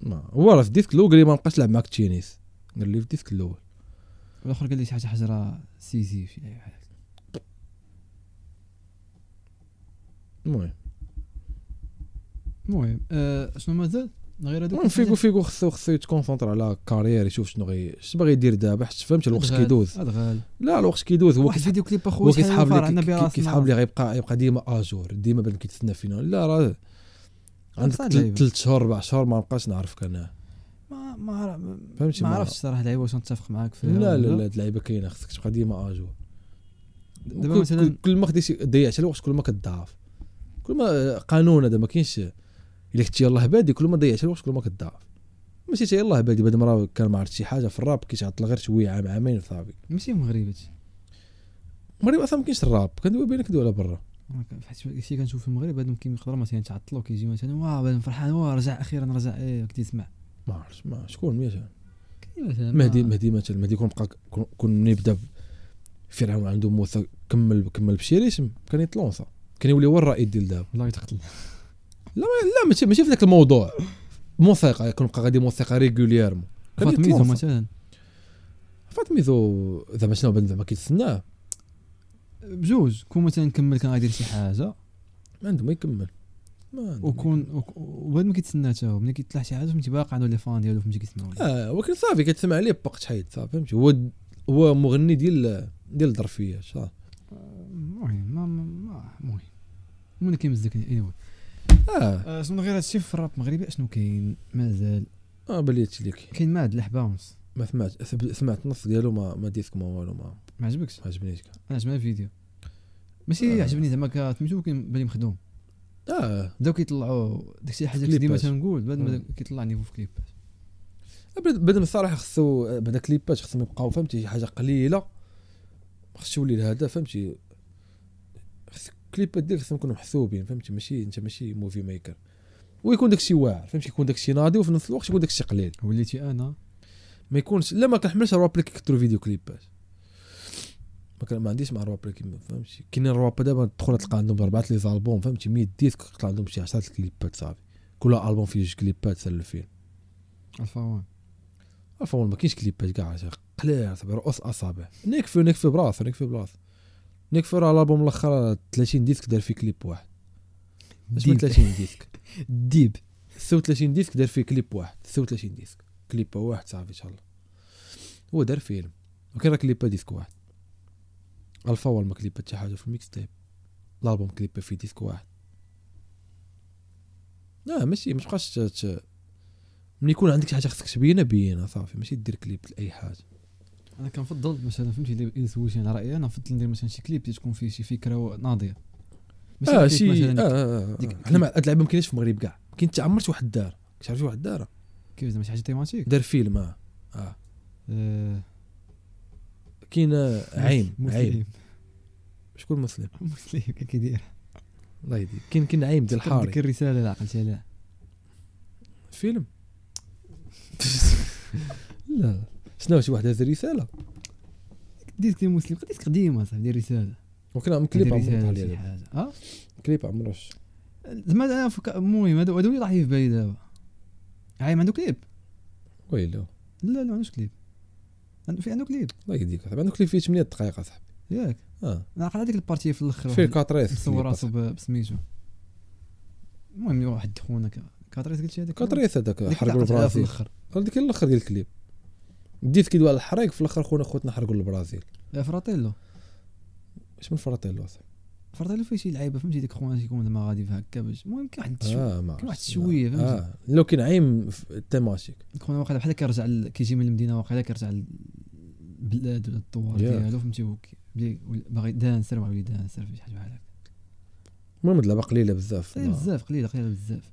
Speaker 3: ما- هو راه في الديسك الاول قال لي ما نبقاش نلعب معاك تشينيس قال لي في الديسك الاول
Speaker 2: الاخر قال لي شي حاجه حجره سيزي شي حاجه
Speaker 3: المهم
Speaker 2: المهم آه، شنو مازال غير هذوك
Speaker 3: المهم فيكو فيكو خصو خصو يتكونسونطر على كارير يشوف شنو غي اش باغي يدير دابا حيت فهمت الوقت كيدوز
Speaker 2: ادغال
Speaker 3: لا الوقت كيدوز هو
Speaker 2: واحد
Speaker 3: كيتح-
Speaker 2: الفيديو كليب
Speaker 3: هو
Speaker 2: اخويا
Speaker 3: كيسحاب
Speaker 2: شحال فرحنا
Speaker 3: لي
Speaker 2: براسنا
Speaker 3: كيسحاب لي غيبقى يبقى ديما اجور ديما بان كيتسنى فينا لا راه عندك
Speaker 2: صعب
Speaker 3: تل-
Speaker 2: لعيبة.
Speaker 3: تلت شهور اربع شهور ما نبقاش نعرفك انا
Speaker 2: ما ما عرف- ما-
Speaker 3: فهمتي
Speaker 2: ما
Speaker 3: ما-
Speaker 2: عرفتش صراحه لعيبه واش نتفق معاك فيها
Speaker 3: لا لا
Speaker 2: ولا
Speaker 3: لا هاد اللعيبه كاينه خصك تبقى ديما اجور
Speaker 2: دابا
Speaker 3: وكل-
Speaker 2: مثلاً-
Speaker 3: كل- كل ما خديتي ضيعت على الوقت كل ما كتضاعف كل ما قانون هذا ما كاينش الا كنتي يلاه بادي كل ما ضيعت على الوقت كل ما كتضاعف ماشي تا يلاه بادي بعد مرة كان ما عرفت شي حاجه في الراب كيتعطل غير شويه عام عامين صافي
Speaker 2: ماشي مغربي هادشي
Speaker 3: المغرب اصلا ما كاينش الراب كندوي بينك دوله برا
Speaker 2: أنا ك- فحيت شي كنشوف في المغرب هادو كيما يقدروا مثلا تعطلوا كيجي مثلا واه بان فرحان واه رجع اخيرا رجع ايه كنت تسمع
Speaker 3: ما عرفتش ما شكون مية
Speaker 2: كاين مثلا
Speaker 3: مهدي
Speaker 2: ما-
Speaker 3: مهدي مثلا مهدي كون بقى كون- كون يبدا فرعون عنده موسى كمل كمل بشي ريتم كان يتلونسا كان يولي هو الرائد ديال دابا
Speaker 2: والله يتقتل
Speaker 3: لا ماشي ماشي في ذاك الموضوع موسيقى كون بقى غادي موسيقى ريغوليرمون
Speaker 2: فات ميزو مثلا
Speaker 3: فاطميزو زعما شنو بان زعما كيتسناه
Speaker 2: بجوج كون مثلا كمل كان غيدير شي حاجه
Speaker 3: ما عنده ما يكمل ما عنده ما
Speaker 2: وكون وك- وبعد ما كيتسنى تا هو ملي كيطلع شي حاجه فهمتي باقي عنده لي فان ديالو فهمتي كيتسناو
Speaker 3: يكمل. اه ولكن صافي كتسمع عليه بوقت حيد صافي فهمتي هو هو مغني ديال ديال الظرفيه صافي
Speaker 2: المهم ما ما- ما المهم المهم كيمزكني اي anyway.
Speaker 3: اه
Speaker 2: آه، شنو غير هادشي في الراب المغربي اشنو كاين مازال
Speaker 3: اه بالي هادشي اللي كاين
Speaker 2: كاين ماد الحباونس
Speaker 3: ما سمعت سب- سمعت نص ديالو ما ما ديسك ما والو ما
Speaker 2: ما عجبكش
Speaker 3: ما عجبنيش كاع.
Speaker 2: انا عجبني الفيديو ماشي
Speaker 3: آه.
Speaker 2: عجبني زعما كتمشي ولكن بالي مخدوم
Speaker 3: اه
Speaker 2: بداو كيطلعوا داكشي حاجه
Speaker 3: كليبات.
Speaker 2: ديما تنقول بعد ما
Speaker 3: آه.
Speaker 2: كيطلع نيفو في كليبات
Speaker 3: بعد بعد من الصراحه خصو بعد كليبات خصهم يبقاو فهمتي شي حاجه قليله ما خصش يولي الهدف فهمتي خص الكليبات ديالك خصهم يكونوا محسوبين فهمتي ماشي انت ماشي موفي ميكر ويكون داكشي واعر فهمتي يكون داكشي ناضي وفي نفس الوقت يكون داكشي قليل
Speaker 2: وليتي انا
Speaker 3: ما يكونش لا ما كنحملش الرواب اللي كيكثروا فيديو كليبات ما كان ما عنديش مع الرواب اللي كيما فهمتي كاين الرواب دابا تدخل تلقى عندهم اربعه لي زالبوم فهمتي 100 ديسك تلقى عندهم شي 10 كليبات صافي كل البوم فيه جوج كليبات سال فيه
Speaker 2: الفا وان
Speaker 3: عرفوا ما كاينش كليبات كاع قليل صافي رؤوس اصابع نكفي نكفي براسو نكفي براسو نكفي راه الالبوم الاخر 30 ديسك دار فيه كليب واحد اش من
Speaker 2: ديب.
Speaker 3: 30 ديسك
Speaker 2: ديب
Speaker 3: 36 ديسك دار فيه كليب واحد 36 ديسك كليب واحد صافي ان شاء الله هو دار فيلم وكان راه كليبا ديسك واحد الفا هو ما كليبا حتى حاجه في الميكس تيب الالبوم كليبا فيه ديسك واحد لا ماشي ما تبقاش ت- ت- ملي يكون عندك شي حاجه خصك تبينها بينها صافي ماشي دير كليب لاي حاجه
Speaker 2: انا كنفضل مثلا فهمتي الا إلا سولتي على رايي انا نفضل ندير مثلا شي كليب اللي تكون فيه شي فكره ناضيه ماشي
Speaker 3: اه
Speaker 2: كليب
Speaker 3: شي اه
Speaker 2: مثلا
Speaker 3: اه
Speaker 2: ديك-
Speaker 3: آه. حنا مع هاد اللعبه ما كايناش في المغرب كاع ما كاين حتى عمر شي واحد دار كتعرف شي واحد دار آه.
Speaker 2: كيف زعما شي حاجه تيماتيك
Speaker 3: دار فيلم اه
Speaker 2: آه،
Speaker 3: كاين عيم عيم
Speaker 2: مسلم
Speaker 3: شكون مسلم
Speaker 2: مسلم كان كيدير
Speaker 3: الله يهديك كاين كاين عيم ديال
Speaker 2: ديك
Speaker 3: الحاري
Speaker 2: الرساله اللي عقلتها عليها
Speaker 3: فيلم لا لا شنو شي واحد هز رساله
Speaker 2: ديسك ديال مسلم ديسك قديمه صاحبي ديال الرساله
Speaker 3: وكان كليب
Speaker 2: ديال
Speaker 3: عمرو
Speaker 2: الرساله شي
Speaker 3: طحال
Speaker 2: حاجه اه
Speaker 3: كليب عمرو ش-
Speaker 2: زعما أنا فك- المهم هادو هادو اللي طاح لي في بالي دابا عايم عنده كليب
Speaker 3: ويلو
Speaker 2: لا لا ما عندوش كليب عنده في عنده كليب
Speaker 3: الله يهديك صاحبي عندك كليب فيه 8 دقائق اصاحبي
Speaker 2: ياك
Speaker 3: اه
Speaker 2: انا عقل هذيك البارتي في الاخر
Speaker 3: فيه
Speaker 2: واحد
Speaker 3: كاتريس
Speaker 2: مصور راسو ب- بسميتو المهم واحد خونا ك- كاتريس قلت شي هذاك
Speaker 3: كاتريس هذاك
Speaker 2: ديك
Speaker 3: حرقوا
Speaker 2: تعقد عليها في
Speaker 3: البرازيل
Speaker 2: الاخر
Speaker 3: هذيك هي الاخر ديال الكليب ديت كيدوي على الحريق في الاخر خونا خوتنا حرقوا البرازيل
Speaker 2: لا فراتيلو
Speaker 3: اش من فراتيلو اصاحبي
Speaker 2: فراتيلو فيه شي لعيبه فهمتي ديك خونا تيكون زعما غادي في هكا باش المهم كاين واحد التشويه
Speaker 3: اه ما
Speaker 2: كاين واحد
Speaker 3: عرفتش.
Speaker 2: الشويه فهمتي
Speaker 3: اه لو كان عيم في- تيماتيك
Speaker 2: كون واقيلا بحال كيرجع ل- كيجي من المدينه واقيلا كيرجع للبلاد ولا الدوار
Speaker 3: Yeah.
Speaker 2: ديالو فهمتي هو كي- بلي- ولا باغي دانسر باغي يولي دانسر في شي حاجه بحال هكا
Speaker 3: المهم اللعبه قليله بزاف
Speaker 2: صعيب بزاف قليله قليله بزاف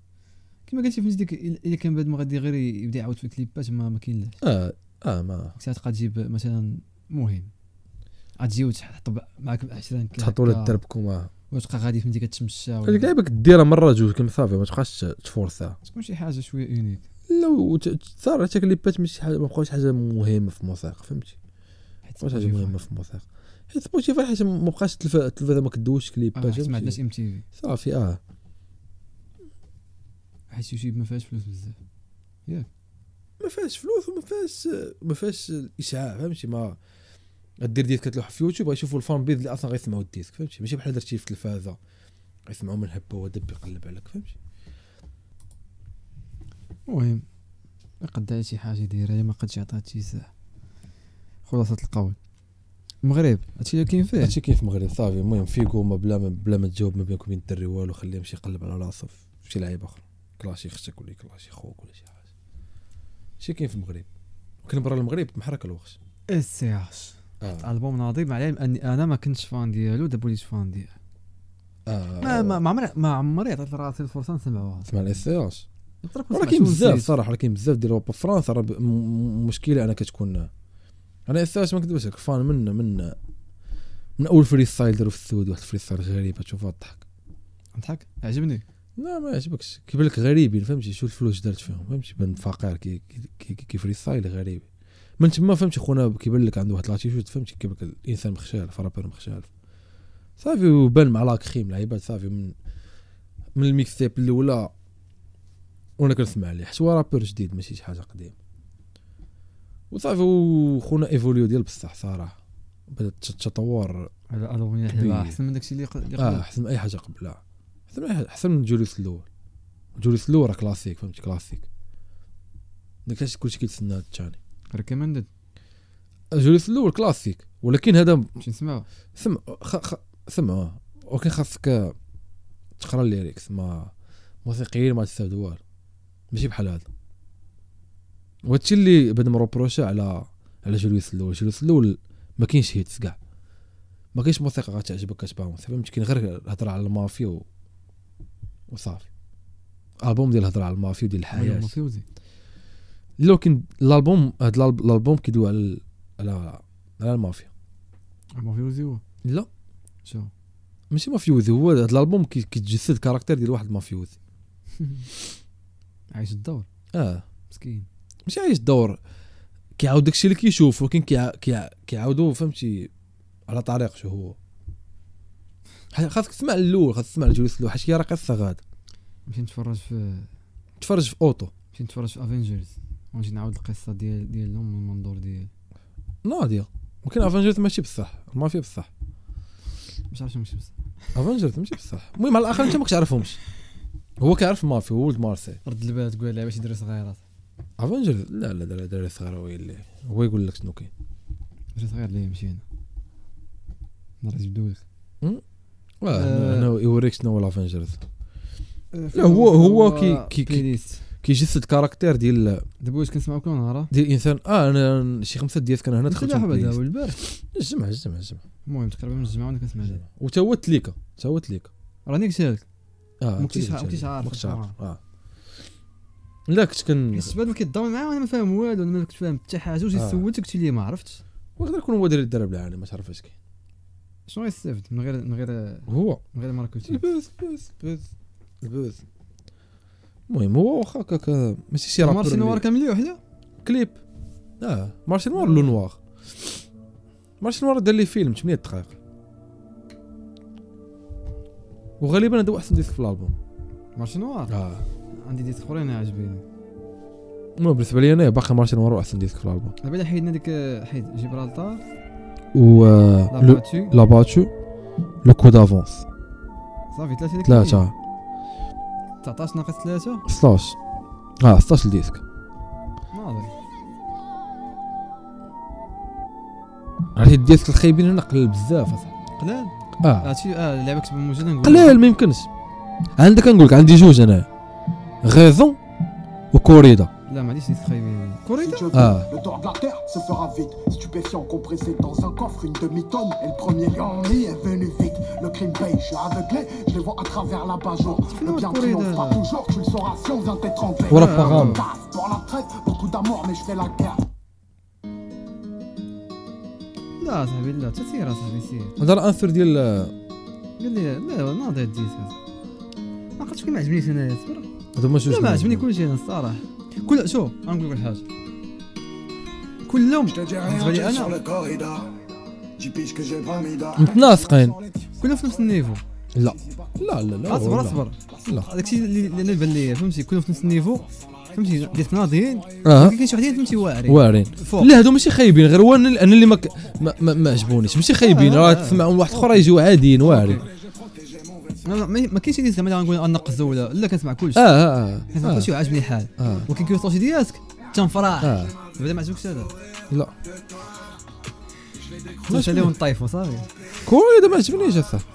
Speaker 2: كما قلتي فهمتي ديك إل- الا كان بعد ما غادي غير يبدا يعاود في الكليبات ما ما كاين
Speaker 3: اه اه ما
Speaker 2: ديك الساعه تبقى تجيب مثلا مهم غتجي وتحط ب- معاك 20 كيلو
Speaker 3: تحطوا
Speaker 2: هكا،
Speaker 3: لها دربكم اه
Speaker 2: وتبقى غادي فهمتي كتمشى ولا-
Speaker 3: هذيك لعيبه كديرها مره جوج كم صافي ما تبقاش تفورسها
Speaker 2: تكون شي حاجه شويه يونيك
Speaker 3: لا صار حتى كليبات ماشي حاجه ما بقاوش حاجه مهمه في الموسيقى فهمتي
Speaker 2: حيت
Speaker 3: ما بقاش حاجه مهمه في الموسيقى حيت سبوتيفاي حيت ما بقاش التلف- التلفازه ما كدوش
Speaker 2: آه،
Speaker 3: كليبات
Speaker 2: حيت ما عندناش
Speaker 3: فهمتي؟
Speaker 2: ام تي في
Speaker 3: صافي اه
Speaker 2: حيت يوتيوب ما فيهاش فلوس بزاف
Speaker 3: ما فيهاش فلوس وما فيهاش ما فيهاش الاشعاع فهمتي ما غدير ديسك كتلوح في يوتيوب غيشوفوا الفان بيز اللي اصلا غيسمعوا الديسك فهمتي ماشي بحال درتي في التلفازه غيسمعوا من هبه ودب يقلب عليك فهمتي
Speaker 2: المهم قد شي حاجه دايره ما قدش عطات شي ساعه خلاصه القول المغرب هادشي اللي كاين فيه
Speaker 3: هادشي كاين في المغرب صافي المهم فيكو ما بلا ما بلا ما تجاوب ما بينكم بين الدري والو خليه يمشي يقلب على راسو في شي لعيبه اخرى كلاشي اختك ولا كلاشي خوك ولا شي حاجه هادشي كاين في المغرب ولكن برا المغرب محرك الوقت
Speaker 2: اس سي اش
Speaker 3: اه
Speaker 2: البوم ناضي مع العلم اني انا ما كنتش فان ديالو دابا وليت فان ديالو
Speaker 3: اه
Speaker 2: ما ما ما عمري ما عمري عطيت لراسي الفرصه نسمعوها
Speaker 3: اسمع الاسياج
Speaker 2: يضرب نسمع
Speaker 3: راه كاين
Speaker 2: شو
Speaker 3: بزاف
Speaker 2: نسيت.
Speaker 3: صراحه راه كاين بزاف ديال اوروبا فرنسا راه ب- م- م- مشكله انا كتكون انا اساس ما كنتبش لك فان من من من اول فري ستايل داروا في السود واحد الفري ستايل غريب تشوفها تضحك
Speaker 2: نضحك عجبني
Speaker 3: لا ما يعجبكش كيبان لك غريبين فهمتي شو الفلوس دارت فيهم فهمتي بان فقير كي كي كي فري ستايل غريب من تما فهمتي خونا كيبان لك عنده واحد لاتيتود فهمتي كيبان لك الانسان مخشالف رابر مخشالف صافي وبان مع لاكخيم لعيبات صافي من من الميكس تيب الاولى وانا كنسمع ليه حيت هو رابر جديد ماشي شي حاجه قديمه وصافي وخونا ايفوليو ديال بصح صراحه بدا الت- التطور
Speaker 2: على البوم
Speaker 3: كبير.
Speaker 2: ديالو احسن من داكشي اللي قل- اللي
Speaker 3: اه
Speaker 2: قبل
Speaker 3: احسن من اي حاجه قبلها احسن من أي حاجة- احسن من جوليوس الاول جوليوس الاول راه كلاسيك فهمتي كلاسيك داك الشيء كلشي كيتسنى هاد الثاني
Speaker 2: ريكومندد
Speaker 3: جوليوس الاول كلاسيك ولكن هذا
Speaker 2: مشي
Speaker 3: آه،
Speaker 2: نسمعو
Speaker 3: سم خ... خ... سم آه. ولكن خاصك تقرا الليريكس ما موسيقيين ما تستافدوا والو ماشي بحال هذا وهادشي اللي بدا مروبروشا على على جوليوس الاول جوليوس الاول ما كاينش هيتس كاع ما كاينش موسيقى غتعجبك كتبان فهمت كاين غير الهضره على المافيا و... وصافي البوم ديال الهضره على المافيا وديال الحياه
Speaker 2: ما فيوزي
Speaker 3: لو كان الالبوم هاد الألب- الالبوم كيدوي على ال- على على المافيا
Speaker 2: ما فيوزي هو
Speaker 3: لا
Speaker 2: شو
Speaker 3: ماشي مافيوزي هو هذا الالبوم كي- كيتجسد الكاركتير ديال واحد المافيوزي
Speaker 2: عايش الدور
Speaker 3: اه
Speaker 2: مسكين
Speaker 3: ماشي عايش دور كيعاود داكشي اللي كيشوف ولكن كيع- كيع- كيعاودو فهمتي على طريق شو هو ح- خاصك تسمع الاول خاصك تسمع الجوليس الاول حيت هي راه قصه غاده
Speaker 2: مشي نتفرج في
Speaker 3: تفرج في اوتو
Speaker 2: مشي نتفرج في افنجرز ونجي نعاود القصه ديال ديالهم من المنظور ديال
Speaker 3: ناضيه ولكن افنجرز ماشي بصح ما فيه بصح
Speaker 2: مش عارف شنو مشي بس
Speaker 3: افنجرز ماشي بصح المهم على الاخر انت ما كنتش عارفهمش هو كيعرف مافيا هو ولد مارسي
Speaker 2: رد البال تقول لها باش يديروا صغيرات
Speaker 3: افنجرز لا لا دراري دراري صغار هو اللي هو يقول لك شنو كاين
Speaker 2: دري صغير ليه مشينا نهار جبدو لك
Speaker 3: آه، هنا- هنا يوريك شنو هو الافنجرز
Speaker 2: لا
Speaker 3: هو- هو كي- كي- كي- كيجسد كاركتير ديال
Speaker 2: دابا واش كنسمعو كل نهار
Speaker 3: ديال الانسان اه انا شي خمسه ديال كان هنا دخلت
Speaker 2: دخلت حبا دابا
Speaker 3: الجمعه
Speaker 2: البارح
Speaker 3: الجمعه الجمعه
Speaker 2: المهم تقريبا من الجمعه وانا كنسمع دابا
Speaker 3: وتا هو تليكا تا هو تليكا
Speaker 2: راني قلت لك
Speaker 3: اه
Speaker 2: ما كنتيش
Speaker 3: تليكا
Speaker 2: عا- ما كنتيش عارف.
Speaker 3: ما كنتش عارف اه لا كنت كن
Speaker 2: الشباب اللي كيضاوي معاه وانا ما فاهم والو انا ما كنت فاهم حتى حاجه وجيت
Speaker 3: آه.
Speaker 2: سولتك قلت لي ما عرفتش
Speaker 3: ويقدر يكون هو داير الدرب العالم ما تعرف اش كاين
Speaker 2: شنو غيستافد من غير من غير
Speaker 3: هو
Speaker 2: من غير ماركوتين
Speaker 3: البوز البوز البوز البوز المهم هو واخا هكاك ماشي شي رابور
Speaker 2: مارسي
Speaker 3: اللي-
Speaker 2: نوار كامل ليه وحده
Speaker 3: كليب اه مارسي نوار لو نوار مارسي نوار دار لي فيلم 8 دقائق وغالبا هذا هو احسن ديسك في الالبوم
Speaker 2: مارسي نوار
Speaker 3: اه
Speaker 2: عندي ديسك اخرين عاجبين
Speaker 3: المهم بالنسبه لي انا باقي مارسي نوار هو احسن ديسك في الالبوم
Speaker 2: بعدا حيدنا ديك آه، حيد جيبرالتار
Speaker 3: و آه، لو-
Speaker 2: لاباتو
Speaker 3: لا باتشو لو كو دافونس
Speaker 2: صافي ثلاثه ديك الفيلم.
Speaker 3: ثلاثة
Speaker 2: 19 ناقص ثلاثه
Speaker 3: 16 اه 16 ديسك
Speaker 2: ناضي
Speaker 3: عرفتي الديسك الخايبين هنا قلال بزاف أصاحبي.
Speaker 2: قلال
Speaker 3: اه
Speaker 2: هادشي اه اللعبه كتب موجوده نقول
Speaker 3: قلال ما يمكنش عندك كنقول لك عندي جوج انا غيزون وكوريدا
Speaker 2: لا ما عنديش ديسك خايبين
Speaker 5: Si
Speaker 2: كوريدا
Speaker 5: Dieu veut,
Speaker 3: Ah.
Speaker 5: le tort de la terre se fera vite. Stupéfiant compressé dans un coffre, une demi-tonne. Et le premier ennui est venu vite. Le crime paye, je suis aveuglé, je les vois à travers la jour Le bien
Speaker 2: Corée,
Speaker 5: triomphe pas
Speaker 2: là.
Speaker 5: toujours, tu le sauras si on vient t'étrangler.
Speaker 3: Voilà,
Speaker 5: Je
Speaker 3: Farhan.
Speaker 5: me tasse Pour la traite, beaucoup d'amour, mais je fais la guerre.
Speaker 2: لا صاحبي لا تسير صاحبي سير
Speaker 3: هذا الانثر ديال آه،
Speaker 2: قال لي لا ناضي هاد الديسك ما قلتش كي ما عجبنيش انا صبر
Speaker 3: هذا هما جوج
Speaker 2: لا ما
Speaker 3: منهم.
Speaker 2: عجبني كلشي انا الصراحه كل شوف غنقول لك واحد الحاجه كل يوم
Speaker 6: Je te dis
Speaker 2: بالنسبه
Speaker 6: rien, t'es
Speaker 2: لي
Speaker 6: sur le
Speaker 2: انا
Speaker 6: corridor. Tu piches que j'ai pas mis d'or.
Speaker 3: متناسقين
Speaker 2: كلهم في نفس النيفو
Speaker 3: لا لا لا لا
Speaker 2: اصبر
Speaker 3: والله.
Speaker 2: اصبر
Speaker 3: لا
Speaker 2: داكشي اللي اللي انا بان ليا فهمتي كلهم في نفس النيفو فهمتي ديك ناضيين
Speaker 3: اه
Speaker 2: ولكن كاين شي وحدين فهمتي واعرين
Speaker 3: وارين
Speaker 2: فوق
Speaker 3: لا هادو ماشي خايبين غير هو انا أنا اللي ما ك- ما ما- ما عجبونيش ماشي خايبين
Speaker 2: آه،
Speaker 3: راه
Speaker 2: آه.
Speaker 3: تسمعهم واحد اخرى يجيو عاديين واعرين
Speaker 2: ما- ما ما كاينش اللي زعما غنقول انقز ولا لا كنسمع
Speaker 3: اه
Speaker 2: كلشي
Speaker 3: اه
Speaker 2: كنسمع
Speaker 3: آه،
Speaker 2: كلشي وعاجبني الحال
Speaker 3: اه
Speaker 2: ولكن كي وصلت شي دياسك تنفرح
Speaker 3: اه
Speaker 2: بعدا ما عجبكش هذا
Speaker 3: لا
Speaker 2: مشى لهم الطايف وصافي
Speaker 3: كوريدا ما عجبنيش اصاحبي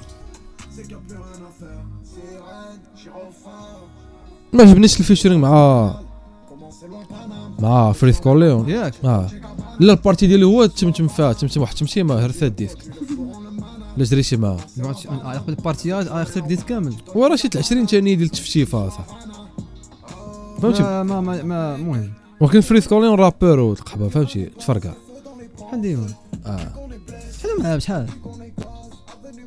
Speaker 3: ما عجبنيش الفيشرينغ مع آه. مع فريس كورليون
Speaker 2: ياك
Speaker 3: اه لا البارتي ديالي هو تمتم فيها تمتم واحد التمتيمه هرسات ديسك لا جريتي معاه
Speaker 2: بغيت قبل البارتياج آه، خسرت ديت كامل
Speaker 3: وراه شي 20 ثانيه ديال التفتيفه صح فهمتي
Speaker 2: ما ما ما- ما المهم
Speaker 3: ولكن فريس كورليون رابور والقحبه فهمتي تفرقع
Speaker 2: شحال ديما
Speaker 3: اه
Speaker 2: شحال معاه بشحال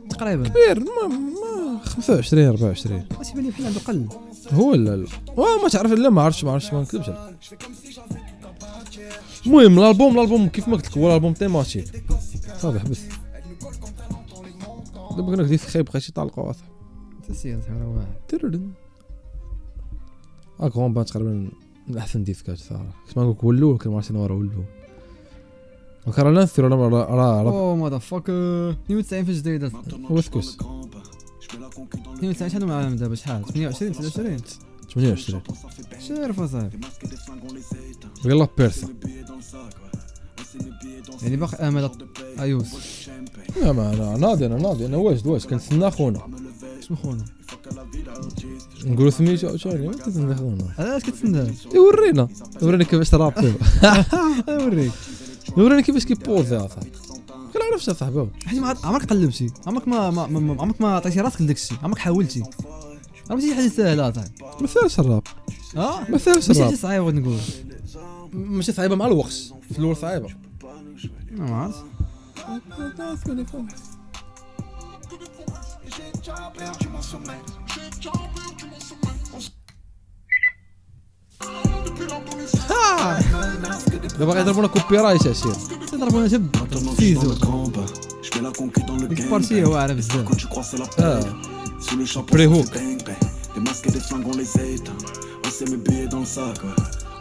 Speaker 2: تقريبا
Speaker 3: بير ما ما 25 24
Speaker 2: اش بان لي بحال عنده قل
Speaker 3: هو لا لا واه ما تعرف لا ما عرفتش ما عرفتش ما نكذبش عليك. المهم الالبوم الالبوم كيف ما قلت لك هو الالبوم تيماتيك صافي حبس دابا كنا ديسك خايب بقى شي طالقه اصاحبي
Speaker 2: تسير تحرا واحد
Speaker 3: تررن اكون بان تقريبا من احسن ديسكات صراحه كنت ما نقولك هو الاول كان مارتين ورا هو الاول وكان راه لانسير راه راه- راه راه
Speaker 2: او ماذا فاكر 92 في الجديدة
Speaker 3: هو سكوس
Speaker 2: 92 شحال معاهم دابا شحال 28 29
Speaker 3: 28
Speaker 2: شارف اصاحبي
Speaker 3: يلا بيرسا
Speaker 2: يعني باقي امل ايوس
Speaker 3: لا ما انا ناضي انا ناضي انا واجد واجد كنتسنى خونا
Speaker 2: شنو خونا
Speaker 3: نقولوا سميتو شاري يعني؟ ما إيه، كنتسنى خونا
Speaker 2: علاش كتسنى
Speaker 3: يورينا يورينا كيفاش ترابي
Speaker 2: اوريك
Speaker 3: يورينا كيفاش كيبوزي اصاحبي ما عرفتش اصاحبي هو.
Speaker 2: حيت ما عاد- عمرك قلبتي عمرك ما ما ما- ما- عمرك ما عطيتي راسك لداكشي عمرك حاولتي عرفتي شي حاجه سهله اصاحبي
Speaker 3: ما سالش الراب
Speaker 2: اه
Speaker 3: ما سالش
Speaker 2: ماشي حاجه
Speaker 3: الراب
Speaker 2: صعيبه نقول
Speaker 3: ماشي صعيبه مع الوقت في الاول صعيبه
Speaker 2: أنا ما عرفتش
Speaker 3: دابا غيضربونا كوبي رايت اشير
Speaker 2: تضربونا جب سيزو ديك البارتي هو عارف بزاف
Speaker 3: اه
Speaker 6: Pré
Speaker 3: Pré-hook.
Speaker 6: hook. Des masques et des flingues, on les éteint. On sait mes billets dans le sac. ouais.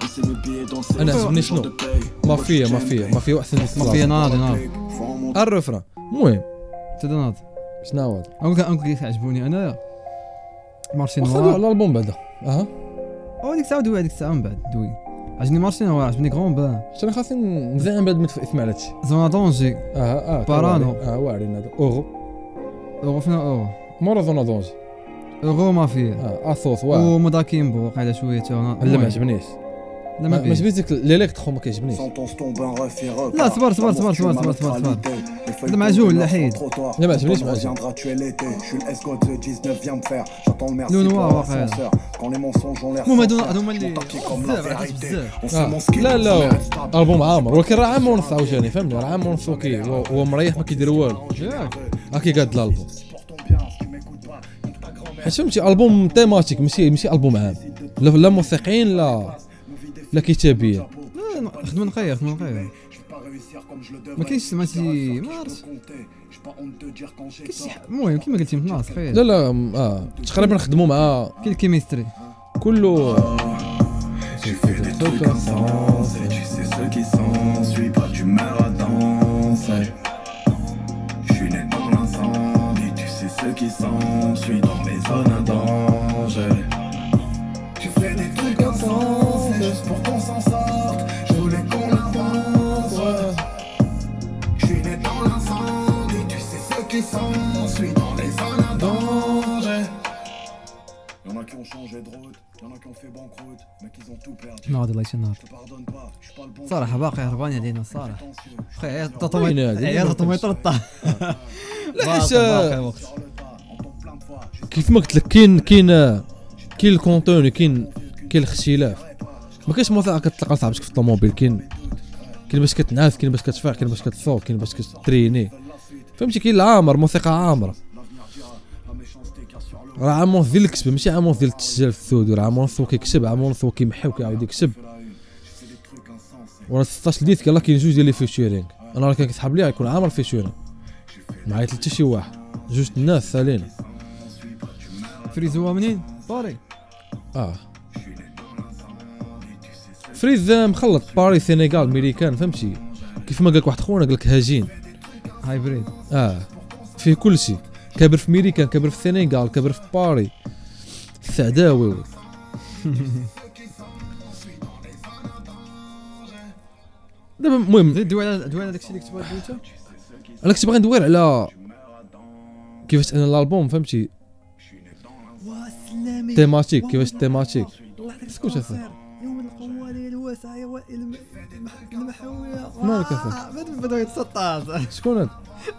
Speaker 6: On sait mes billets dans le sac.
Speaker 3: انا عجبني
Speaker 6: Jour de
Speaker 3: شنو
Speaker 6: paye.
Speaker 3: مافيا مافيا مافيا واحسن
Speaker 2: ما فيا
Speaker 3: مافيا
Speaker 2: ناضي ناضي
Speaker 6: Faut remonter.
Speaker 3: الرفران المهم
Speaker 2: تدا ناضي
Speaker 3: شنو هذا
Speaker 2: اقول اقول كيف عجبوني انايا مارشي
Speaker 3: وخذوا
Speaker 2: نوار
Speaker 3: على الالبوم بعدا اها
Speaker 2: او ديك الساعه دوي هذيك الساعه من بعد دوي عجبني مارشي نوار عجبني غون بان
Speaker 3: شنو خاصني نزعم بعد ما تفهم على هادشي
Speaker 2: زونا دونجي
Speaker 3: اه اه
Speaker 2: بارانو.
Speaker 3: كوارين. اه واعرين هذا اوغو
Speaker 2: اورو فينا اورو
Speaker 3: مورا زونا دونجي
Speaker 2: اورو ما فيه
Speaker 3: اه اصوص واعر
Speaker 2: ومداكيمبو وقع على شويه تا هنا
Speaker 3: لا ما
Speaker 2: المهم.
Speaker 3: عجبنيش
Speaker 2: لا ما
Speaker 3: ما
Speaker 2: كاين
Speaker 3: عجبنيش ديك الالكترو ما كيعجبنيش
Speaker 6: Sans ton tombe un ref et repart.
Speaker 2: لا صبر صبر صبر صبر صبر صبر صبر هذا معجون لا حيد
Speaker 3: لا ما عجبنيش ما عجبنيش.
Speaker 6: Viendra tuer l'été, je suis le escort de 19, viens me faire. J'attends le merci
Speaker 2: Le noir,
Speaker 6: pour
Speaker 2: après.
Speaker 6: l'ascenseur. Quand les mensonges ont l'air
Speaker 2: المهم هادو
Speaker 6: sincères,
Speaker 2: هادو هما
Speaker 6: je
Speaker 2: اللي
Speaker 6: m'en taquais comme la
Speaker 2: بزاف عرفت
Speaker 6: vérité.
Speaker 2: بزاف
Speaker 6: On
Speaker 3: آه.
Speaker 6: s'amuse qu'il
Speaker 3: لا
Speaker 6: est
Speaker 3: لا
Speaker 6: sommaire.
Speaker 3: البوم عامر ولكن راه عام ونص عاوتاني يعني فهمني راه عام ونص اوكي هو هو مريح ما كيدير والو
Speaker 2: ياك
Speaker 3: هاكي قاد الالبوم حيت فهمتي البوم تيماتيك ماشي ماشي البوم عام لا لا موسيقيين لا لا كتابيا
Speaker 2: لا، لا، خدمه نقيه خدمه نقيه ما كاينش سمعتي ما عرفت كاين شي ح- المهم كيما قلتي من ناس
Speaker 3: لا
Speaker 2: خير
Speaker 3: لا م- اه تقريبا خدموا مع
Speaker 2: كاين الكيميستري
Speaker 3: كله
Speaker 6: Y'en a qui ont changé de route, y'en a qui ont fait banqueroute, mais qui ont tout perdu.
Speaker 2: ناضي الله يشنهار
Speaker 6: Je te pardonne pas, je suis pas le bon.
Speaker 2: صراحه باقي هربان علينا صراحه
Speaker 6: Attention, je
Speaker 2: خويا عيط
Speaker 3: وين
Speaker 2: طاطوميط
Speaker 3: هادي؟
Speaker 2: عيط طاطوميط رطا
Speaker 3: لا حيت
Speaker 2: باقي
Speaker 3: آه،
Speaker 2: وقت
Speaker 6: parle pas, entends plein de fois, je
Speaker 3: كيف ما قلت لك كاين كاين آه، كاين الكونتوني كاين كاين الاختلاف ما كاينش موثقه كتلقى لصاحبتك في الطوموبيل كاين كاين باش كتنعس كاين باش كتفاح كاين باش كتسوق كاين باش كتريني فهمتي كاين العامر موسيقى عامره راه عامون ديال الكسب ماشي عامون ديال التسجيل في السود راه عامون هو كيكسب عامون هو كيمحي وكيعاود يكسب وراه 16 ديسك يلاه كاين جوج ديال لي فيتشيرينغ انا راه كان كيسحب لي غيكون عامر فيتشيرينغ ما عيط حتى شي واحد جوج الناس سالين
Speaker 2: فريزو منين باري
Speaker 3: اه فريز مخلط باري سينيغال ميريكان فهمتي كيف ما قالك واحد خونا قالك هاجين
Speaker 2: هايبريد
Speaker 3: اه فيه كل شيء كبر في ميريكان كبر في السنغال كبر في باري السعداوي وي. دابا المهم
Speaker 2: زيد دوي على دوي على داكشي اللي كتبغي دويته
Speaker 3: انا كنت باغي ندوي على كيفاش انا الالبوم فهمتي تيماتيك كيفاش تيماتيك سكوت اخي مالك
Speaker 2: Ah,
Speaker 3: اخي
Speaker 2: بدا يتسطاز
Speaker 3: شكون هاد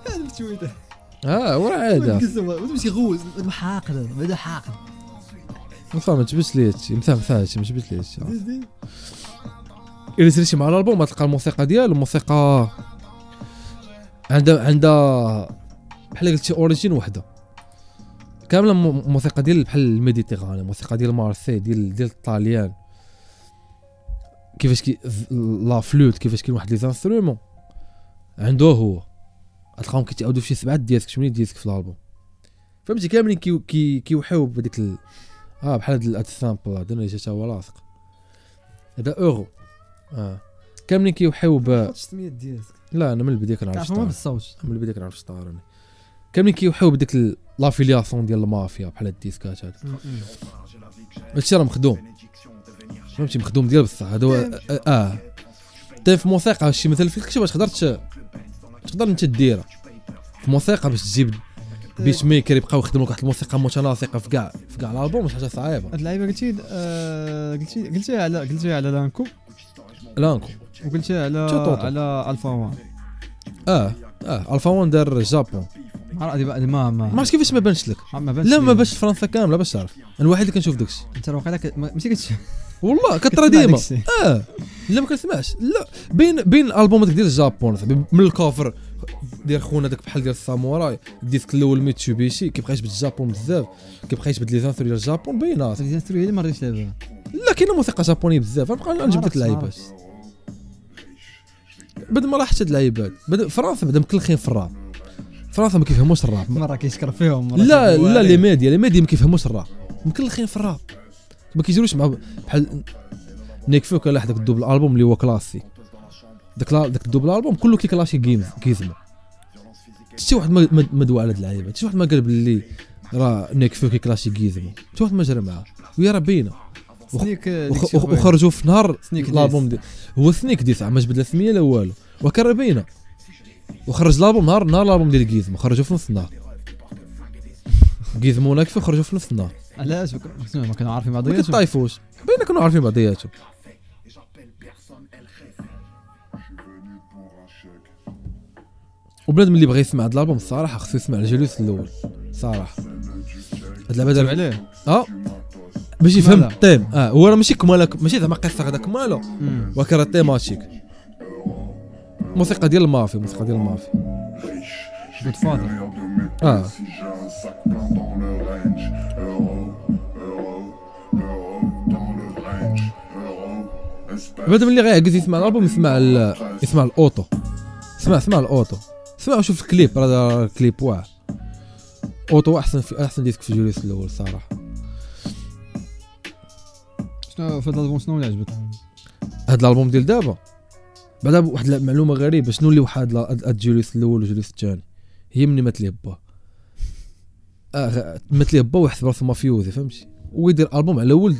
Speaker 2: هذا بتويته
Speaker 3: اه ورا عاده
Speaker 2: ما تمشي غوز ما حاقد ما حاقد
Speaker 3: مصا ما تجبدش لي هادشي مثلا مثلا هادشي ما تجبدش لي هادشي
Speaker 2: e
Speaker 3: الا سريتي مع الالبوم غتلقى الموسيقى ديالو الموسيقى عندها عندها بحال قلتي اوريجين وحده كامله م- الموسيقى ديال بحال الميديتيراني الموسيقى ديال مارسي ديال ديال الطاليان كيفاش كي ز- لا فلوت كيفاش كاين واحد لي زانسترومون عنده هو غتلقاهم كيتعاودوا في شي سبعه ديسك ثمانيه ديسك في الالبوم فهمتي كاملين كي كي كيوحيو بديك ال... اه بحال هاد ال- هاد السامبل هذا اللي جات هو لاصق هذا اورو اه كاملين كيوحيو ب
Speaker 2: حط 600 ديسك
Speaker 3: لا انا من البدايه كنعرف
Speaker 2: تعرف ما
Speaker 3: الشطرنج.
Speaker 2: بالصوت
Speaker 3: من البدايه كنعرف الشطار انا كاملين كيوحيو بديك ال- لافيلياسيون ديال المافيا بحال هاد الديسكات هاد هادشي راه مخدوم فهمتي مخدوم ديال بصح هذا هو اه, آه. حتى في موسيقى هادشي مثلا في الكتاب تقدر ت- تقدر انت ديرها في موسيقى باش تجيب بيت ميكر يبقاو يخدموا لك واحد الموسيقى متناسقه في كاع في كاع الالبوم حاجه صعيبه
Speaker 2: هاد اللعيبه قلتي آه، قلتي قلتيها على قلتيها على لانكو
Speaker 3: لانكو
Speaker 2: وقلتيها على
Speaker 3: شو طوطو.
Speaker 2: على الفا وان
Speaker 3: اه اه الفا وان دار جابون
Speaker 2: ما عرفت هذه ما
Speaker 3: ما
Speaker 2: ما
Speaker 3: عرفتش كيفاش ما بانش لك
Speaker 2: ما بانش
Speaker 3: لا ما
Speaker 2: ليا.
Speaker 3: باش فرنسا كامله باش تعرف انا الوحيد اللي كنشوف داكشي
Speaker 2: انت راه وقيلا كت- ما- ماشي كتشوف
Speaker 3: والله كثر
Speaker 2: كتسمع
Speaker 3: ديما
Speaker 2: داكشي.
Speaker 3: اه لا ما كنسمعش لا بين بين الالبوم هذاك ديال الجابون صاحبي، من الكوفر ديال خونا داك بحال ديال الساموراي الديسك الاول ميتسوبيشي كيبقى يجبد الجابون بزاف كيبقى يجبد لي زانثور ديال الجابون باينه
Speaker 2: ديك الانستروي اللي ما ريتش لعبها
Speaker 3: لا كاينه موسيقى جابونيه بزاف غنبقى نجيب لك
Speaker 2: عرفت،
Speaker 3: اللعيبات
Speaker 2: عرفت.
Speaker 3: بعد ما راح حتى اللعيبات بعد- فرنسا بدا مكلخين في الراب فرنسا ما كيفهموش الراب
Speaker 2: مره كيشكر فيهم مرة أيوه.
Speaker 3: لا
Speaker 2: كيقول
Speaker 3: لا
Speaker 2: عليك.
Speaker 3: لي ميديا لي ميديا ما كيفهموش الراب مكلخين في الراب ما كيجيروش مع بحال نيك فوك على حداك الدوبل البوم اللي هو كلاسي داك لا- داك الدوبل البوم كله كيكلاشي جيمز كيزما شي واحد ما ما- ما دوى على هاد اللعيبه شي واحد ما قال باللي راه نيك فوك كيكلاشي جيزما شي واحد ما جرى معاه وهي راه باينه وخ-
Speaker 2: سنيك آه،
Speaker 3: وخ-
Speaker 2: ديك
Speaker 3: وخ-
Speaker 2: شي خويا.
Speaker 3: وخرجوا في نهار
Speaker 2: سنيك
Speaker 3: الالبوم دي هو سنيك ديس ما جبد لا سميه لا والو وكان راه باينه وخرج الالبوم نهار نهار الالبوم ديال جيزمو خرجوا في نص النهار جيزمو ناكفي خرجوا في نص النهار
Speaker 2: علاش نعم، ما كن- ما كنعرفوا
Speaker 3: ما
Speaker 2: بعضياتهم
Speaker 3: كيطايفوش باينه كانوا عارفين بعضياتهم
Speaker 5: personne elle rêve
Speaker 3: وبلاد ملي بغى يسمع هاد الالبوم الصراحه خصو يسمع الجلوس الاول صراحه هاد اللعبه دابا
Speaker 2: تابع عليه
Speaker 3: اه باش يفهم
Speaker 2: كمالة.
Speaker 3: التيم اه هو راه ماشي كمالا ماشي زعما قصه غدا كمالا
Speaker 2: مم.
Speaker 3: ولكن راه تيماتيك موسيقى ديال المافي موسيقى ديال المافي
Speaker 2: جود فادر
Speaker 3: اه بعد ملي غيعكز يسمع الالبوم يسمع ال... يسمع الاوتو سمع سمع الاوتو سمع وشوف الكليب راه راه الكليب واعر اوتو احسن في احسن ديسك في جوليس الاول صراحه
Speaker 2: شنو في هذا الالبوم شنو اللي عجبك
Speaker 3: هاد الالبوم ديال دابا بعدا واحد المعلومه غريبه شنو اللي وحد لا- هاد- هاد جوليس الاول وجوليس الثاني هي مني مات ليه با اه غ- مات ليه با وحسب راسو مافيوزي فهمتي ويدير البوم على ولد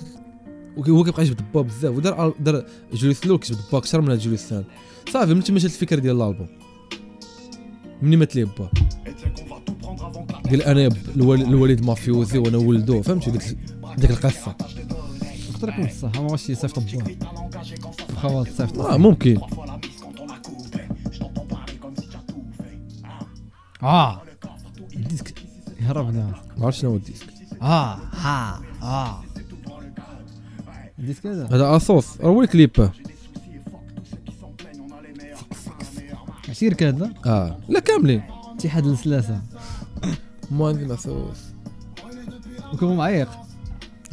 Speaker 3: وك- هو كيبقى يجبد با بزاف ودار أل- دار جوليس الاول كيجبد با اكثر من هاد جوليس الثاني صافي ملي مشات الفكره ديال الالبوم مني مات ليه با قال انا ب- الوال- الوالد مافيوزي وانا ولدو فهمتي ديك ال- ديك القصه
Speaker 2: يقدر يكون بصح ما واش يصيفط بوه واخا هو تصيفط
Speaker 3: اه ممكن
Speaker 2: اه ديسك يهرب هنا
Speaker 3: ما عرفتش شنو هو الديسك
Speaker 2: اه ها اه ديسك هذا
Speaker 3: هذا اصوص راه هو الكليب
Speaker 2: عشير كذا
Speaker 3: اه لا كاملين
Speaker 2: اتحاد السلاسه
Speaker 3: مهندس اصوص
Speaker 2: وكان هو معيق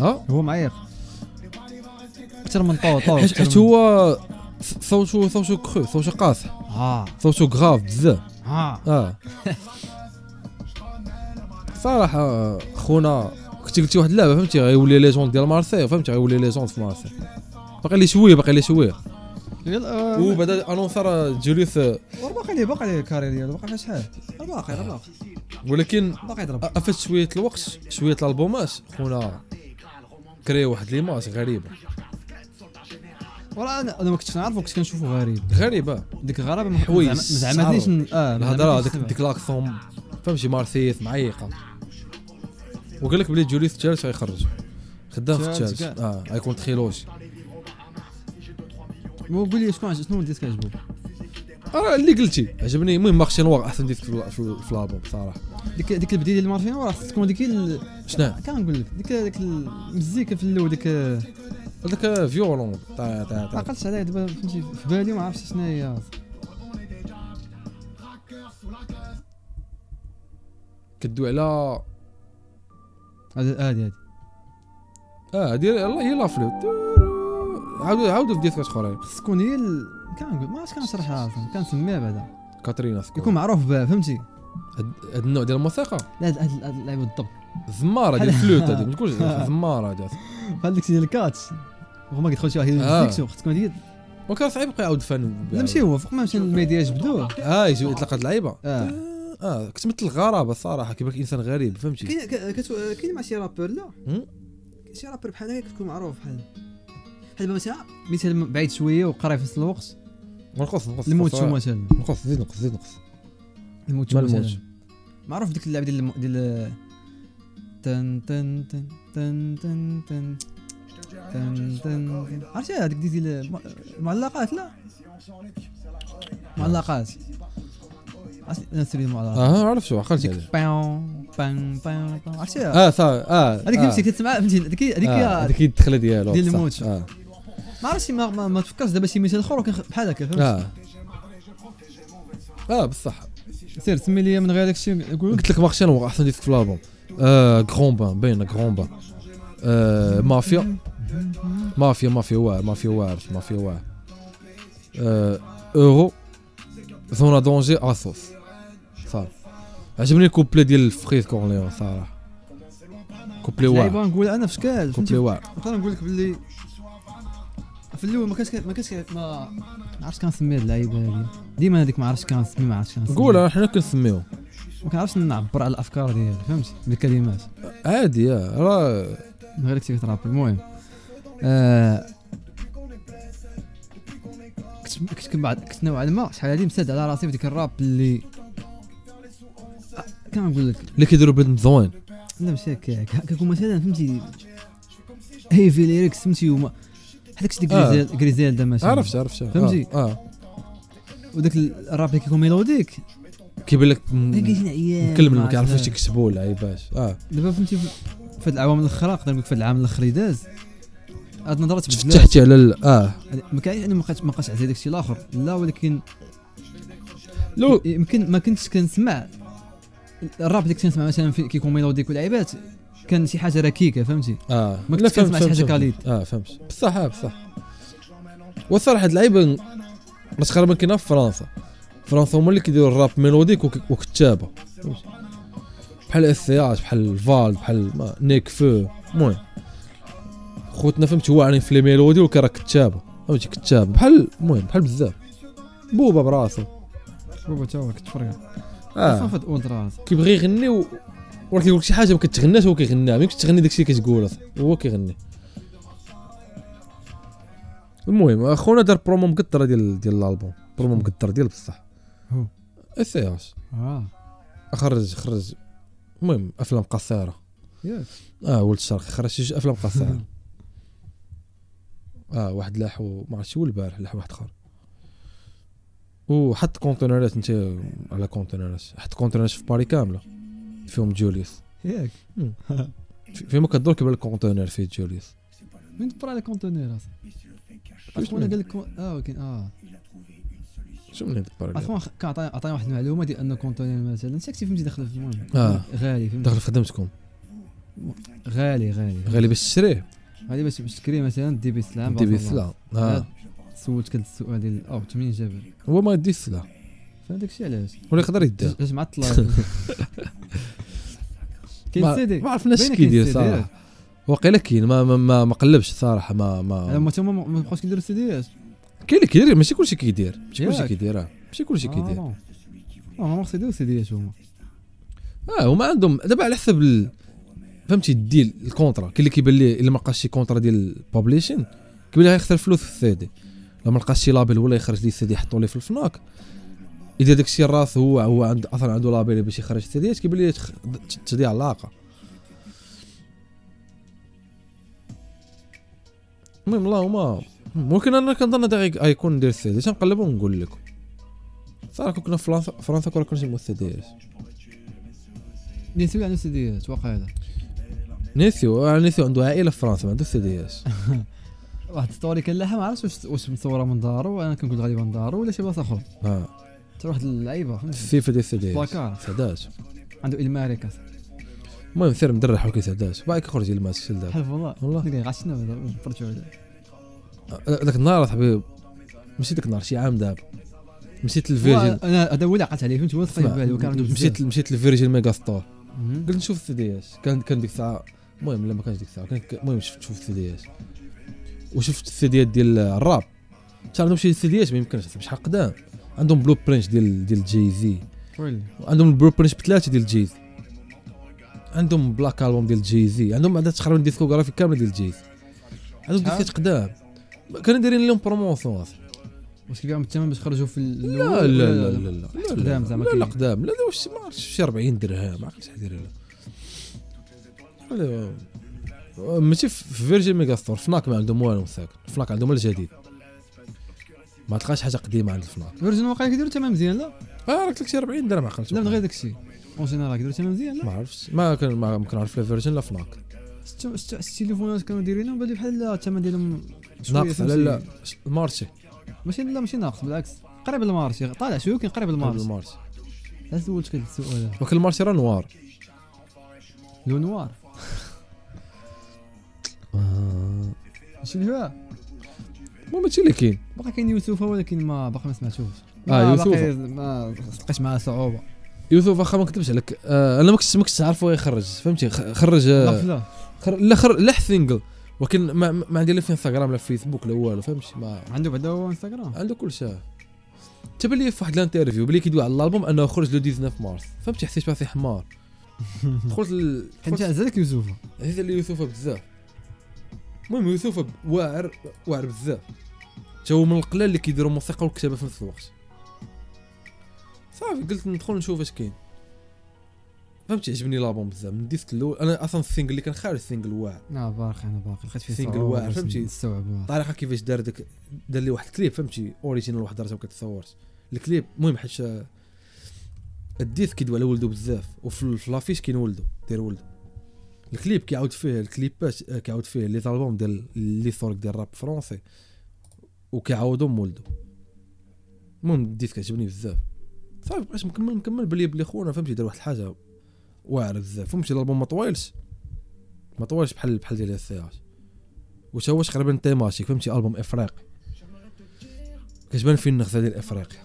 Speaker 3: اه
Speaker 2: هو معيق اكثر من طو طو
Speaker 3: حيت
Speaker 2: أكثر
Speaker 3: حيت
Speaker 2: من-
Speaker 3: هو صوتو صوتو كخو صوتو قاصح
Speaker 2: اه
Speaker 3: صوتو غاف بزاف
Speaker 2: اه
Speaker 3: اه صراحه آه، خونا كنت قلتي واحد اللعبه فهمتي غيولي ليجوند ديال مارسي فهمتي غيولي ليجوند في مارسي باقي لي شويه باقي لي شويه
Speaker 2: يلا آه،
Speaker 3: وبدا انونسر جوليوس آه،
Speaker 2: باقي ليه باقي ليه الكارير ديالو باقي ليه شحال باقي باقي
Speaker 3: ولكن
Speaker 2: باقي يضرب
Speaker 3: افات شويه الوقت شويه الالبومات خونا كري واحد ليماج غريبه
Speaker 2: ولا انا انا ما كنتش نعرفو كنت كنشوفو غريب
Speaker 3: غريبه
Speaker 2: ديك الغرابه ما
Speaker 3: حوايج
Speaker 2: ما زعمتنيش ن- اه ما
Speaker 3: الهضره
Speaker 2: زعمتنيش
Speaker 3: ديك
Speaker 2: نسمع.
Speaker 3: ديك لاكسون فهمتي مارسيس معيقه وقال لك بلي جوليس الثالث غيخرج خدام في
Speaker 2: الثالث
Speaker 3: الثالث
Speaker 2: كاع.
Speaker 3: اه غيكون تخيلوجي
Speaker 2: مو قول لي شكون عجب- شنو ديسك عجبو
Speaker 3: اه اللي قلتي عجبني المهم مارشي نوار احسن ديسك في ال- في ال- في الالبوم صراحه
Speaker 2: ديك ديك البديله ديال مارفين راه خص تكون ديك ال...
Speaker 3: شنو
Speaker 2: كنقول لك ديك ديك المزيكا في الاول ديك آه،
Speaker 3: هذاك آه، فيولون طا- طا-
Speaker 2: ما
Speaker 3: طا.
Speaker 2: عقلتش عليها دابا فهمتي في بالي وما عرفتش شنو هي
Speaker 3: كدوي على اه
Speaker 2: هادي هادي
Speaker 3: هادي يلا هي لافلوت عاودوا عاودوا في ديسكات اخرين
Speaker 2: خص تكون هي ال... كنقول ما عرفتش كنشرحها اصلا كنسميها بعدا
Speaker 3: كاترينا سكور.
Speaker 2: يكون معروف بها فهمتي
Speaker 3: هاد هاد النوع ديال الموسيقى
Speaker 2: لا هاد هاد- هاد اللعيبه بالضبط
Speaker 3: الزماره ديال الفلوت هذيك ما تقولش الزماره هذيك
Speaker 2: بحال داكشي ديال الكاتش هو ما كيدخلش واحد
Speaker 3: آه.
Speaker 2: ديكسيون خص تكون هي
Speaker 3: وكان صعيب يبقى يعاود فن
Speaker 2: لا ماشي هو فوق ما مشى الميديا جبدوه
Speaker 3: اه يجيو يطلق اللعيبه
Speaker 2: اه
Speaker 3: اه كنت مثل الغرابه الصراحه كيبان انسان غريب فهمتي
Speaker 2: كاين ك- كتو- كاين مع شي رابور لا
Speaker 3: هم؟
Speaker 2: كاين شي رابور بحال هكا كتكون معروف بحال بحال دابا مثلا مثال بعيد شويه وقريب في نفس الوقت
Speaker 3: نقص نقص
Speaker 2: الموت
Speaker 3: نقص.
Speaker 2: شو مثلا
Speaker 3: نقص زيد نقص زيد نقص
Speaker 2: الموت شو
Speaker 3: ما الموت
Speaker 2: مثلا معروف ديك اللعبه ديال الم- ديال تن تن تن تن تن تن تن تن عرفتي هذيك ديال الم- المعلقات لا معلقات عرفتي نسير المعلقات
Speaker 3: اه عرفت شو عقلت
Speaker 2: ديك
Speaker 3: عليه
Speaker 2: بان بان بان بان. عرفتيها
Speaker 3: اه صافي اه
Speaker 2: هذيك
Speaker 3: آه.
Speaker 2: نفسي كتسمع فهمتي هذيك آه. هذيك
Speaker 3: آه،
Speaker 2: هي-
Speaker 3: هذيك هي الدخله ديالو
Speaker 2: ديال
Speaker 3: صح.
Speaker 2: الموت شو.
Speaker 3: اه
Speaker 2: ما عرفتش ما, ما, ما تفكرش دابا شي مثال اخر وكان بحال هكا فهمتي
Speaker 3: اه اه بصح
Speaker 2: آه، سير سمي لي من غير داكشي قول
Speaker 3: قلت لك مارشين هو احسن ديسك في الالبوم آه غرون بان باين غرون بان آه مافيا مافيا مافيا واعر مافيا واعر مافيا واعر آه اورو زونا دونجي اسوس صافي عجبني الكوبلي ديال الفخيز كورليون صراحه كوبلي واعر
Speaker 2: لعيبه نقول انا في شكال
Speaker 3: كوبلي
Speaker 2: فهمتي
Speaker 3: واعر
Speaker 2: نقدر نقول لك باللي في الاول ما كانش كان- ما كانش كان- ما ما عرفتش كنسمي هاد اللعيبه هادي ديما هذيك ما عرفتش كنسمي ما عرفتش كنسمي
Speaker 3: نقول حنا كنسميو
Speaker 2: ما كنعرفش نعبر على الافكار ديالي فهمتي بالكلمات
Speaker 3: عادي آه، راه
Speaker 2: من غير كتير تراب المهم آه، كنت كنت كنبعد كنت نوعا ما شحال هادي مسد على راسي في ديك الراب اللي آه، كنقول لك
Speaker 3: اللي كيديروا بنت زوين
Speaker 2: يعني لا ماشي هكاك كنكون مثلا فهمتي هيفي ليريكس فهمتي وما هذاك الشيء
Speaker 3: آه.
Speaker 2: ديال غريزيلدا مثلا
Speaker 3: عرفت عرفت عرفت.
Speaker 2: فهمتي؟
Speaker 3: اه, آه.
Speaker 2: وداك الراب اللي كيكون ميلوديك
Speaker 3: كيبان لك
Speaker 2: كان
Speaker 3: م-
Speaker 2: كيجينا عيان
Speaker 3: مكلم
Speaker 2: ما
Speaker 3: ما كيعرفوش
Speaker 2: عرفتش.
Speaker 3: تكسبوا العيباش اه
Speaker 2: دابا فهمتي في- في هاد العوام الاخرى نقدر نقول لك في هاد العام الاخر اللي داز هاد النظره تبدلات
Speaker 3: تفتحتي على ال- اه
Speaker 2: ما كاينش انا ما بقيتش ما بقاش عزيز داك الشيء الاخر لا ولكن
Speaker 3: لو
Speaker 2: يمكن ما كنتش كنسمع الراب اللي كنت كنسمع مثلا في- كيكون ميلوديك ولعيبات كان شي حاجه ركيكه فهمتي
Speaker 3: اه
Speaker 2: ما
Speaker 3: لا،
Speaker 2: كنتش
Speaker 3: فهمت،
Speaker 2: كنسمع
Speaker 3: فهمت،
Speaker 2: شي حاجة
Speaker 3: فهمت.
Speaker 2: كاليد.
Speaker 3: اه فهمت بصح اه بصح والصراحه هاد اللعيبه تقريبا كاينه في فرنسا فرنسا هما اللي كيديروا الراب ميلوديك وك- وكتابه فهمت؟ بحال اس سي اش بحال فال بحال ما- نيك فو المهم خوتنا فهمت واعرين في لي ميلودي وكرا كتابه فهمتي كتابه بحال المهم بحال بزاف بوبا براسو
Speaker 2: بابا تا هو كتفرق اصلا
Speaker 3: اه
Speaker 2: في هاد الاولترا هذا.
Speaker 3: كيبغي يغني و... ولكن كيقول لك شي حاجه ما كتغناش هو كيغنيها ما يمكنش تغني داكشي اللي كتقوله هو كيغني المهم اخونا دار برومو مقطره ديال ديال الالبوم برومو مقطر ديال بصح
Speaker 2: هو.
Speaker 3: اس اي اش
Speaker 2: اه
Speaker 3: خرج خرج المهم افلام قصيره
Speaker 2: ياك
Speaker 3: اه ولد الشرق خرج شي جوج افلام قصيره اه واحد لاح و- ما عرفتش هو البارح لاح واحد اخر وحط كونتينرات انت على كونتينرات حط كونتينرات في باري كامله فيهم جوليوس
Speaker 2: ياك
Speaker 3: في- فيما كدور كيبان لك كونتينر فيه جوليوس
Speaker 2: من تبرا على كونتونير اصلا
Speaker 3: واش
Speaker 2: اخونا
Speaker 3: من-
Speaker 2: قال لك اه ولكن اه
Speaker 3: شو من هاد البارك
Speaker 2: اخونا خ- كان عطاني عطاني واحد المعلومه ديال ان كونتونير مثلا ساكتي فهمتي داخل في المهم
Speaker 3: آه.
Speaker 2: غالي فهمتي
Speaker 3: داخل في خدمتكم
Speaker 2: غالي غالي
Speaker 3: غالي باش تشريه
Speaker 2: غالي باش باش تكري مثلا ديبي سلام
Speaker 3: ديبي
Speaker 2: بارك الله.
Speaker 3: السلعه اه
Speaker 2: سولتك هاد السؤال ديال او 8 جابر
Speaker 3: هو ما يدي السلعه
Speaker 2: فهداك الشيء علاش
Speaker 3: ولا يقدر يديها
Speaker 2: جات مع الطلاب كاين سيدي
Speaker 3: ما ما عرفناش
Speaker 2: بينك
Speaker 3: كي يدير
Speaker 2: كاين CD ياك.
Speaker 3: صراحه واقيلا كاين ما ما- ما ما قلبش صراحه ما ما
Speaker 2: هما تما ما- ما بقاوش كيديروا السيديات
Speaker 3: كاين اللي كيدير ماشي كلشي كيدير ماشي كلشي
Speaker 2: ياك.
Speaker 3: كيدير اه ماشي كلشي كيدير
Speaker 2: اه هما خصو يديروا السيديات هما
Speaker 3: اه هما عندهم دابا على حسب ال... فهمتي الديل الكونترا كاين اللي كيبان ليه الا ما لقاش شي كونترا ديال البابليشين كيبان ليه غيخسر فلوس في السي دي الا ما لقاش شي لابيل ولا يخرج ليه السي دي يحطوا ليه في الفناك اذا داك الشيء راس هو هو عند اصلا عنده لابيل باش يخرج السي ديات كيبان ليه تخ- ت- تضيع العلاقه المهم اللهم ممكن انا كنظن هذا غي- غيكون ندير السي دي تنقلب ونقول لكم صراحه كون كنا في فرنسا فرنسا كون كنا نجيبو السي ديات
Speaker 2: نسيو على السيديات واقيلا
Speaker 3: نيسيو آه، نيسيو عنده عائله في فرنسا ما عنده سي دي اس
Speaker 2: واحد ستوري كان لها ما عرفتش واش واش مصوره من دارو انا كنقول غالبا من دارو ولا شي بلاصه اخرى
Speaker 3: اه
Speaker 2: حتى واحد اللعيبه فهمتي
Speaker 3: السيفه ديال سي دي اس
Speaker 2: بلاكار
Speaker 3: سداش
Speaker 2: عنده الماريكا
Speaker 3: المهم سير مدرح وكي سداش باقي كيخرج يلمس شي لدار
Speaker 2: حلف والله
Speaker 3: والله.
Speaker 2: ديك غاشنا بعدا، فرجعوا عليه
Speaker 3: ذاك النهار اصاحبي مشيت ذاك النهار شي عام دابا مشيت
Speaker 2: هو-
Speaker 3: للفيرجن
Speaker 2: انا هذا هو اللي عقلت عليه فهمت هو اللي صايب بالي وكان عنده
Speaker 3: مشيت مشيت للفيرجن ميغا ستور
Speaker 2: بزاف.
Speaker 3: قلت نشوف السي دي اس كان كان ديك الساعه المهم لا ما كانش ديك الساعه كان المهم شفت شفت السي دي اس وشفت السي ديات ديال الراب حتى عندهم شي سي دي اس ما يمكنش شحال قدام عندهم بلو برينت ديال ديال جي زي
Speaker 2: ويلي.
Speaker 3: عندهم البرو برينس بثلاثه ديال جيز عندهم بلاك البوم ديال جيزي عندهم عندها تقريبا ديسكوغرافي كامله ديال جيز عندهم
Speaker 2: شحال؟
Speaker 3: ديسكات قدام كانوا دايرين لهم بروموسيون أصلا.
Speaker 2: واش كيبيعهم الثمن باش خرجوا في ال-
Speaker 3: لا
Speaker 2: الأول
Speaker 3: لا
Speaker 2: ولا
Speaker 3: لا لا لا لا
Speaker 2: قدام زعما
Speaker 3: لا لا
Speaker 2: كاين.
Speaker 3: قدام لا لا واش ما عرفتش شي 40 درهم ما عرفتش شحال داير لا لا ماشي في في فيرجن ميغا ستور فناك ما عندهم والو ساكن فناك عندهم الجديد ما تلقاش حاجه قديمه عند الفناك
Speaker 2: فيرجن واقيلا كيديروا الثمن مزيان لا
Speaker 3: اه راك لك شي 40 درهم عقلت
Speaker 2: لا من غير داكشي اون جينيرال كيديروا الثمن مزيان لا
Speaker 3: ما عرفتش ما كان ما ما كنعرف لا فيرجن لا فناك
Speaker 2: ست- ست- ست تليفونات كانوا دايرينهم بان لي بحال لا الثمن ديالهم شوية
Speaker 3: ناقص
Speaker 2: فهمتي.
Speaker 3: لا لا ش- المارشي
Speaker 2: ماشي لا ماشي ناقص بالعكس قريب المارشي طالع شويه ولكن قريب
Speaker 3: قبل
Speaker 2: المارشي
Speaker 3: المارشي
Speaker 2: علاش سولتك هذا السؤال هذا
Speaker 3: ولكن المارشي راه نوار
Speaker 2: لو نوار آه. ماشي الهواء
Speaker 3: المهم هادشي اللي كاين
Speaker 2: باقي كاين يوسف ولكن ما باقي ما سمعتوش
Speaker 3: آه،
Speaker 2: ما
Speaker 3: يوسف.
Speaker 2: باقي ما بقيتش معاه صعوبه
Speaker 3: يوسف واخا ما نكذبش عليك آه انا ما كنتش ما كنتش عارف هو يخرج فهمتي خ- خرج
Speaker 2: لا
Speaker 3: آه،
Speaker 2: لا
Speaker 3: خر... لا خر... لا سينجل ولكن ما, ما ما عندي لا في انستغرام لا في فيسبوك لا والو فهمتي ما
Speaker 2: عنده بعدا هو انستغرام
Speaker 3: عنده كل شيء تبان لي في واحد الانترفيو بلي كيدوي على الالبوم انه خرج لو 19 مارس فهمتي حسيت بها في حمار دخلت ال...
Speaker 2: حيت
Speaker 3: دخلت
Speaker 2: عز عليك يوسف
Speaker 3: عزيز على يوسفه بزاف المهم يوسفه ب- واعر واعر بزاف تا هو من القلال اللي كيديروا موسيقى والكتابه في نفس الوقت صافي قلت ندخل نشوف اش كاين فهمتي عجبني لابون بزاف من ديسك الاول انا اصلا السينجل اللي كان خارج سينجل واعر
Speaker 2: لا باقي انا باقي لقيت فيه
Speaker 3: Single
Speaker 2: صعوبة
Speaker 3: واعر،
Speaker 2: باش
Speaker 3: فهمتي؟
Speaker 2: نستوعبوها
Speaker 3: الطريقه كيفاش دار داك دار لي واحد الكليب فهمتي اوريجينال واحد راسه وكتصورت الكليب المهم حيت آه، الديسك كيدوي على ولده بزاف وفي ال- في لافيش كاين ولده داير ولده الكليب كيعاود فيه الكليبات آه، كيعاود فيه لي زالبوم ديال لي سورك ديال الراب فرونسي وكيعاودهم ولده المهم الديسك عجبني بزاف صافي بقيت مكمل مكمل بلي بلي خونا فهمتي دار واحد الحاجه واعره بزاف فهمتي الالبوم ما طويلش ما طويلش بحال بحال ديال السياج وتا هو تقريبا تيماتيك فهمتي البوم افريقي كتبان فيه النغزه ديال افريقيا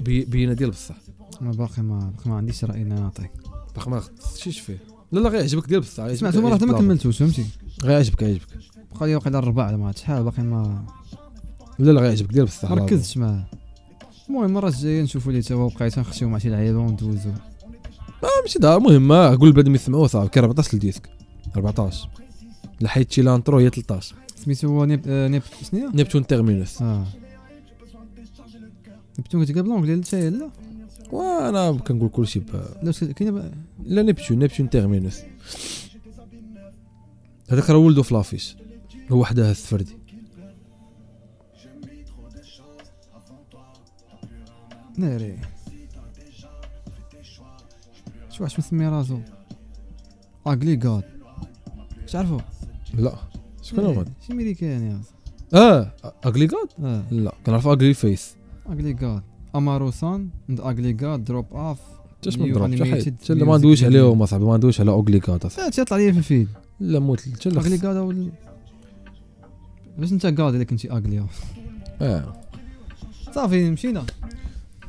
Speaker 3: بي- بينا ديال بصح
Speaker 2: انا باقي ما باقي ما عنديش راي نعطي
Speaker 3: باقي ما غتشيش فيه لا لا غيعجبك ديال بصح غيعجبك-
Speaker 2: سمعتو مرة
Speaker 3: غيعجبك
Speaker 2: حتى ما
Speaker 3: الألبوم.
Speaker 2: كملتوش فهمتي
Speaker 3: غيعجبك غيعجبك
Speaker 2: بقى لي واقيلا الربع ولا ما عرفت شحال باقي ما
Speaker 3: لا لا غيعجبك ديال بصح
Speaker 2: ما ركزتش معاه المهم المرة الجاية نشوفو ليه تا هو بقى تنخشيو مع شي لعيبة وندوزو
Speaker 3: ماشي دار المهم ما قول بنادم يسمعوه صافي كان 14 الديسك 14 لحيت شي لانترو هي 13
Speaker 2: سميتو هو نيب آه، نيب شنو
Speaker 3: نيبتون تيرمينوس
Speaker 2: اه نبتون كنت قبل لونجلي انت لا
Speaker 3: وانا كنقول كلشي ب...
Speaker 2: لا واش كاين ب-
Speaker 3: لا نيبتون نيبتون تيرمينوس هذاك راه ولدو في لافيش هو حداه السفردي
Speaker 2: ناري شو واش مسمي راسو اغلي جاد واش عارفو
Speaker 3: لا شكون هو هذا؟
Speaker 2: ناري، شي ميريكان يا أخي.
Speaker 3: اه اغلي جاد
Speaker 2: اه
Speaker 3: لا كنعرف اغلي فيس
Speaker 2: اغلي جاد امارو سان اند اغلي جاد دروب اوف
Speaker 3: حتى
Speaker 2: New
Speaker 3: شنو نضرب حتى
Speaker 2: Animated
Speaker 3: حيت حتى لا ما
Speaker 2: Music
Speaker 3: ندويش
Speaker 2: Video.
Speaker 3: عليهم اصاحبي ما ندويش على اغلي جاد أصاحبي.
Speaker 2: فات يطلع لي في الفيد
Speaker 3: لا موت حتى لا
Speaker 2: اغلي
Speaker 3: خص-
Speaker 2: جاد او ال- باش انت قاد الا كنتي اغلي
Speaker 3: اه
Speaker 2: صافي مشينا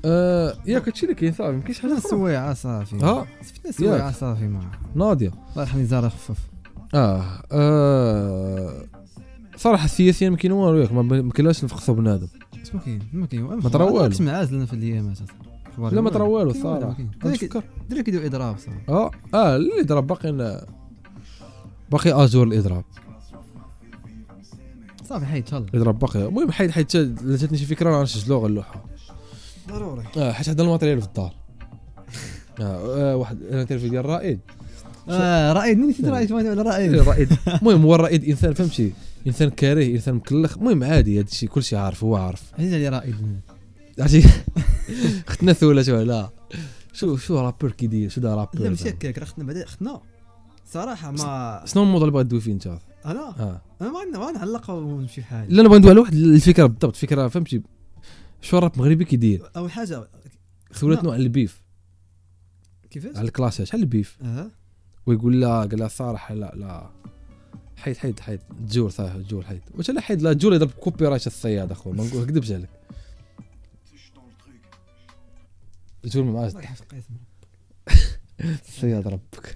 Speaker 3: آه، ياك هادشي اللي كاين صافي ما كاينش
Speaker 2: شفنا
Speaker 3: حاجه أخرى.
Speaker 2: السويعه صافي
Speaker 3: ها؟
Speaker 2: شفنا السويعه
Speaker 3: ياك.
Speaker 2: صافي ما
Speaker 3: ناضيه
Speaker 2: الله يرحم زهر خفف
Speaker 3: اه آه، صراحه سياسيا ما كاين والو ياك ما- ما كاينلاش نفقصوا بنادم
Speaker 2: بس ما كاين ما كاين
Speaker 3: ما طرا والو.
Speaker 2: كنت معاز لنا في الايامات
Speaker 3: لا ما طرا والو
Speaker 2: كاين والو،
Speaker 3: صراحه
Speaker 2: كاين.
Speaker 3: كنفكر
Speaker 2: الدراري كيديروا اضراب صراحه
Speaker 3: اه اه اللي ضرب باقي باقي اجور الاضراب
Speaker 2: صافي حيت يلا
Speaker 3: الاضراب باقي المهم حيت حيت لا جاتني شي فكره راه نسجلو غنلوحها
Speaker 2: ضروري
Speaker 3: اه حيت هذا الماتريال في الدار آه آه، واحد الانترفيو ديال الرائد
Speaker 2: اه رائد مين نسيت رائد وانا ولا رائد
Speaker 3: الرائد المهم هو الرائد انسان فهمتي انسان كاره انسان مكلخ المهم عادي هذا الشيء كلشي عارف هو عارف
Speaker 2: عزيز علي رائد
Speaker 3: عرفتي اختنا سولة شو لا شو شو رابور كي داير شو دا
Speaker 2: لا
Speaker 3: رابور
Speaker 2: ماشي
Speaker 3: زعما.
Speaker 2: هكاك راه خدنا بعدا خدنا صراحه ما
Speaker 3: شنو الموضوع اللي بغا تدوي فيه انت
Speaker 2: انا
Speaker 3: اه
Speaker 2: انا ما ما نعلق ونمشي بحالي
Speaker 3: لا انا بغا ندوي على واحد الفكره بالضبط فكره فهمتي شو الراب المغربي كيدير
Speaker 2: اول حاجه
Speaker 3: سولتنا على البيف
Speaker 2: كيفاش
Speaker 3: على الكلاش شحال البيف
Speaker 2: اه
Speaker 3: ويقول لا قال لا صراحه لا لا حيد حيد حيد تجور صح تجور حيد واش لا حيد لا تجور يضرب كوبي رايت الصياد اخويا ما نقول- ما نكذبش عليك تجور ما معاش
Speaker 2: الله يحفظ قاسم
Speaker 3: الصياد ربك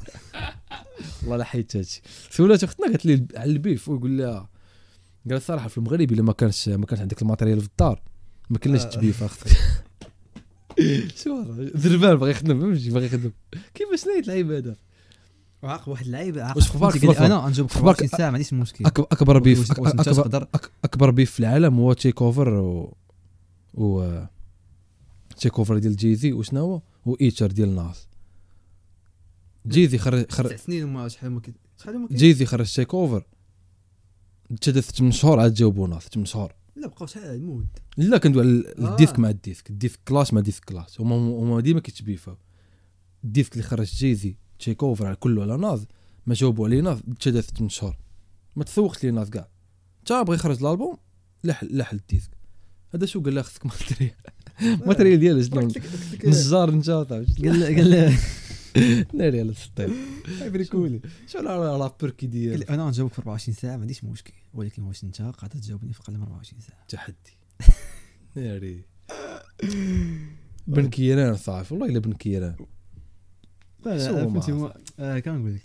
Speaker 3: والله لا حيت هادشي سولات اختنا قالت لي على البيف ويقول لها قال الصراحه في المغرب الا ما كانش ما كانش عندك الماتريال في الدار ما كناش
Speaker 2: آه.
Speaker 3: تبيف اختك شو راه دربان باغي يخدم فهمتي باغي يخدم كيفاش نايت لعيب هذا
Speaker 2: وعاق واحد اللعيبه عاق
Speaker 3: واش أخبارك
Speaker 2: قلت لي
Speaker 3: في
Speaker 2: انا نجيب
Speaker 3: أخبارك-
Speaker 2: 50 ساعه ما عنديش مشكل
Speaker 3: أكب- اكبر بيف
Speaker 2: واش- واش انت
Speaker 3: اكبر
Speaker 2: تقدر
Speaker 3: أك- اكبر بيف في العالم هو تشيك اوفر و, و... تشيك اوفر ديال جيزي وشنو هو وايتشر ديال ناس جيزي خرج
Speaker 2: تسع
Speaker 3: خرج
Speaker 2: سنين وما شحال ما كنت شحال ما كنت
Speaker 3: جيزي خرج تشيك اوفر تدث 8 شهور عاد جاوبو ناس 8 شهور
Speaker 2: لا بقاو شحال مود
Speaker 3: لا كندوي على ال-
Speaker 2: آه.
Speaker 3: الديسك مع الديسك الديسك كلاش مع ديسك كلاش هما هما ديما كيتبيفاو الديسك اللي خرج جيزي تشيك اوفر على كله على ناز ما جاوبوا عليه ناز تشدث 8 شهور ما تسوقش ليه ناز كاع تا بغى يخرج الالبوم لحل لحل الديسك هذا شو قال لها خصك ماتريال
Speaker 2: آه.
Speaker 3: ماتريال ديال شنو
Speaker 2: قلت لك قلت
Speaker 3: نجار
Speaker 2: لك
Speaker 3: انت صاحبي
Speaker 2: قال قال
Speaker 3: ناري على السطيل
Speaker 2: كولي
Speaker 3: شو الرابور
Speaker 2: قال
Speaker 3: كيدير
Speaker 2: لي انا نجاوبك في 24 ساعه ما عنديش مشكل ولكن واش انت قاعد تجاوبني في اقل من 24 ساعه
Speaker 3: تحدي ناري بن كيران صافي والله الا بن كيران
Speaker 2: لا
Speaker 3: شو
Speaker 2: لا
Speaker 3: هو
Speaker 2: فهمتي
Speaker 3: ما
Speaker 2: هو آه، كنقول لك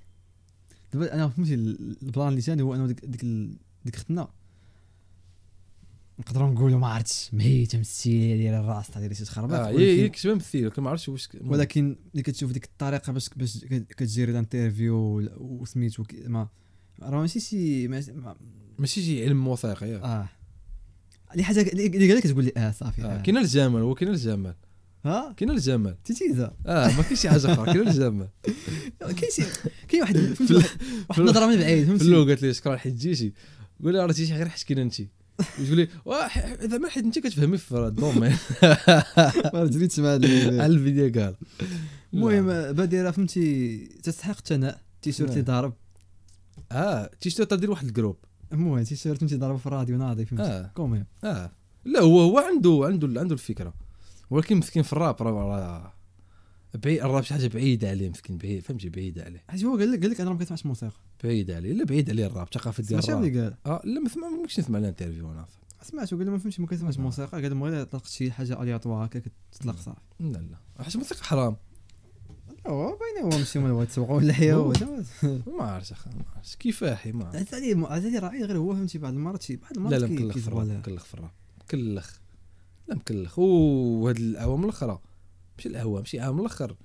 Speaker 2: دابا انا فهمتي ال- البلان اللي ثاني هو انه ديك ديك ال- ديك ختنا نقدروا نقولوا ما عرفتش مهيته مستيله دايره الراس تاع دايره شي تخربيق
Speaker 3: اه هي هي
Speaker 2: ولكن-
Speaker 3: كتبان مثيله ما عرفتش واش
Speaker 2: ولكن ملي كتشوف ديك الطريقه باش باش كت- كتجيري الانترفيو وال- وسميتو كي- ما راه ماشي شي ما- ما-
Speaker 3: ماشي شي علم إيه. وثائقي
Speaker 2: آه،
Speaker 3: ياك.
Speaker 2: اه اللي حاجه اللي قال لك تقول لي اه صافي
Speaker 3: آه،
Speaker 2: آه.
Speaker 3: كاين الجمال هو كاين الجمال
Speaker 2: ها
Speaker 3: كاين الجمال
Speaker 2: تيتيزا
Speaker 3: اه ما كاين شي حاجه اخرى كاين الجمال
Speaker 2: كاين شي كاين واحد فهمتي واحد- واحد النظره من بعيد
Speaker 3: في
Speaker 2: فهمتي
Speaker 3: الاول قالت لي شكرا حيت جيتي قول لها راه جيتي غير حيت كاين انت تقول لي واه، ح- زعما حيت انت كتفهمي في الدومين
Speaker 2: ما دريتش مع هاد ال-
Speaker 3: على الفيديو قال
Speaker 2: إيه. المهم بادره فهمتي تستحق الثناء التيشيرت اللي ضارب
Speaker 3: اه تيشيرت تدير واحد الجروب
Speaker 2: المهم التيشيرت فهمتي ضارب في الراديو ناضي
Speaker 3: آه.
Speaker 2: فهمتي كوميم
Speaker 3: اه لا هو هو عنده عنده عنده الفكره ولكن مسكين في الراب راه- راه بعيد الراب شي حاجه بعيده عليه مسكين بعيد فهمتي بعيده عليه
Speaker 2: حيت هو قال لك قال لك انا ما كنسمعش موسيقى
Speaker 3: بعيد عليه لا بعيد عليه الراب ثقافه ديال
Speaker 2: سمعت
Speaker 3: الراب
Speaker 2: اللي قال
Speaker 3: اه لا ما سمع- ما كنتش نسمع الانترفيو انا
Speaker 2: سمعته قال لي ما فهمتش ما كنسمعش موسيقى قال المهم طلقت شي حاجه الياطوار هكا كتطلق صافي
Speaker 3: لا لا حيت الموسيقى حرام
Speaker 2: هو باين هو ماشي من تسوقوا اللحيه هو
Speaker 3: ما عرفتش اخا ما عرفتش كفاحي ما عرفتش
Speaker 2: عزيز علي عزيز علي راعي غير هو فهمتي بعض المرات شي بعض
Speaker 3: لا
Speaker 2: المرات
Speaker 3: لا
Speaker 2: كي-
Speaker 3: مكلخ في الراب
Speaker 2: كيزبل
Speaker 3: مكلخ في الراب مكلخ لا مكلخ وهاد الاعوام الاخرى ماشي الاعوام شي عام الاخر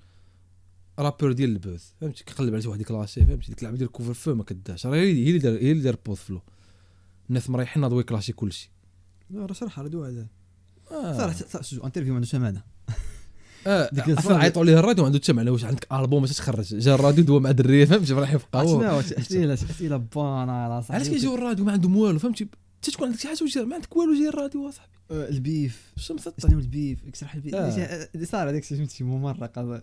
Speaker 3: رابور ديال البوز فهمتي كيقلب على شي واحد كلاشي فهمتي ديك اللعبه ديال الكوفر فو ما كداش راه هي هي اللي دار هي اللي دار بوز فلو الناس مريحين ناضوا يكلاشي كلشي
Speaker 2: لا راه شرح ردوا على صراحه
Speaker 3: اه
Speaker 2: صراحة شجو انترفيو ما عندوش معنى
Speaker 3: آه،
Speaker 2: ديك
Speaker 3: عفوا
Speaker 2: الفرق-
Speaker 3: عيطوا عليه الراديو عنده تسمع على واش عندك البوم باش تخرج جا الراديو دوا مع دريه فهمتي رايحين في
Speaker 2: عرفت شنو
Speaker 3: قهوه
Speaker 2: هو؟ اسئله اسئله بانا على صاحبي
Speaker 3: علاش كيجيو الراديو ما عندهم والو فهمتي تتكون عندك شي حاجه وجي- ما عندك والو جاي الراديو اصاحبي
Speaker 2: آه، البيف
Speaker 3: الشمس
Speaker 2: شنو البيف كسرح البيف
Speaker 3: آه.
Speaker 2: شي- اللي صار هذاك الشيء فهمتي ممرق هذا.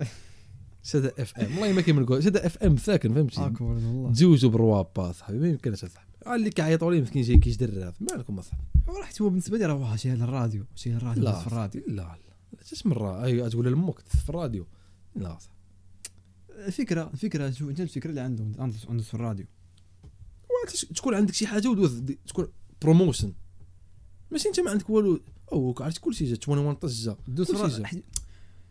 Speaker 3: شدا اف ام والله ما كيملكوها شدا اف ام ساكن فهمتي
Speaker 2: اكبر من الله
Speaker 3: تزوجوا بروابا صاحبي ما يمكنش اصاحبي آه، اللي كيعيطوا ليه مسكين جاي كيجدر هذا مالكم اصاحبي
Speaker 2: رحت هو بالنسبه لي راه واه شي هذا الراديو شي هذا الراديو
Speaker 3: لا
Speaker 2: بس في الراديو
Speaker 3: لا لا لا تاش مره اي أيوة، تقول لامك في الراديو لا صاحبي
Speaker 2: الفكره الفكره شوف انت الفكره اللي عنده عنده عنده في الراديو
Speaker 3: واه، تش- تكون عندك شي حاجه ودوز دي- تكون بروموشن ماشي انت ما عندك والو او عرفت كلشي جا 21 طجه
Speaker 2: دوز
Speaker 3: كلشي
Speaker 2: في الراديو
Speaker 3: جا
Speaker 2: حيت-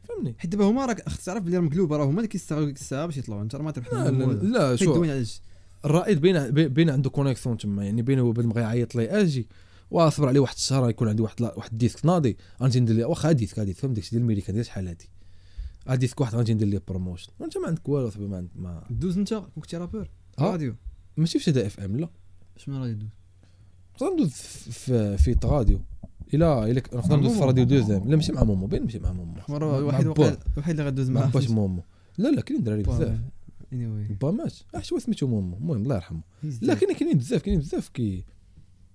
Speaker 3: فهمني
Speaker 2: حيت دابا هما راك خصك تعرف بلي المقلوبه راه هما اللي كيستغلوا ديك الساعه باش يطلعوا انت راه ما تربح
Speaker 3: لا
Speaker 2: منهم
Speaker 3: لا,
Speaker 2: والو.
Speaker 3: لا
Speaker 2: حيت
Speaker 3: شو
Speaker 2: دوين على الجي.
Speaker 3: الرائد بين بي- بين عنده كونيكسيون تما يعني بينه وبين بغى يعيط لي اجي واصبر عليه واحد الشهر يكون عندي واحد لا- واحد ديسك ناضي غنجي ندير ليه واخا ديسك هادي فهم داكشي ديال الميريكان ديال شحال هادي هاد ديسك واحد غنجي ندير ليه بروموشن وانت ما عندك والو صاحبي ما عندك ما
Speaker 2: دوز انت كنتي رابور
Speaker 3: آه.
Speaker 2: راديو
Speaker 3: ماشي في شدا اف ام لا
Speaker 2: شنو راه يدوز
Speaker 3: نقدر ندوز في- في في راديو الا الا ك- نقدر ندوز في راديو دوزيام لا ماشي مع مومو بين ماشي مع مومو مع-
Speaker 2: مره
Speaker 3: مع
Speaker 2: واحد
Speaker 3: بوا.
Speaker 2: وقع- واحد اللي غدوز
Speaker 3: مع
Speaker 2: معاه
Speaker 3: باش مومو لا لا كاينين دراري بزاف
Speaker 2: اني واي
Speaker 3: با مات اش هو سميتو مومو المهم الله يرحمه لا كاين كاينين بزاف كاينين بزاف كي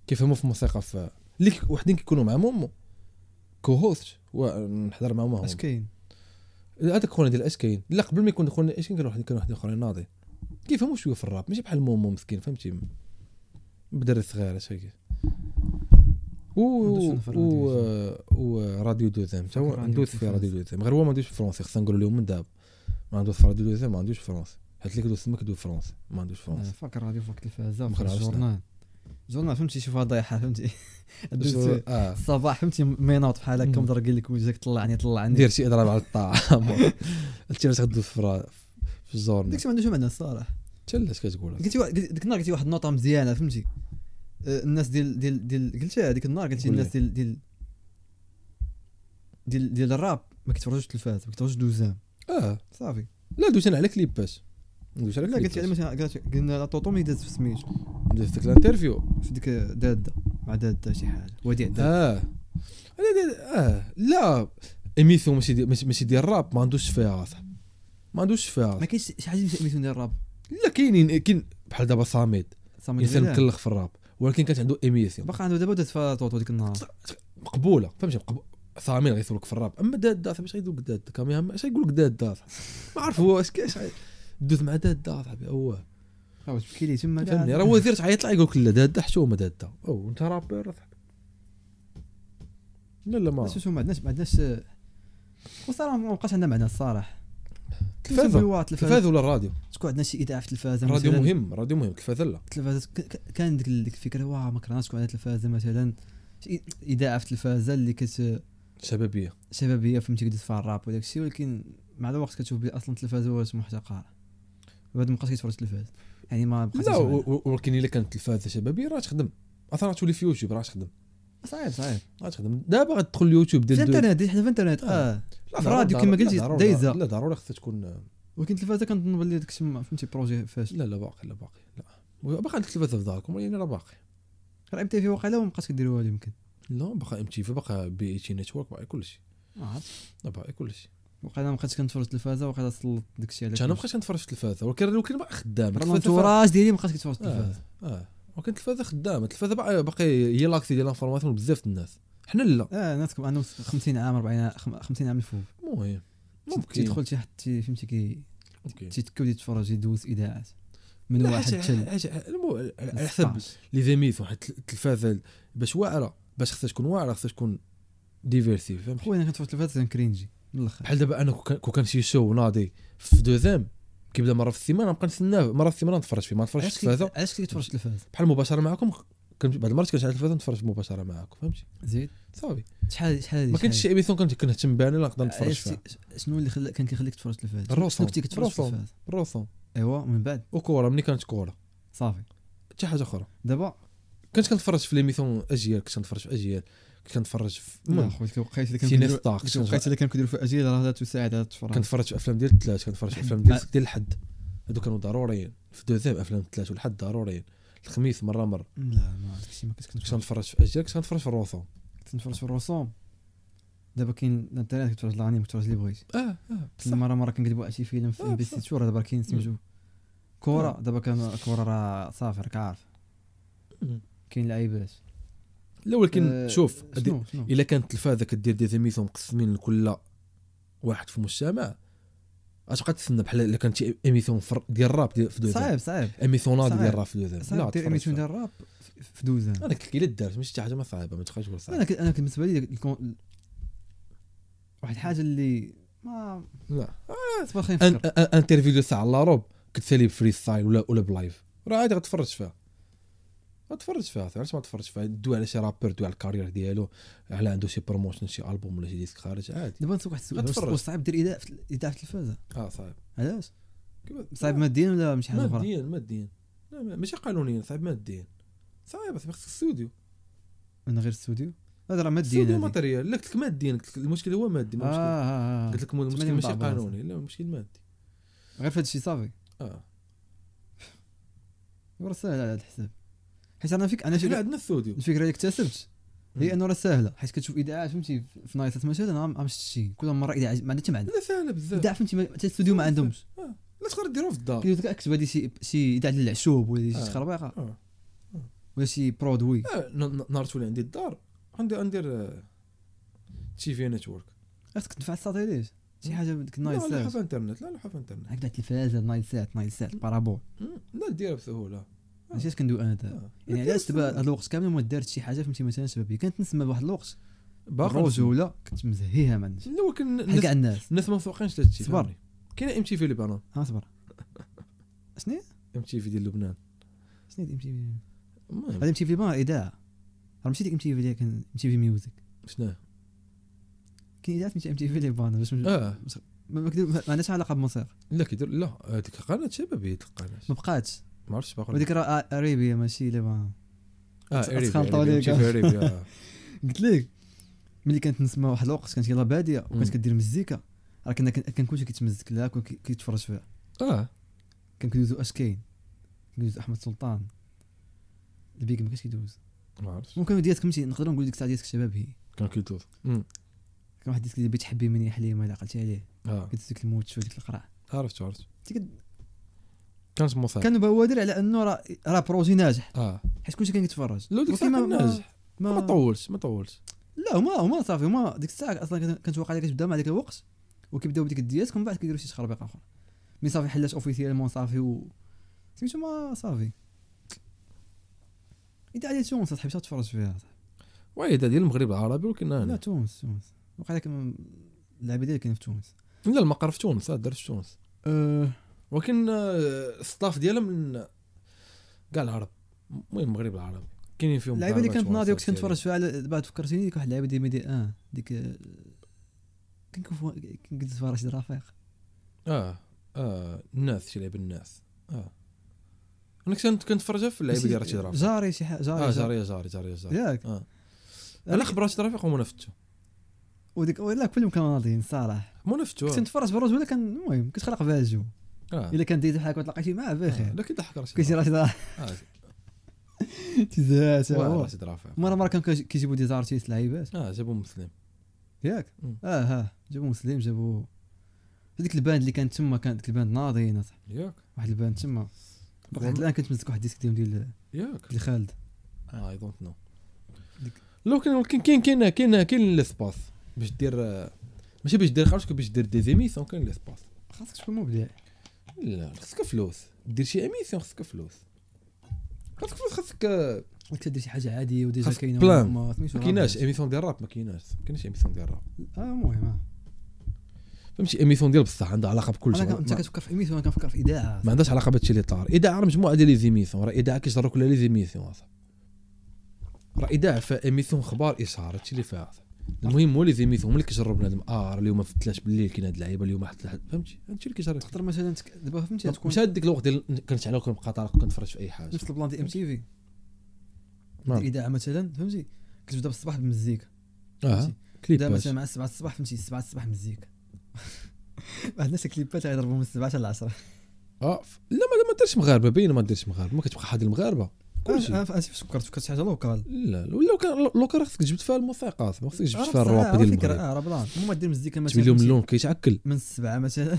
Speaker 3: كيفهموا في الموسيقى في اللي كي- وحدين كيكونوا مع مومو كو هوست ونحضر معاهم هما.
Speaker 2: اش كاين
Speaker 3: هذاك خونا ديال اش كاين لا قبل ما يكون خونا اش كاين كانوا واحد- كانوا واحدين اخرين ناضي كيفهموا شويه في الراب ماشي بحال مومو مسكين فهمتي بدري صغير اش هيك و
Speaker 2: ندوز شنو في الراديو
Speaker 3: و
Speaker 2: يجي.
Speaker 3: و راديو دوزيم تا هو
Speaker 2: راديو
Speaker 3: ندوز في
Speaker 2: فرنسي.
Speaker 3: راديو دوزيم غير هو ما عندوش فرونسي خصنا نقولوا لهم من دابا ما عندوش في راديو دوزيم ما عندوش فرونسي حيت اللي كيدوز تما كيدوز فرونسي ما عندوش فرونسي
Speaker 2: فاك الراديو فاك التلفازه فاك
Speaker 3: مخرع عرفت.
Speaker 2: الجورنال الجورنال فهمتي شوفها ضايحه فهمتي دوز
Speaker 3: اه
Speaker 2: الصباح فهمتي مينوط بحال هكا
Speaker 3: مم.
Speaker 2: مدرقي لك وجهك طلعني طلعني
Speaker 3: ندير شي اضراب على الطعام قلت علاش غدوز في الرا- في الزور
Speaker 2: داك الشيء ما عندوش معنى الصراحه
Speaker 3: حتى علاش كتقول
Speaker 2: قلتي واحد- قلت- ديك النهار قلتي واحد النوطه مزيانه فهمتي آه، الناس ديال ديال ديال قلتيها ديك النهار قلتي
Speaker 3: قول لي.
Speaker 2: الناس ديال ديال ديال ديال الراب ما كيتفرجوش التلفاز ما كيتفرجوش دوزام
Speaker 3: اه
Speaker 2: صافي
Speaker 3: لا دوزت انا على كليباش دوزت على
Speaker 2: لا قلت على
Speaker 3: كليباش
Speaker 2: مثلا قلت- قلنا لا طوطو ملي دازت في سميتو
Speaker 3: دوزت ديك الانترفيو
Speaker 2: في ديك داده مع داده شي حاجه وديع داده
Speaker 3: اه لا لا اه لا ايميسيون ماشي دي- ماشي ماشي ديال الراب ما عندوش فيها صاحبي ما عندوش فيها
Speaker 2: ما كاينش شي حاجه في ديال الراب
Speaker 3: لا كاينين كاين بحال دابا صامد
Speaker 2: صامد
Speaker 3: انسان
Speaker 2: بلال.
Speaker 3: مكلخ في الراب ولكن كانت عنده ايميسيون
Speaker 2: باقي عنده دابا دازت في طوطو ديك النهار
Speaker 3: مقبوله فهمتي مقب... صامين غيثولك في الراب اما داد داد باش غيقول لك داد كاميام اش غيقول لك داد داد ما عرف هو اش كاش دوز مع داد داد صاحبي هو
Speaker 2: راه واش بكي ليه تما
Speaker 3: فهمني
Speaker 2: كاع.
Speaker 3: راه وزير تعيط له يقول لك لا داد حشومه داد او انت رابر صاحبي لا لا ما
Speaker 2: بس شو ما عندناش ما عندناش آه، وصراحه ما بقاش عندنا معنى الصراحه
Speaker 3: التلفازه
Speaker 2: سميوها تلفاز.
Speaker 3: التلفاز ولا الراديو
Speaker 2: تكون عندنا شي اذاعه في التلفازه
Speaker 3: الراديو
Speaker 2: مثلاً.
Speaker 3: مهم الراديو مهم التلفازه لا
Speaker 2: التلفازات ك- ك- كان ديك ديك الفكره واه ما كرهناش تكون عندنا تلفازه مثلا شي اذاعه في التلفازه اللي كت
Speaker 3: شبابيه
Speaker 2: شبابيه فهمتي كدير فيها الراب وداك الشيء ولكن مع الوقت كتشوف بلي اصلا التلفازه هو اسمه محتقره بعد ما بقاش كيتفرج التلفاز يعني ما بقاش
Speaker 3: لا
Speaker 2: يسمع.
Speaker 3: و- و- ولكن الا كانت التلفازه شبابيه راه تخدم اصلا راه تولي في يوتيوب راه تخدم
Speaker 2: صعيب صعيب
Speaker 3: راه تخدم دابا غتدخل اليوتيوب
Speaker 2: في
Speaker 3: ديال دو-
Speaker 2: الانترنت دي حنا في الانترنت
Speaker 3: آه.
Speaker 2: اه
Speaker 3: لا،
Speaker 2: في
Speaker 3: ضروري-
Speaker 2: الراديو كما
Speaker 3: ضروري-
Speaker 2: قلتي
Speaker 3: لا، ضروري-
Speaker 2: دايزة.
Speaker 3: لا ضروري خصها تكون
Speaker 2: ولكن التلفازه كنظن بلي داك الشيء ما- فهمتي بروجي فاشل
Speaker 3: لا لا باقي لا باقي لا باقي عندك التلفازه في داركم ولكن يعني راه باقي
Speaker 2: راه ام تي في وقيله وما بقاش كدير والو يمكن
Speaker 3: لا باقي ام تي في باقي بي اي تي نتورك باقي كلشي
Speaker 2: ما عرفت
Speaker 3: باقي كلشي
Speaker 2: وقيلا ما بقيتش كنتفرج التلفازه وقيلا سلطت داكشي على
Speaker 3: حتى انا بقيت كنتفرج في التلفازه ولكن ولكن باقي خدام
Speaker 2: راه
Speaker 3: التلفازة-
Speaker 2: الانتوراج ديالي ما بقيتش كنتفرج
Speaker 3: اه
Speaker 2: التلفازه
Speaker 3: اه ولكن التلفازه خدام التلفازه باقي باقي هي لاكسي ديال الانفورماسيون بزاف د الناس حنا لا
Speaker 2: اه ناسكم انا 50 عام 40 عام- خم- 50 عام الفوق
Speaker 3: المهم ممكن
Speaker 2: تيدخل شي حد تي- فهمتي كي
Speaker 3: ممكن
Speaker 2: تيتكا ويبدا يتفرج يدوز اذاعات من
Speaker 3: لا،
Speaker 2: واحد
Speaker 3: حاجة-
Speaker 2: حتى
Speaker 3: حاجة- المو- على- على حسب
Speaker 2: 16.
Speaker 3: لي زيميس واحد التل- التلفازه باش واعره باش خصها تكون واعره خصها تكون ديفيرسي فهمت
Speaker 2: خويا انا كنتفرج التلفازه كرينجي من الاخر
Speaker 3: بحال دابا انا كو كان- كو كان شي شو ناضي في دوزام كيبدا مره في السيمانه نبقى نتسناه مره في السيمانه نتفرج فيه ما نتفرجش في
Speaker 2: علاش كي-
Speaker 3: التلفازه
Speaker 2: علاش كتفرج التلفازه
Speaker 3: بحال مباشره معكم كنت بعض المرات كنشعل التلفازه نتفرج مباشره معكم فهمتي
Speaker 2: زيد
Speaker 3: صافي
Speaker 2: شحال شحال هذه
Speaker 3: ما كانتش شي ايميسيون كنت كنهتم بها انا لا نقدر نتفرج
Speaker 2: علاش
Speaker 3: فيها
Speaker 2: تي- شنو اللي خلا كان كيخليك تفرج التلفازه شنو-
Speaker 3: الرسم.
Speaker 2: شنو كنتي كتفرج في
Speaker 3: الرسم.
Speaker 2: التلفازه
Speaker 3: الرسوم
Speaker 2: ايوا من بعد
Speaker 3: وكوره ملي كانت كوره
Speaker 2: صافي
Speaker 3: حتى حاجه اخرى
Speaker 2: دابا
Speaker 3: كنت كنتفرج في ليميسيون اجيال كنت كنتفرج في اجيال كنت كنتفرج في المهم،
Speaker 2: خويا كيوقيت اللي
Speaker 3: شي ناس
Speaker 2: كنكديرو
Speaker 3: طاق، شي
Speaker 2: كيوقيت اللي كنكديرو في اجيال راه لا تساعد على التفرج
Speaker 3: كنتفرج في افلام ديال الثلاث كنتفرج في افلام ديال ديال الحد هادو كانوا ضروريين في دوزيام افلام الثلاث والحد ضروريين الخميس مره مره
Speaker 2: لا ما داكشي ما كنتش
Speaker 3: كنت
Speaker 2: كنتفرج
Speaker 3: كنتفرج في اجيال كنت كنتفرج في الروسون
Speaker 2: كنت نتفرج في الرسوم دابا كاين الانترنت كتفرج الانيم كتفرج اللي بغيتي
Speaker 3: اه اه
Speaker 2: كنا مره مره كنكذبوا على شي فيلم في
Speaker 3: آه،
Speaker 2: ام بي سي
Speaker 3: بصح.
Speaker 2: تور دابا راه كاين سميتو كره دابا كان كره راه صافي راك عارف
Speaker 3: مم.
Speaker 2: كاين لعيبات
Speaker 3: لا ولكن
Speaker 2: آه،
Speaker 3: شوف هادي-
Speaker 2: شنو شنو
Speaker 3: الا كانت التلفازه كدير دي زيميسيون مقسمين لكل واحد في المجتمع غتبقى تسنى بحال الا كانت شي ايميسيون فر- ديال الراب ديال- في دوزيام
Speaker 2: صعيب صعيب
Speaker 3: ايميسيونات ديال
Speaker 2: صعيب.
Speaker 3: الراب في دوزيام
Speaker 2: صعيب دير ايميسيون ديال الراب في- في دوزان
Speaker 3: انا قلت لك الا دارت ماشي شي حاجه ما صعيبه ما تبقاش تقول
Speaker 2: انا
Speaker 3: صعيبه
Speaker 2: ك- انا بالنسبه لي الكون- واحد الحاجه اللي ما
Speaker 3: لا
Speaker 2: صبر خلينا
Speaker 3: ان
Speaker 2: نفكر
Speaker 3: ان- انترفيو ديال ساعه لا روب كتسالي فري ستايل ولا ولا بلايف راه عادي غتفرج فيها غتفرج فيها علاش ما تفرجش فيها دوي على شي رابور دوي على الكارير ديالو على عنده شي بروموشن شي البوم ولا شي ديسك خارج عادي
Speaker 2: دابا نسوق واحد السؤال واش-
Speaker 3: غتفرج.
Speaker 2: واش صعيب دير اذاعه في ال- اذاعه في التلفازه
Speaker 3: اه صعيب
Speaker 2: علاش صعيب ماديا ولا مش حاجه اخرى
Speaker 3: ماديا ماديا لا ما- ماشي قانونيا صعيب ماديا صعيب صعيب خصك استوديو
Speaker 2: من غير استوديو هذا راه ماديا
Speaker 3: استوديو
Speaker 2: هذه.
Speaker 3: ماتيريال لا قلت لك ماديا قلت لك المشكل هو مادي
Speaker 2: آه،
Speaker 3: ما مشكل
Speaker 2: آه، آه.
Speaker 3: قلت لك المشكل
Speaker 2: ثمانية
Speaker 3: ماشي
Speaker 2: مطابعات.
Speaker 3: قانوني لا المشكل مادي
Speaker 2: غير في هذا الشيء صافي
Speaker 3: اه
Speaker 2: راه ساهله على الحساب حيت انا فيك انا شي
Speaker 3: حنا عندنا استوديو
Speaker 2: الفكره اللي اكتسبت
Speaker 3: مم.
Speaker 2: هي انه راه ساهله حيت كتشوف اذاعات فهمتي في نايتات مثلا عم عم شتي كل مره اذاعه ما عندها حتى معدن
Speaker 3: لا سهله بزاف
Speaker 2: اذاعه فهمتي ما- حتى الاستوديو ما
Speaker 3: آه.
Speaker 2: عندهمش
Speaker 3: لا تقدر ديرو في الدار
Speaker 2: كيقول لك اكتب هذه شي شي اذاعه للعشوب ولا
Speaker 3: آه.
Speaker 2: شي خربيقه
Speaker 3: آه.
Speaker 2: ولا شي برودوي
Speaker 3: آه، ن- ن- نهار تولي عندي الدار غندير غندير تي في نتورك
Speaker 2: خاصك تدفع الساتيليت شي حاجه بديك
Speaker 3: لا
Speaker 2: نايت
Speaker 3: نلعب
Speaker 2: سات
Speaker 3: في انترنت لا نلعب في انترنت
Speaker 2: هكذا التلفازه نايت سات نايت سات بارابول
Speaker 3: مم، لا ديرها بسهوله
Speaker 2: ماشي اش كندوي انا دابا
Speaker 3: آه.
Speaker 2: يعني
Speaker 3: لا ديرها
Speaker 2: علاش دابا
Speaker 3: بسهولة.
Speaker 2: هذا الوقت كامل ما دارت شي حاجه فهمتي مثلا شبابيه كانت نسمى بواحد الوقت
Speaker 3: باقي نسمع.
Speaker 2: الرجوله كنت مزهيها مع الناس
Speaker 3: لا ولكن
Speaker 2: بحال
Speaker 3: الناس-
Speaker 2: كاع الناس
Speaker 3: الناس ما مسوقينش لهادشي
Speaker 2: صبر.
Speaker 3: فهمني. كاين ام تي في لبنان
Speaker 2: ها صبر شنو
Speaker 3: ام تي في ديال لبنان
Speaker 2: شنو ام تي في
Speaker 3: المهم
Speaker 2: هذا ام تي في بار اذاعه راه ماشي ديك ام تي في ديال ام تي في ميوزك
Speaker 3: شنو
Speaker 2: كاين اذاعات ام تي في اللي بان باش ما
Speaker 3: اه
Speaker 2: ما عندهاش علاقه بالموسيقى
Speaker 3: لا كيدير لا هذيك قناه شبابيه ديك القناه
Speaker 2: ما بقاتش
Speaker 3: ما عرفتش باقي ولا-
Speaker 2: وديك راه اريبيا ماشي اللي بان
Speaker 3: اه
Speaker 2: أت-
Speaker 3: اريبيا
Speaker 2: أتخلطوا
Speaker 3: اريبيا،
Speaker 2: ليك.
Speaker 3: MTV اريبيا آه.
Speaker 2: قلت لك ملي كانت نسمع واحد الوقت كانت يلا باديه وكانت
Speaker 3: مم.
Speaker 2: كدير مزيكا راه كنا كن- كان كلشي كيتمزك لها كون كي- كيتفرج فيها
Speaker 3: اه
Speaker 2: كان كيدوزو اش كاين كيدوزو احمد سلطان البيك ما كانش كيدوز
Speaker 3: ما عرفتش
Speaker 2: ممكن ديالك فهمتي نقدروا نقول ديك الساعه ديالك شباب هي
Speaker 3: كان كيدوز مم.
Speaker 2: كان واحد ديسك ديال بيت حبي مني حليمه اللي عقلتي عليه
Speaker 3: اه
Speaker 2: كيدوز ديك الموت شو ديك القرع
Speaker 3: عرفت عرفت
Speaker 2: تيك-
Speaker 3: كانت موثق
Speaker 2: كانوا بوادر على انه راه راه بروجي ناجح
Speaker 3: اه
Speaker 2: حيت كلشي كان كيتفرج
Speaker 3: لو ديك
Speaker 2: ولكن
Speaker 3: الساعه
Speaker 2: ما-
Speaker 3: كان
Speaker 2: ما-
Speaker 3: ناجح ما
Speaker 2: ما
Speaker 3: طولش ما طولش
Speaker 2: لا هما هما صافي هما ديك الساعه اصلا كان- كانت واقع كتبدا مع ديك الوقت وكيبداو بديك الدياسك ومن بعد كيديروا شي تخربيقه اخرى مي صافي حلات اوفيسيالمون صافي و سميتو ما صافي اذا على تونس صاحبي شنو تفرج فيها صاحبي.
Speaker 3: وايد ديال المغرب العربي ولكن
Speaker 2: لا
Speaker 3: انا
Speaker 2: تونس تونس واقع لك اللعبه ديالي كاين في تونس
Speaker 3: لا المقر في تونس آه، دار في تونس
Speaker 2: أه
Speaker 3: ولكن آه، الصطاف ديالها من كاع العرب المهم المغرب العربي كاينين فيهم
Speaker 2: اللعبه اللي
Speaker 3: كاع
Speaker 2: كانت
Speaker 3: الباتوانسات
Speaker 2: ناضيه كنت كنتفرج
Speaker 3: ديالهم.
Speaker 2: فيها على بعد فكرتيني ديك واحد اللعبه ديال ميدي ان ديك آه، كنكون فوا- كنت فيها رشيد رفيق
Speaker 3: اه اه الناس شي لعب الناس اه انا كنت كنتفرج في اللعيبه
Speaker 2: ماشي-
Speaker 3: ديال رشيد رافع
Speaker 2: جاري شي حاجه
Speaker 3: اه
Speaker 2: جاري
Speaker 3: جاريه جاريه جاريه جاريه
Speaker 2: ياك
Speaker 3: اه انا خبر رشيد رافع وما نفتو
Speaker 2: وديك لا كلهم كانوا ناضيين صراحه
Speaker 3: ما نفتو
Speaker 2: كنت نتفرج بالروج ولا كان المهم كنت خلق بها الجو
Speaker 3: اه
Speaker 2: الا كان ديت بحالك وتلاقيتي معاه بخير
Speaker 3: لكن ضحك رشيد
Speaker 2: كنتي
Speaker 3: رافع.
Speaker 2: راشد راه
Speaker 3: آه،
Speaker 2: تزهات
Speaker 3: واعر رشيد رافع
Speaker 2: مره مره كانوا كيجيبوا دي زارتيست لعيبات
Speaker 3: اه جابو مسلم
Speaker 2: ياك
Speaker 3: مم.
Speaker 2: اه ها جابوا مسلم جابوا هذيك الباند اللي كانت تما كانت ديك الباند ناضيين أصاحبي.
Speaker 3: ياك
Speaker 2: واحد الباند تما
Speaker 3: باقي
Speaker 2: واحد
Speaker 3: ما-
Speaker 2: الان كنت مسك واحد الديسك ديالهم ديال
Speaker 3: ياك آه،
Speaker 2: ديال خالد
Speaker 3: اي دونت نو
Speaker 2: ديك-
Speaker 3: لو كان كاين كاين كاين كاين كاين ليسباس باش دير آه، ماشي باش دير خرجك باش دير دي زيميسيون كاين ليسباس
Speaker 2: خاصك تكون مبدع
Speaker 3: لا خصك فلوس دير شي اميسيون خصك فلوس خصك فلوس خصك آه،
Speaker 2: وانت تدير شي حاجه عاديه وديجا
Speaker 3: خاصك
Speaker 2: كاينه
Speaker 3: بلان.
Speaker 2: ما سميتو
Speaker 3: ما كايناش اميسيون ديال الراب ما كايناش ما كايناش اميسيون ديال الراب
Speaker 2: اه المهم آه.
Speaker 3: فهمتي اميسيون ديال بصح عندها علاقه بكل
Speaker 2: انا
Speaker 3: شيء
Speaker 2: كان- انت
Speaker 3: ما-
Speaker 2: كتفكر في ايميسيون انا كنفكر في اذاعه
Speaker 3: ما عندهاش علاقه بهادشي اللي طار اذاعه راه مجموعه ديال لي زيميسيون راه اذاعه كيجروا كلها لي زيميسيون اصاحبي راه اذاعه فيها اميسيون خبار اشهار هادشي اللي فيها أصاحبي. المهم هو لي زيميسيون هما اللي كيجروا بنادم اه راه اليوم في الثلاث بالليل كاين هاد اللعيبه اليوم حط لحد- فهمتي هادشي اللي كيجرى
Speaker 2: تقدر مثلا تك- دابا فهمتي تكون
Speaker 3: مش هاد ديك الوقت ديال كنت على كنبقى طارق كنتفرج في اي حاجه
Speaker 2: نفس البلان ديال ام تي في
Speaker 3: نعم.
Speaker 2: الاذاعه مثلا فهمتي كتبدا بالصباح بالمزيكا
Speaker 3: اه كليب
Speaker 2: كدا مثلا
Speaker 3: باش.
Speaker 2: مع 7 الصباح فهمتي 7 الصباح مزيكا واحد الناس كليبات غيضربوا من 7 حتى ل 10
Speaker 3: اه ف- لا ما, ما ديرش مغاربه باين ما ديرش مغاربه ما كتبقى حاد المغاربه كلشي
Speaker 2: انا فاش فكرت فكرت شي حاجه لوكال
Speaker 3: لا لا، ولا كان لوكا راه خصك جبت فيها الموسيقى ما خصك جبت فيها
Speaker 2: آه،
Speaker 3: الرواب ديال
Speaker 2: فكرة،
Speaker 3: المغرب
Speaker 2: اه راه بلان المهم دير مزيكا مثلا
Speaker 3: 8 مليون
Speaker 2: فهمتي،
Speaker 3: ملون كيتعكل
Speaker 2: من السبعه مثلا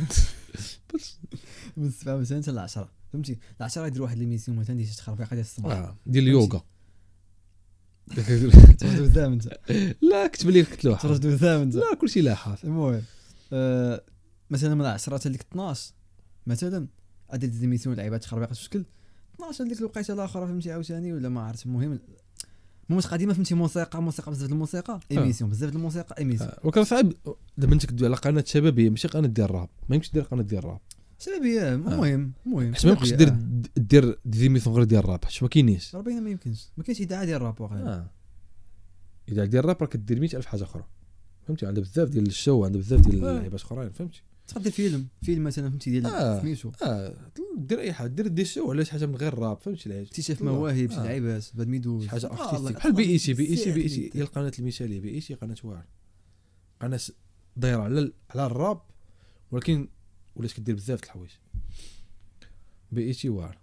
Speaker 3: بس.
Speaker 2: من السبعه مثلا حتى ل 10 فهمتي ل 10 يدير واحد ليميسيون مثلا ديال شي تخربيقه ديال الصباح
Speaker 3: اه ديال
Speaker 2: فهمتي؟
Speaker 3: اليوغا
Speaker 2: تردو زام انت
Speaker 3: لا كتب لي قلت له
Speaker 2: تردو زام انت
Speaker 3: لا كلشي لاحظ
Speaker 2: المهم آه، مثلا من 10 حتى لديك 12 مثلا عدد ديميسيون لعيبات خربيقه في الشكل 12 ديك الوقيته الاخرى فهمتي عاوتاني ولا ما عرفت المهم المهم قديمه فهمتي موسيقى موسيقى بزاف د الموسيقى ايميسيون بزاف د الموسيقى ايميسيون
Speaker 3: آه، وكان صعيب دابا انت كدوي على قناه شبابيه ماشي قناه ديال الراب ما يمكنش دير قناه ديال الراب
Speaker 2: شبابيه المهم المهم
Speaker 3: آه. حيت ما يمكنش
Speaker 2: شبابية،
Speaker 3: دير دير ديزيميسيون غير ديال الراب حيت ما
Speaker 2: آه.
Speaker 3: كاينينش
Speaker 2: راه باينه ما يمكنش ما كاينش اذاعه ديال الراب واقيلا
Speaker 3: آه. اذا ديال الراب راه كدير 100000 حاجه اخرى فهمتي عندها بزاف ديال الشو عندها بزاف ديال
Speaker 2: آه.
Speaker 3: اللعيبات اخرين فهمتي
Speaker 2: تقدر دير فيلم فيلم مثلا فهمتي ديال
Speaker 3: آه.
Speaker 2: سميتو
Speaker 3: اه دير اي حاجه دير دي شو ولا شي حاجه من غير الراب فهمتي العيب
Speaker 2: اكتشاف
Speaker 3: والله.
Speaker 2: مواهب شي
Speaker 3: آه.
Speaker 2: لعيبات باد ميدوز
Speaker 3: شي حاجه
Speaker 2: آه،
Speaker 3: ارتستيك
Speaker 2: الله،
Speaker 3: بحال بي اي تي بي اي تي
Speaker 2: سير
Speaker 3: بي اي تي هي
Speaker 2: ليدير.
Speaker 3: القناه المثاليه بي اي تي قناه واعره قناه س- دايره على ال- على الراب ولكن ولات كدير بزاف د الحوايج بي اي تي واعره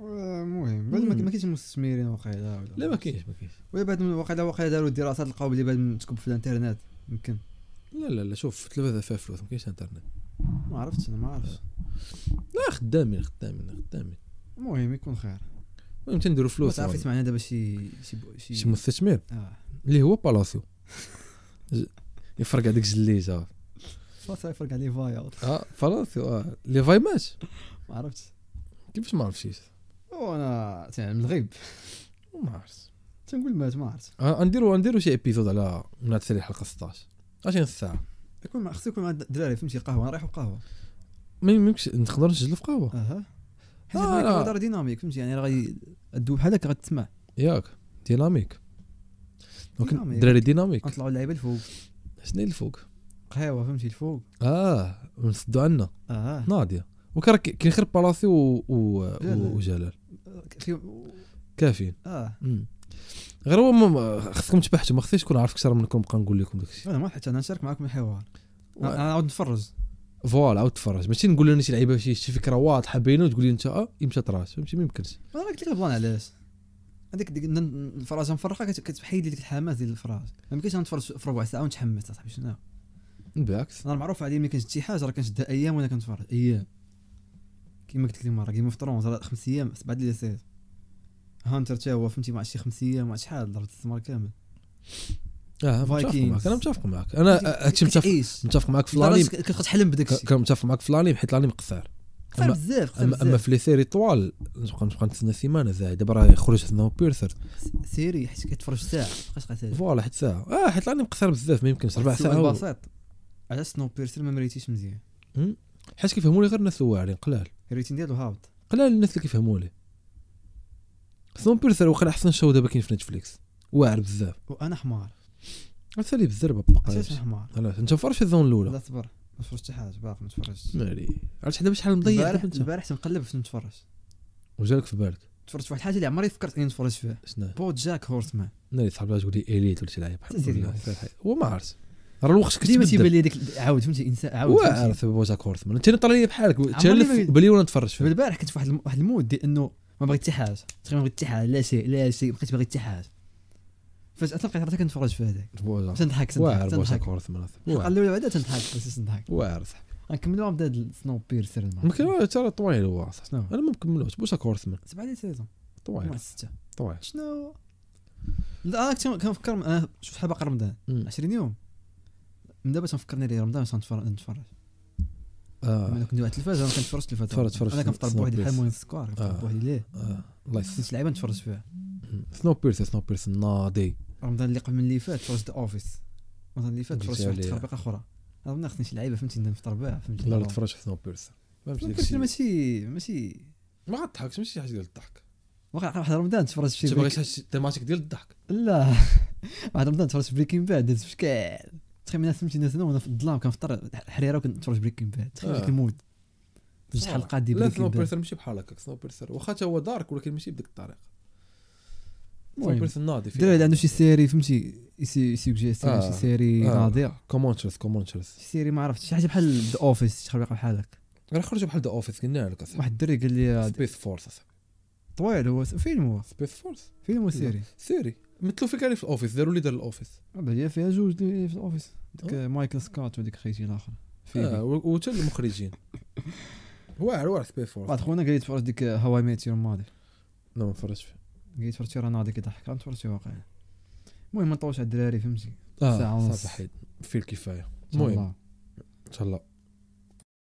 Speaker 2: آه، المهم بعد ما
Speaker 3: مم.
Speaker 2: ما كاينش مستثمرين واقيلا ولا-
Speaker 3: لا ما كاينش ما كاينش
Speaker 2: وي بعد من واقيلا واقيلا داروا الدراسات لقاو بلي بعد من تكب في الانترنت يمكن
Speaker 3: لا لا لا شوف التلفزه فيها فلوس ما كاينش انترنت
Speaker 2: ما عرفتش انا ما عرفتش
Speaker 3: آه. لا خدامين خدامين خدامين
Speaker 2: المهم يكون خير
Speaker 3: المهم تنديروا
Speaker 2: ما
Speaker 3: فلوس
Speaker 2: تعرف
Speaker 3: والله.
Speaker 2: يسمعنا دابا شي شي بو-
Speaker 3: شي
Speaker 2: شي
Speaker 3: مستثمر
Speaker 2: اه
Speaker 3: اللي هو بالاسيو ج- يفرق هذيك الجليجه
Speaker 2: خلاص يفرق عليه فايا
Speaker 3: اه بالاسيو اه لي فاي مات
Speaker 2: ما عرفتش
Speaker 3: كيفاش ما عرفتيش
Speaker 2: وانا تاع يعني من الغيب
Speaker 3: ما عرفت
Speaker 2: تنقول مات ما عرفت
Speaker 3: غنديرو غنديرو شي ابيزود على من هاد السيري حلقه 16 20 ساعه
Speaker 2: يكون مع خصو يكون مع الدراري فهمتي قهوه نريحوا قهوه
Speaker 3: ما يمكنش نقدر نسجلو في قهوه
Speaker 2: اها حيت
Speaker 3: لا،
Speaker 2: هاد
Speaker 3: آه، لا.
Speaker 2: الهضره ديناميك فهمتي يعني راه غادي الدوب بحالك غتسمع
Speaker 3: ياك ديناميك دونك
Speaker 2: ديناميك.
Speaker 3: الدراري ديناميك
Speaker 2: غنطلعوا اللعيبه الفوق
Speaker 3: شنو هي الفوق
Speaker 2: قهوه فهمتي الفوق
Speaker 3: اه ونسدو عنا
Speaker 2: اه
Speaker 3: ناضيه وكان راه كي- كاين غير بلاصي و... و...
Speaker 2: جلال.
Speaker 3: و... وجلال
Speaker 2: في-
Speaker 3: كافيين
Speaker 2: اه
Speaker 3: مم. غير هو ما- ما- خصكم تبحثوا ما خصنيش نكون عارف اكثر منكم نبقى نقول لكم داكشي
Speaker 2: انا ما حيت انا نشارك معكم الحوار
Speaker 3: و-
Speaker 2: انا أنا عاود نتفرج
Speaker 3: فوالا عاود تفرج ماشي نقول لنا شي لعيبه شي شي فكره واضحه باينه وتقول لي انت اه يمشي طراش فهمتي ما يمكنش
Speaker 2: انا قلت لك البلان علاش هذيك ديك ن- الفراجه مفرقه كت- كتحيد لي ديك الحماس ديال الفراج ما يمكنش نتفرج في ربع ساعه ونتحمس اصاحبي شنو
Speaker 3: بالعكس
Speaker 2: انا معروف عليا ملي كنشد شي حاجه راه كنشدها ايام وانا كنتفرج ايام كيما قلت لك ديك المره كيما في طرونز راه خمس ايام سبعه ديال السيد هانتر تا هو فهمتي ما عرفتش شي خمس ايام ما عرفتش شحال ضربت السمر كامل
Speaker 3: اه متفق
Speaker 2: Vikings.
Speaker 3: معك انا متفق معك انا هادشي متفق
Speaker 2: كتعيش.
Speaker 3: متفق معك في
Speaker 2: لدرجة
Speaker 3: الانيم
Speaker 2: ك- كتبقى تحلم بداك الشيء
Speaker 3: كان متفق معك في الانيم حيت الانيم قصير
Speaker 2: قصير
Speaker 3: أما-
Speaker 2: بزاف قصير
Speaker 3: اما اما
Speaker 2: بزاف
Speaker 3: في لي سيري طوال نبقى نبقى نتسنى سيمانه زاهي دابا راه يخرج سنو بيرثر
Speaker 2: سيري حيت كتفرج ساعه مابقاش قتال
Speaker 3: فوالا حيت ساعه اه حيت الانيم قصير بزاف ما يمكنش ربع
Speaker 2: السؤال
Speaker 3: ساعه و-
Speaker 2: بسيط علاش سنو بيرسر ما مريتيش مزيان
Speaker 3: حيت كيفهموا لي غير الناس الواعرين قلال
Speaker 2: الريتين ديالو هابط
Speaker 3: قلال الناس اللي كيفهموا لي سنو بيرثر وقال احسن شو دابا كاين في نتفليكس واعر بزاف
Speaker 2: وانا حمار
Speaker 3: عرفتي لي بالزربه بقى
Speaker 2: علاش أنا حمار
Speaker 3: علاش انت فرش في الزون
Speaker 2: لا
Speaker 3: الاولى
Speaker 2: صبر ما تفرجت حتى حاجه باقي ما تفرجتش
Speaker 3: مالي عرفت حدا شحال مضيع
Speaker 2: البارح
Speaker 3: دابا انت
Speaker 2: البارح تنقلب باش نتفرج
Speaker 3: وجالك في بالك
Speaker 2: تفرجت في واحد الحاجه اللي عمري فكرت اني نتفرج فيها
Speaker 3: شنو
Speaker 2: بو جاك هورسمان
Speaker 3: ناري صحاب تقول لي اليت ولا شي لعيب
Speaker 2: تا سيري.
Speaker 3: هو ما عرفت راه الوقت
Speaker 2: ديما
Speaker 3: كتبدل
Speaker 2: تيبان لي ديك عاود فهمتي انسان عاود فهمتي.
Speaker 3: واعرف بوجاك هورثمان انت طلع لي بحالك
Speaker 2: ما-
Speaker 3: تالف بالي وانا نتفرج فيه
Speaker 2: البارح كنت في واحد الم- واحد المود ديال انه ما بغيت حتى حاجه تقريبا ما بغيت حتى حاجه لا شيء لا شيء ما بقيت باغي حتى حاجه فجاه لقيت راسي كنتفرج في هذاك
Speaker 3: بوزا
Speaker 2: تنضحك
Speaker 3: واعر
Speaker 2: تنضحك
Speaker 3: بوزا
Speaker 2: تنضحك
Speaker 3: كورث مرات واعر
Speaker 2: قالوا له بعدا تنضحك بس تنضحك
Speaker 3: واعر صح
Speaker 2: غنكملوا بدا السنو بيرسر
Speaker 3: ما كان ترى طويل هو صح
Speaker 2: شنو
Speaker 3: انا ما مكملوش بوزا كورث مرات
Speaker 2: سبعه ديال سيزون
Speaker 3: طويل
Speaker 2: مع سته
Speaker 3: طويل
Speaker 2: شنو لا انا كنت كنفكر انا شوف شحال باقي رمضان
Speaker 3: مم.
Speaker 2: 20 يوم من دابا تنفكرني ليه رمضان باش نتفرج نتفرج
Speaker 3: اه
Speaker 2: ملي كنت على التلفاز انا كنتفرج التلفاز
Speaker 3: تفرج- تفرج
Speaker 2: انا كنفطر
Speaker 3: سنو
Speaker 2: بوحدي بحال
Speaker 3: بيرس.
Speaker 2: موين سكوار كنفطر
Speaker 3: آه.
Speaker 2: بوحدي ليه
Speaker 3: آه. الله يس
Speaker 2: ست لعيبه نتفرج فيها
Speaker 3: سنو بيرس سنو بيرس ناضي
Speaker 2: رمضان اللي قبل من اللي فات تفرجت ذا اوفيس رمضان اللي فات
Speaker 3: قلت
Speaker 2: تفرجت واحد
Speaker 3: عليها.
Speaker 2: التخربيقه اخرى رمضان خصني شي لعيبه فهمتي نفطر بها فهمتي
Speaker 3: لا لا تفرج سنو بيرس
Speaker 2: ممكن ماشي ماشي
Speaker 3: ما غاتضحكش ماشي شي حاجه ديال الضحك
Speaker 2: واقع واحد رمضان تفرج في
Speaker 3: انت
Speaker 2: شي
Speaker 3: باغي
Speaker 2: بريك-
Speaker 3: شي حاجة تيماتيك ديال الضحك
Speaker 2: لا واحد رمضان تفرج في بريكين باد داز في شكال تخيل الناس فهمتي الناس أنا وانا في الظلام كنفطر حريره وكنتفرج بريكين باد تخيل
Speaker 3: آه.
Speaker 2: ديك المود جوج حلقه ديال
Speaker 3: لا سنو
Speaker 2: بريكين باد
Speaker 3: بيرسر ماشي بحال هكاك سنو بيرسر واخا حتى هو دارك ولكن ماشي بديك الطريقه سنو
Speaker 2: المهم.
Speaker 3: بيرسر ناضي
Speaker 2: الدراري اللي عنده شي سيري فهمتي يسي- يسوجيستي ولا
Speaker 3: آه.
Speaker 2: شي سيري
Speaker 3: آه.
Speaker 2: ناضيه
Speaker 3: كومونتشرز كومونتشرز
Speaker 2: شي سيري ما عرفتش شي حاجه بحال ذا اوفيس شي خربيقه بحال هكا
Speaker 3: راه خرجوا بحال ذا اوفيس قلنا لك اصاحبي
Speaker 2: واحد الدري قال لي هاد-
Speaker 3: سبيس فورس اصاحبي
Speaker 2: طويل هو فيلم هو
Speaker 3: سبيس فورس
Speaker 2: فيلم هو سيري
Speaker 3: سيري مثلو في كاري في الاوفيس داروا اللي دار الاوفيس
Speaker 2: هذا هي فيها جوج دي- في الاوفيس
Speaker 3: آه.
Speaker 2: ديك مايكل سكوت وديك خيتي الاخر
Speaker 3: اه
Speaker 2: فيه
Speaker 3: و- وتا المخرجين واعر واعر سبيس فورس
Speaker 2: واحد خونا قال لي تفرج ديك هواي ميت يور ماضي
Speaker 3: لا ما تفرجتش فيه
Speaker 2: قال لي تفرجتي راه ناضي كيضحك راه تفرجتي واقيلا المهم ما نطولش على الدراري فهمتي ساعة
Speaker 3: اه
Speaker 2: ونص.
Speaker 3: صافي حيد في الكفايه
Speaker 2: المهم
Speaker 3: المهم ان شاء الله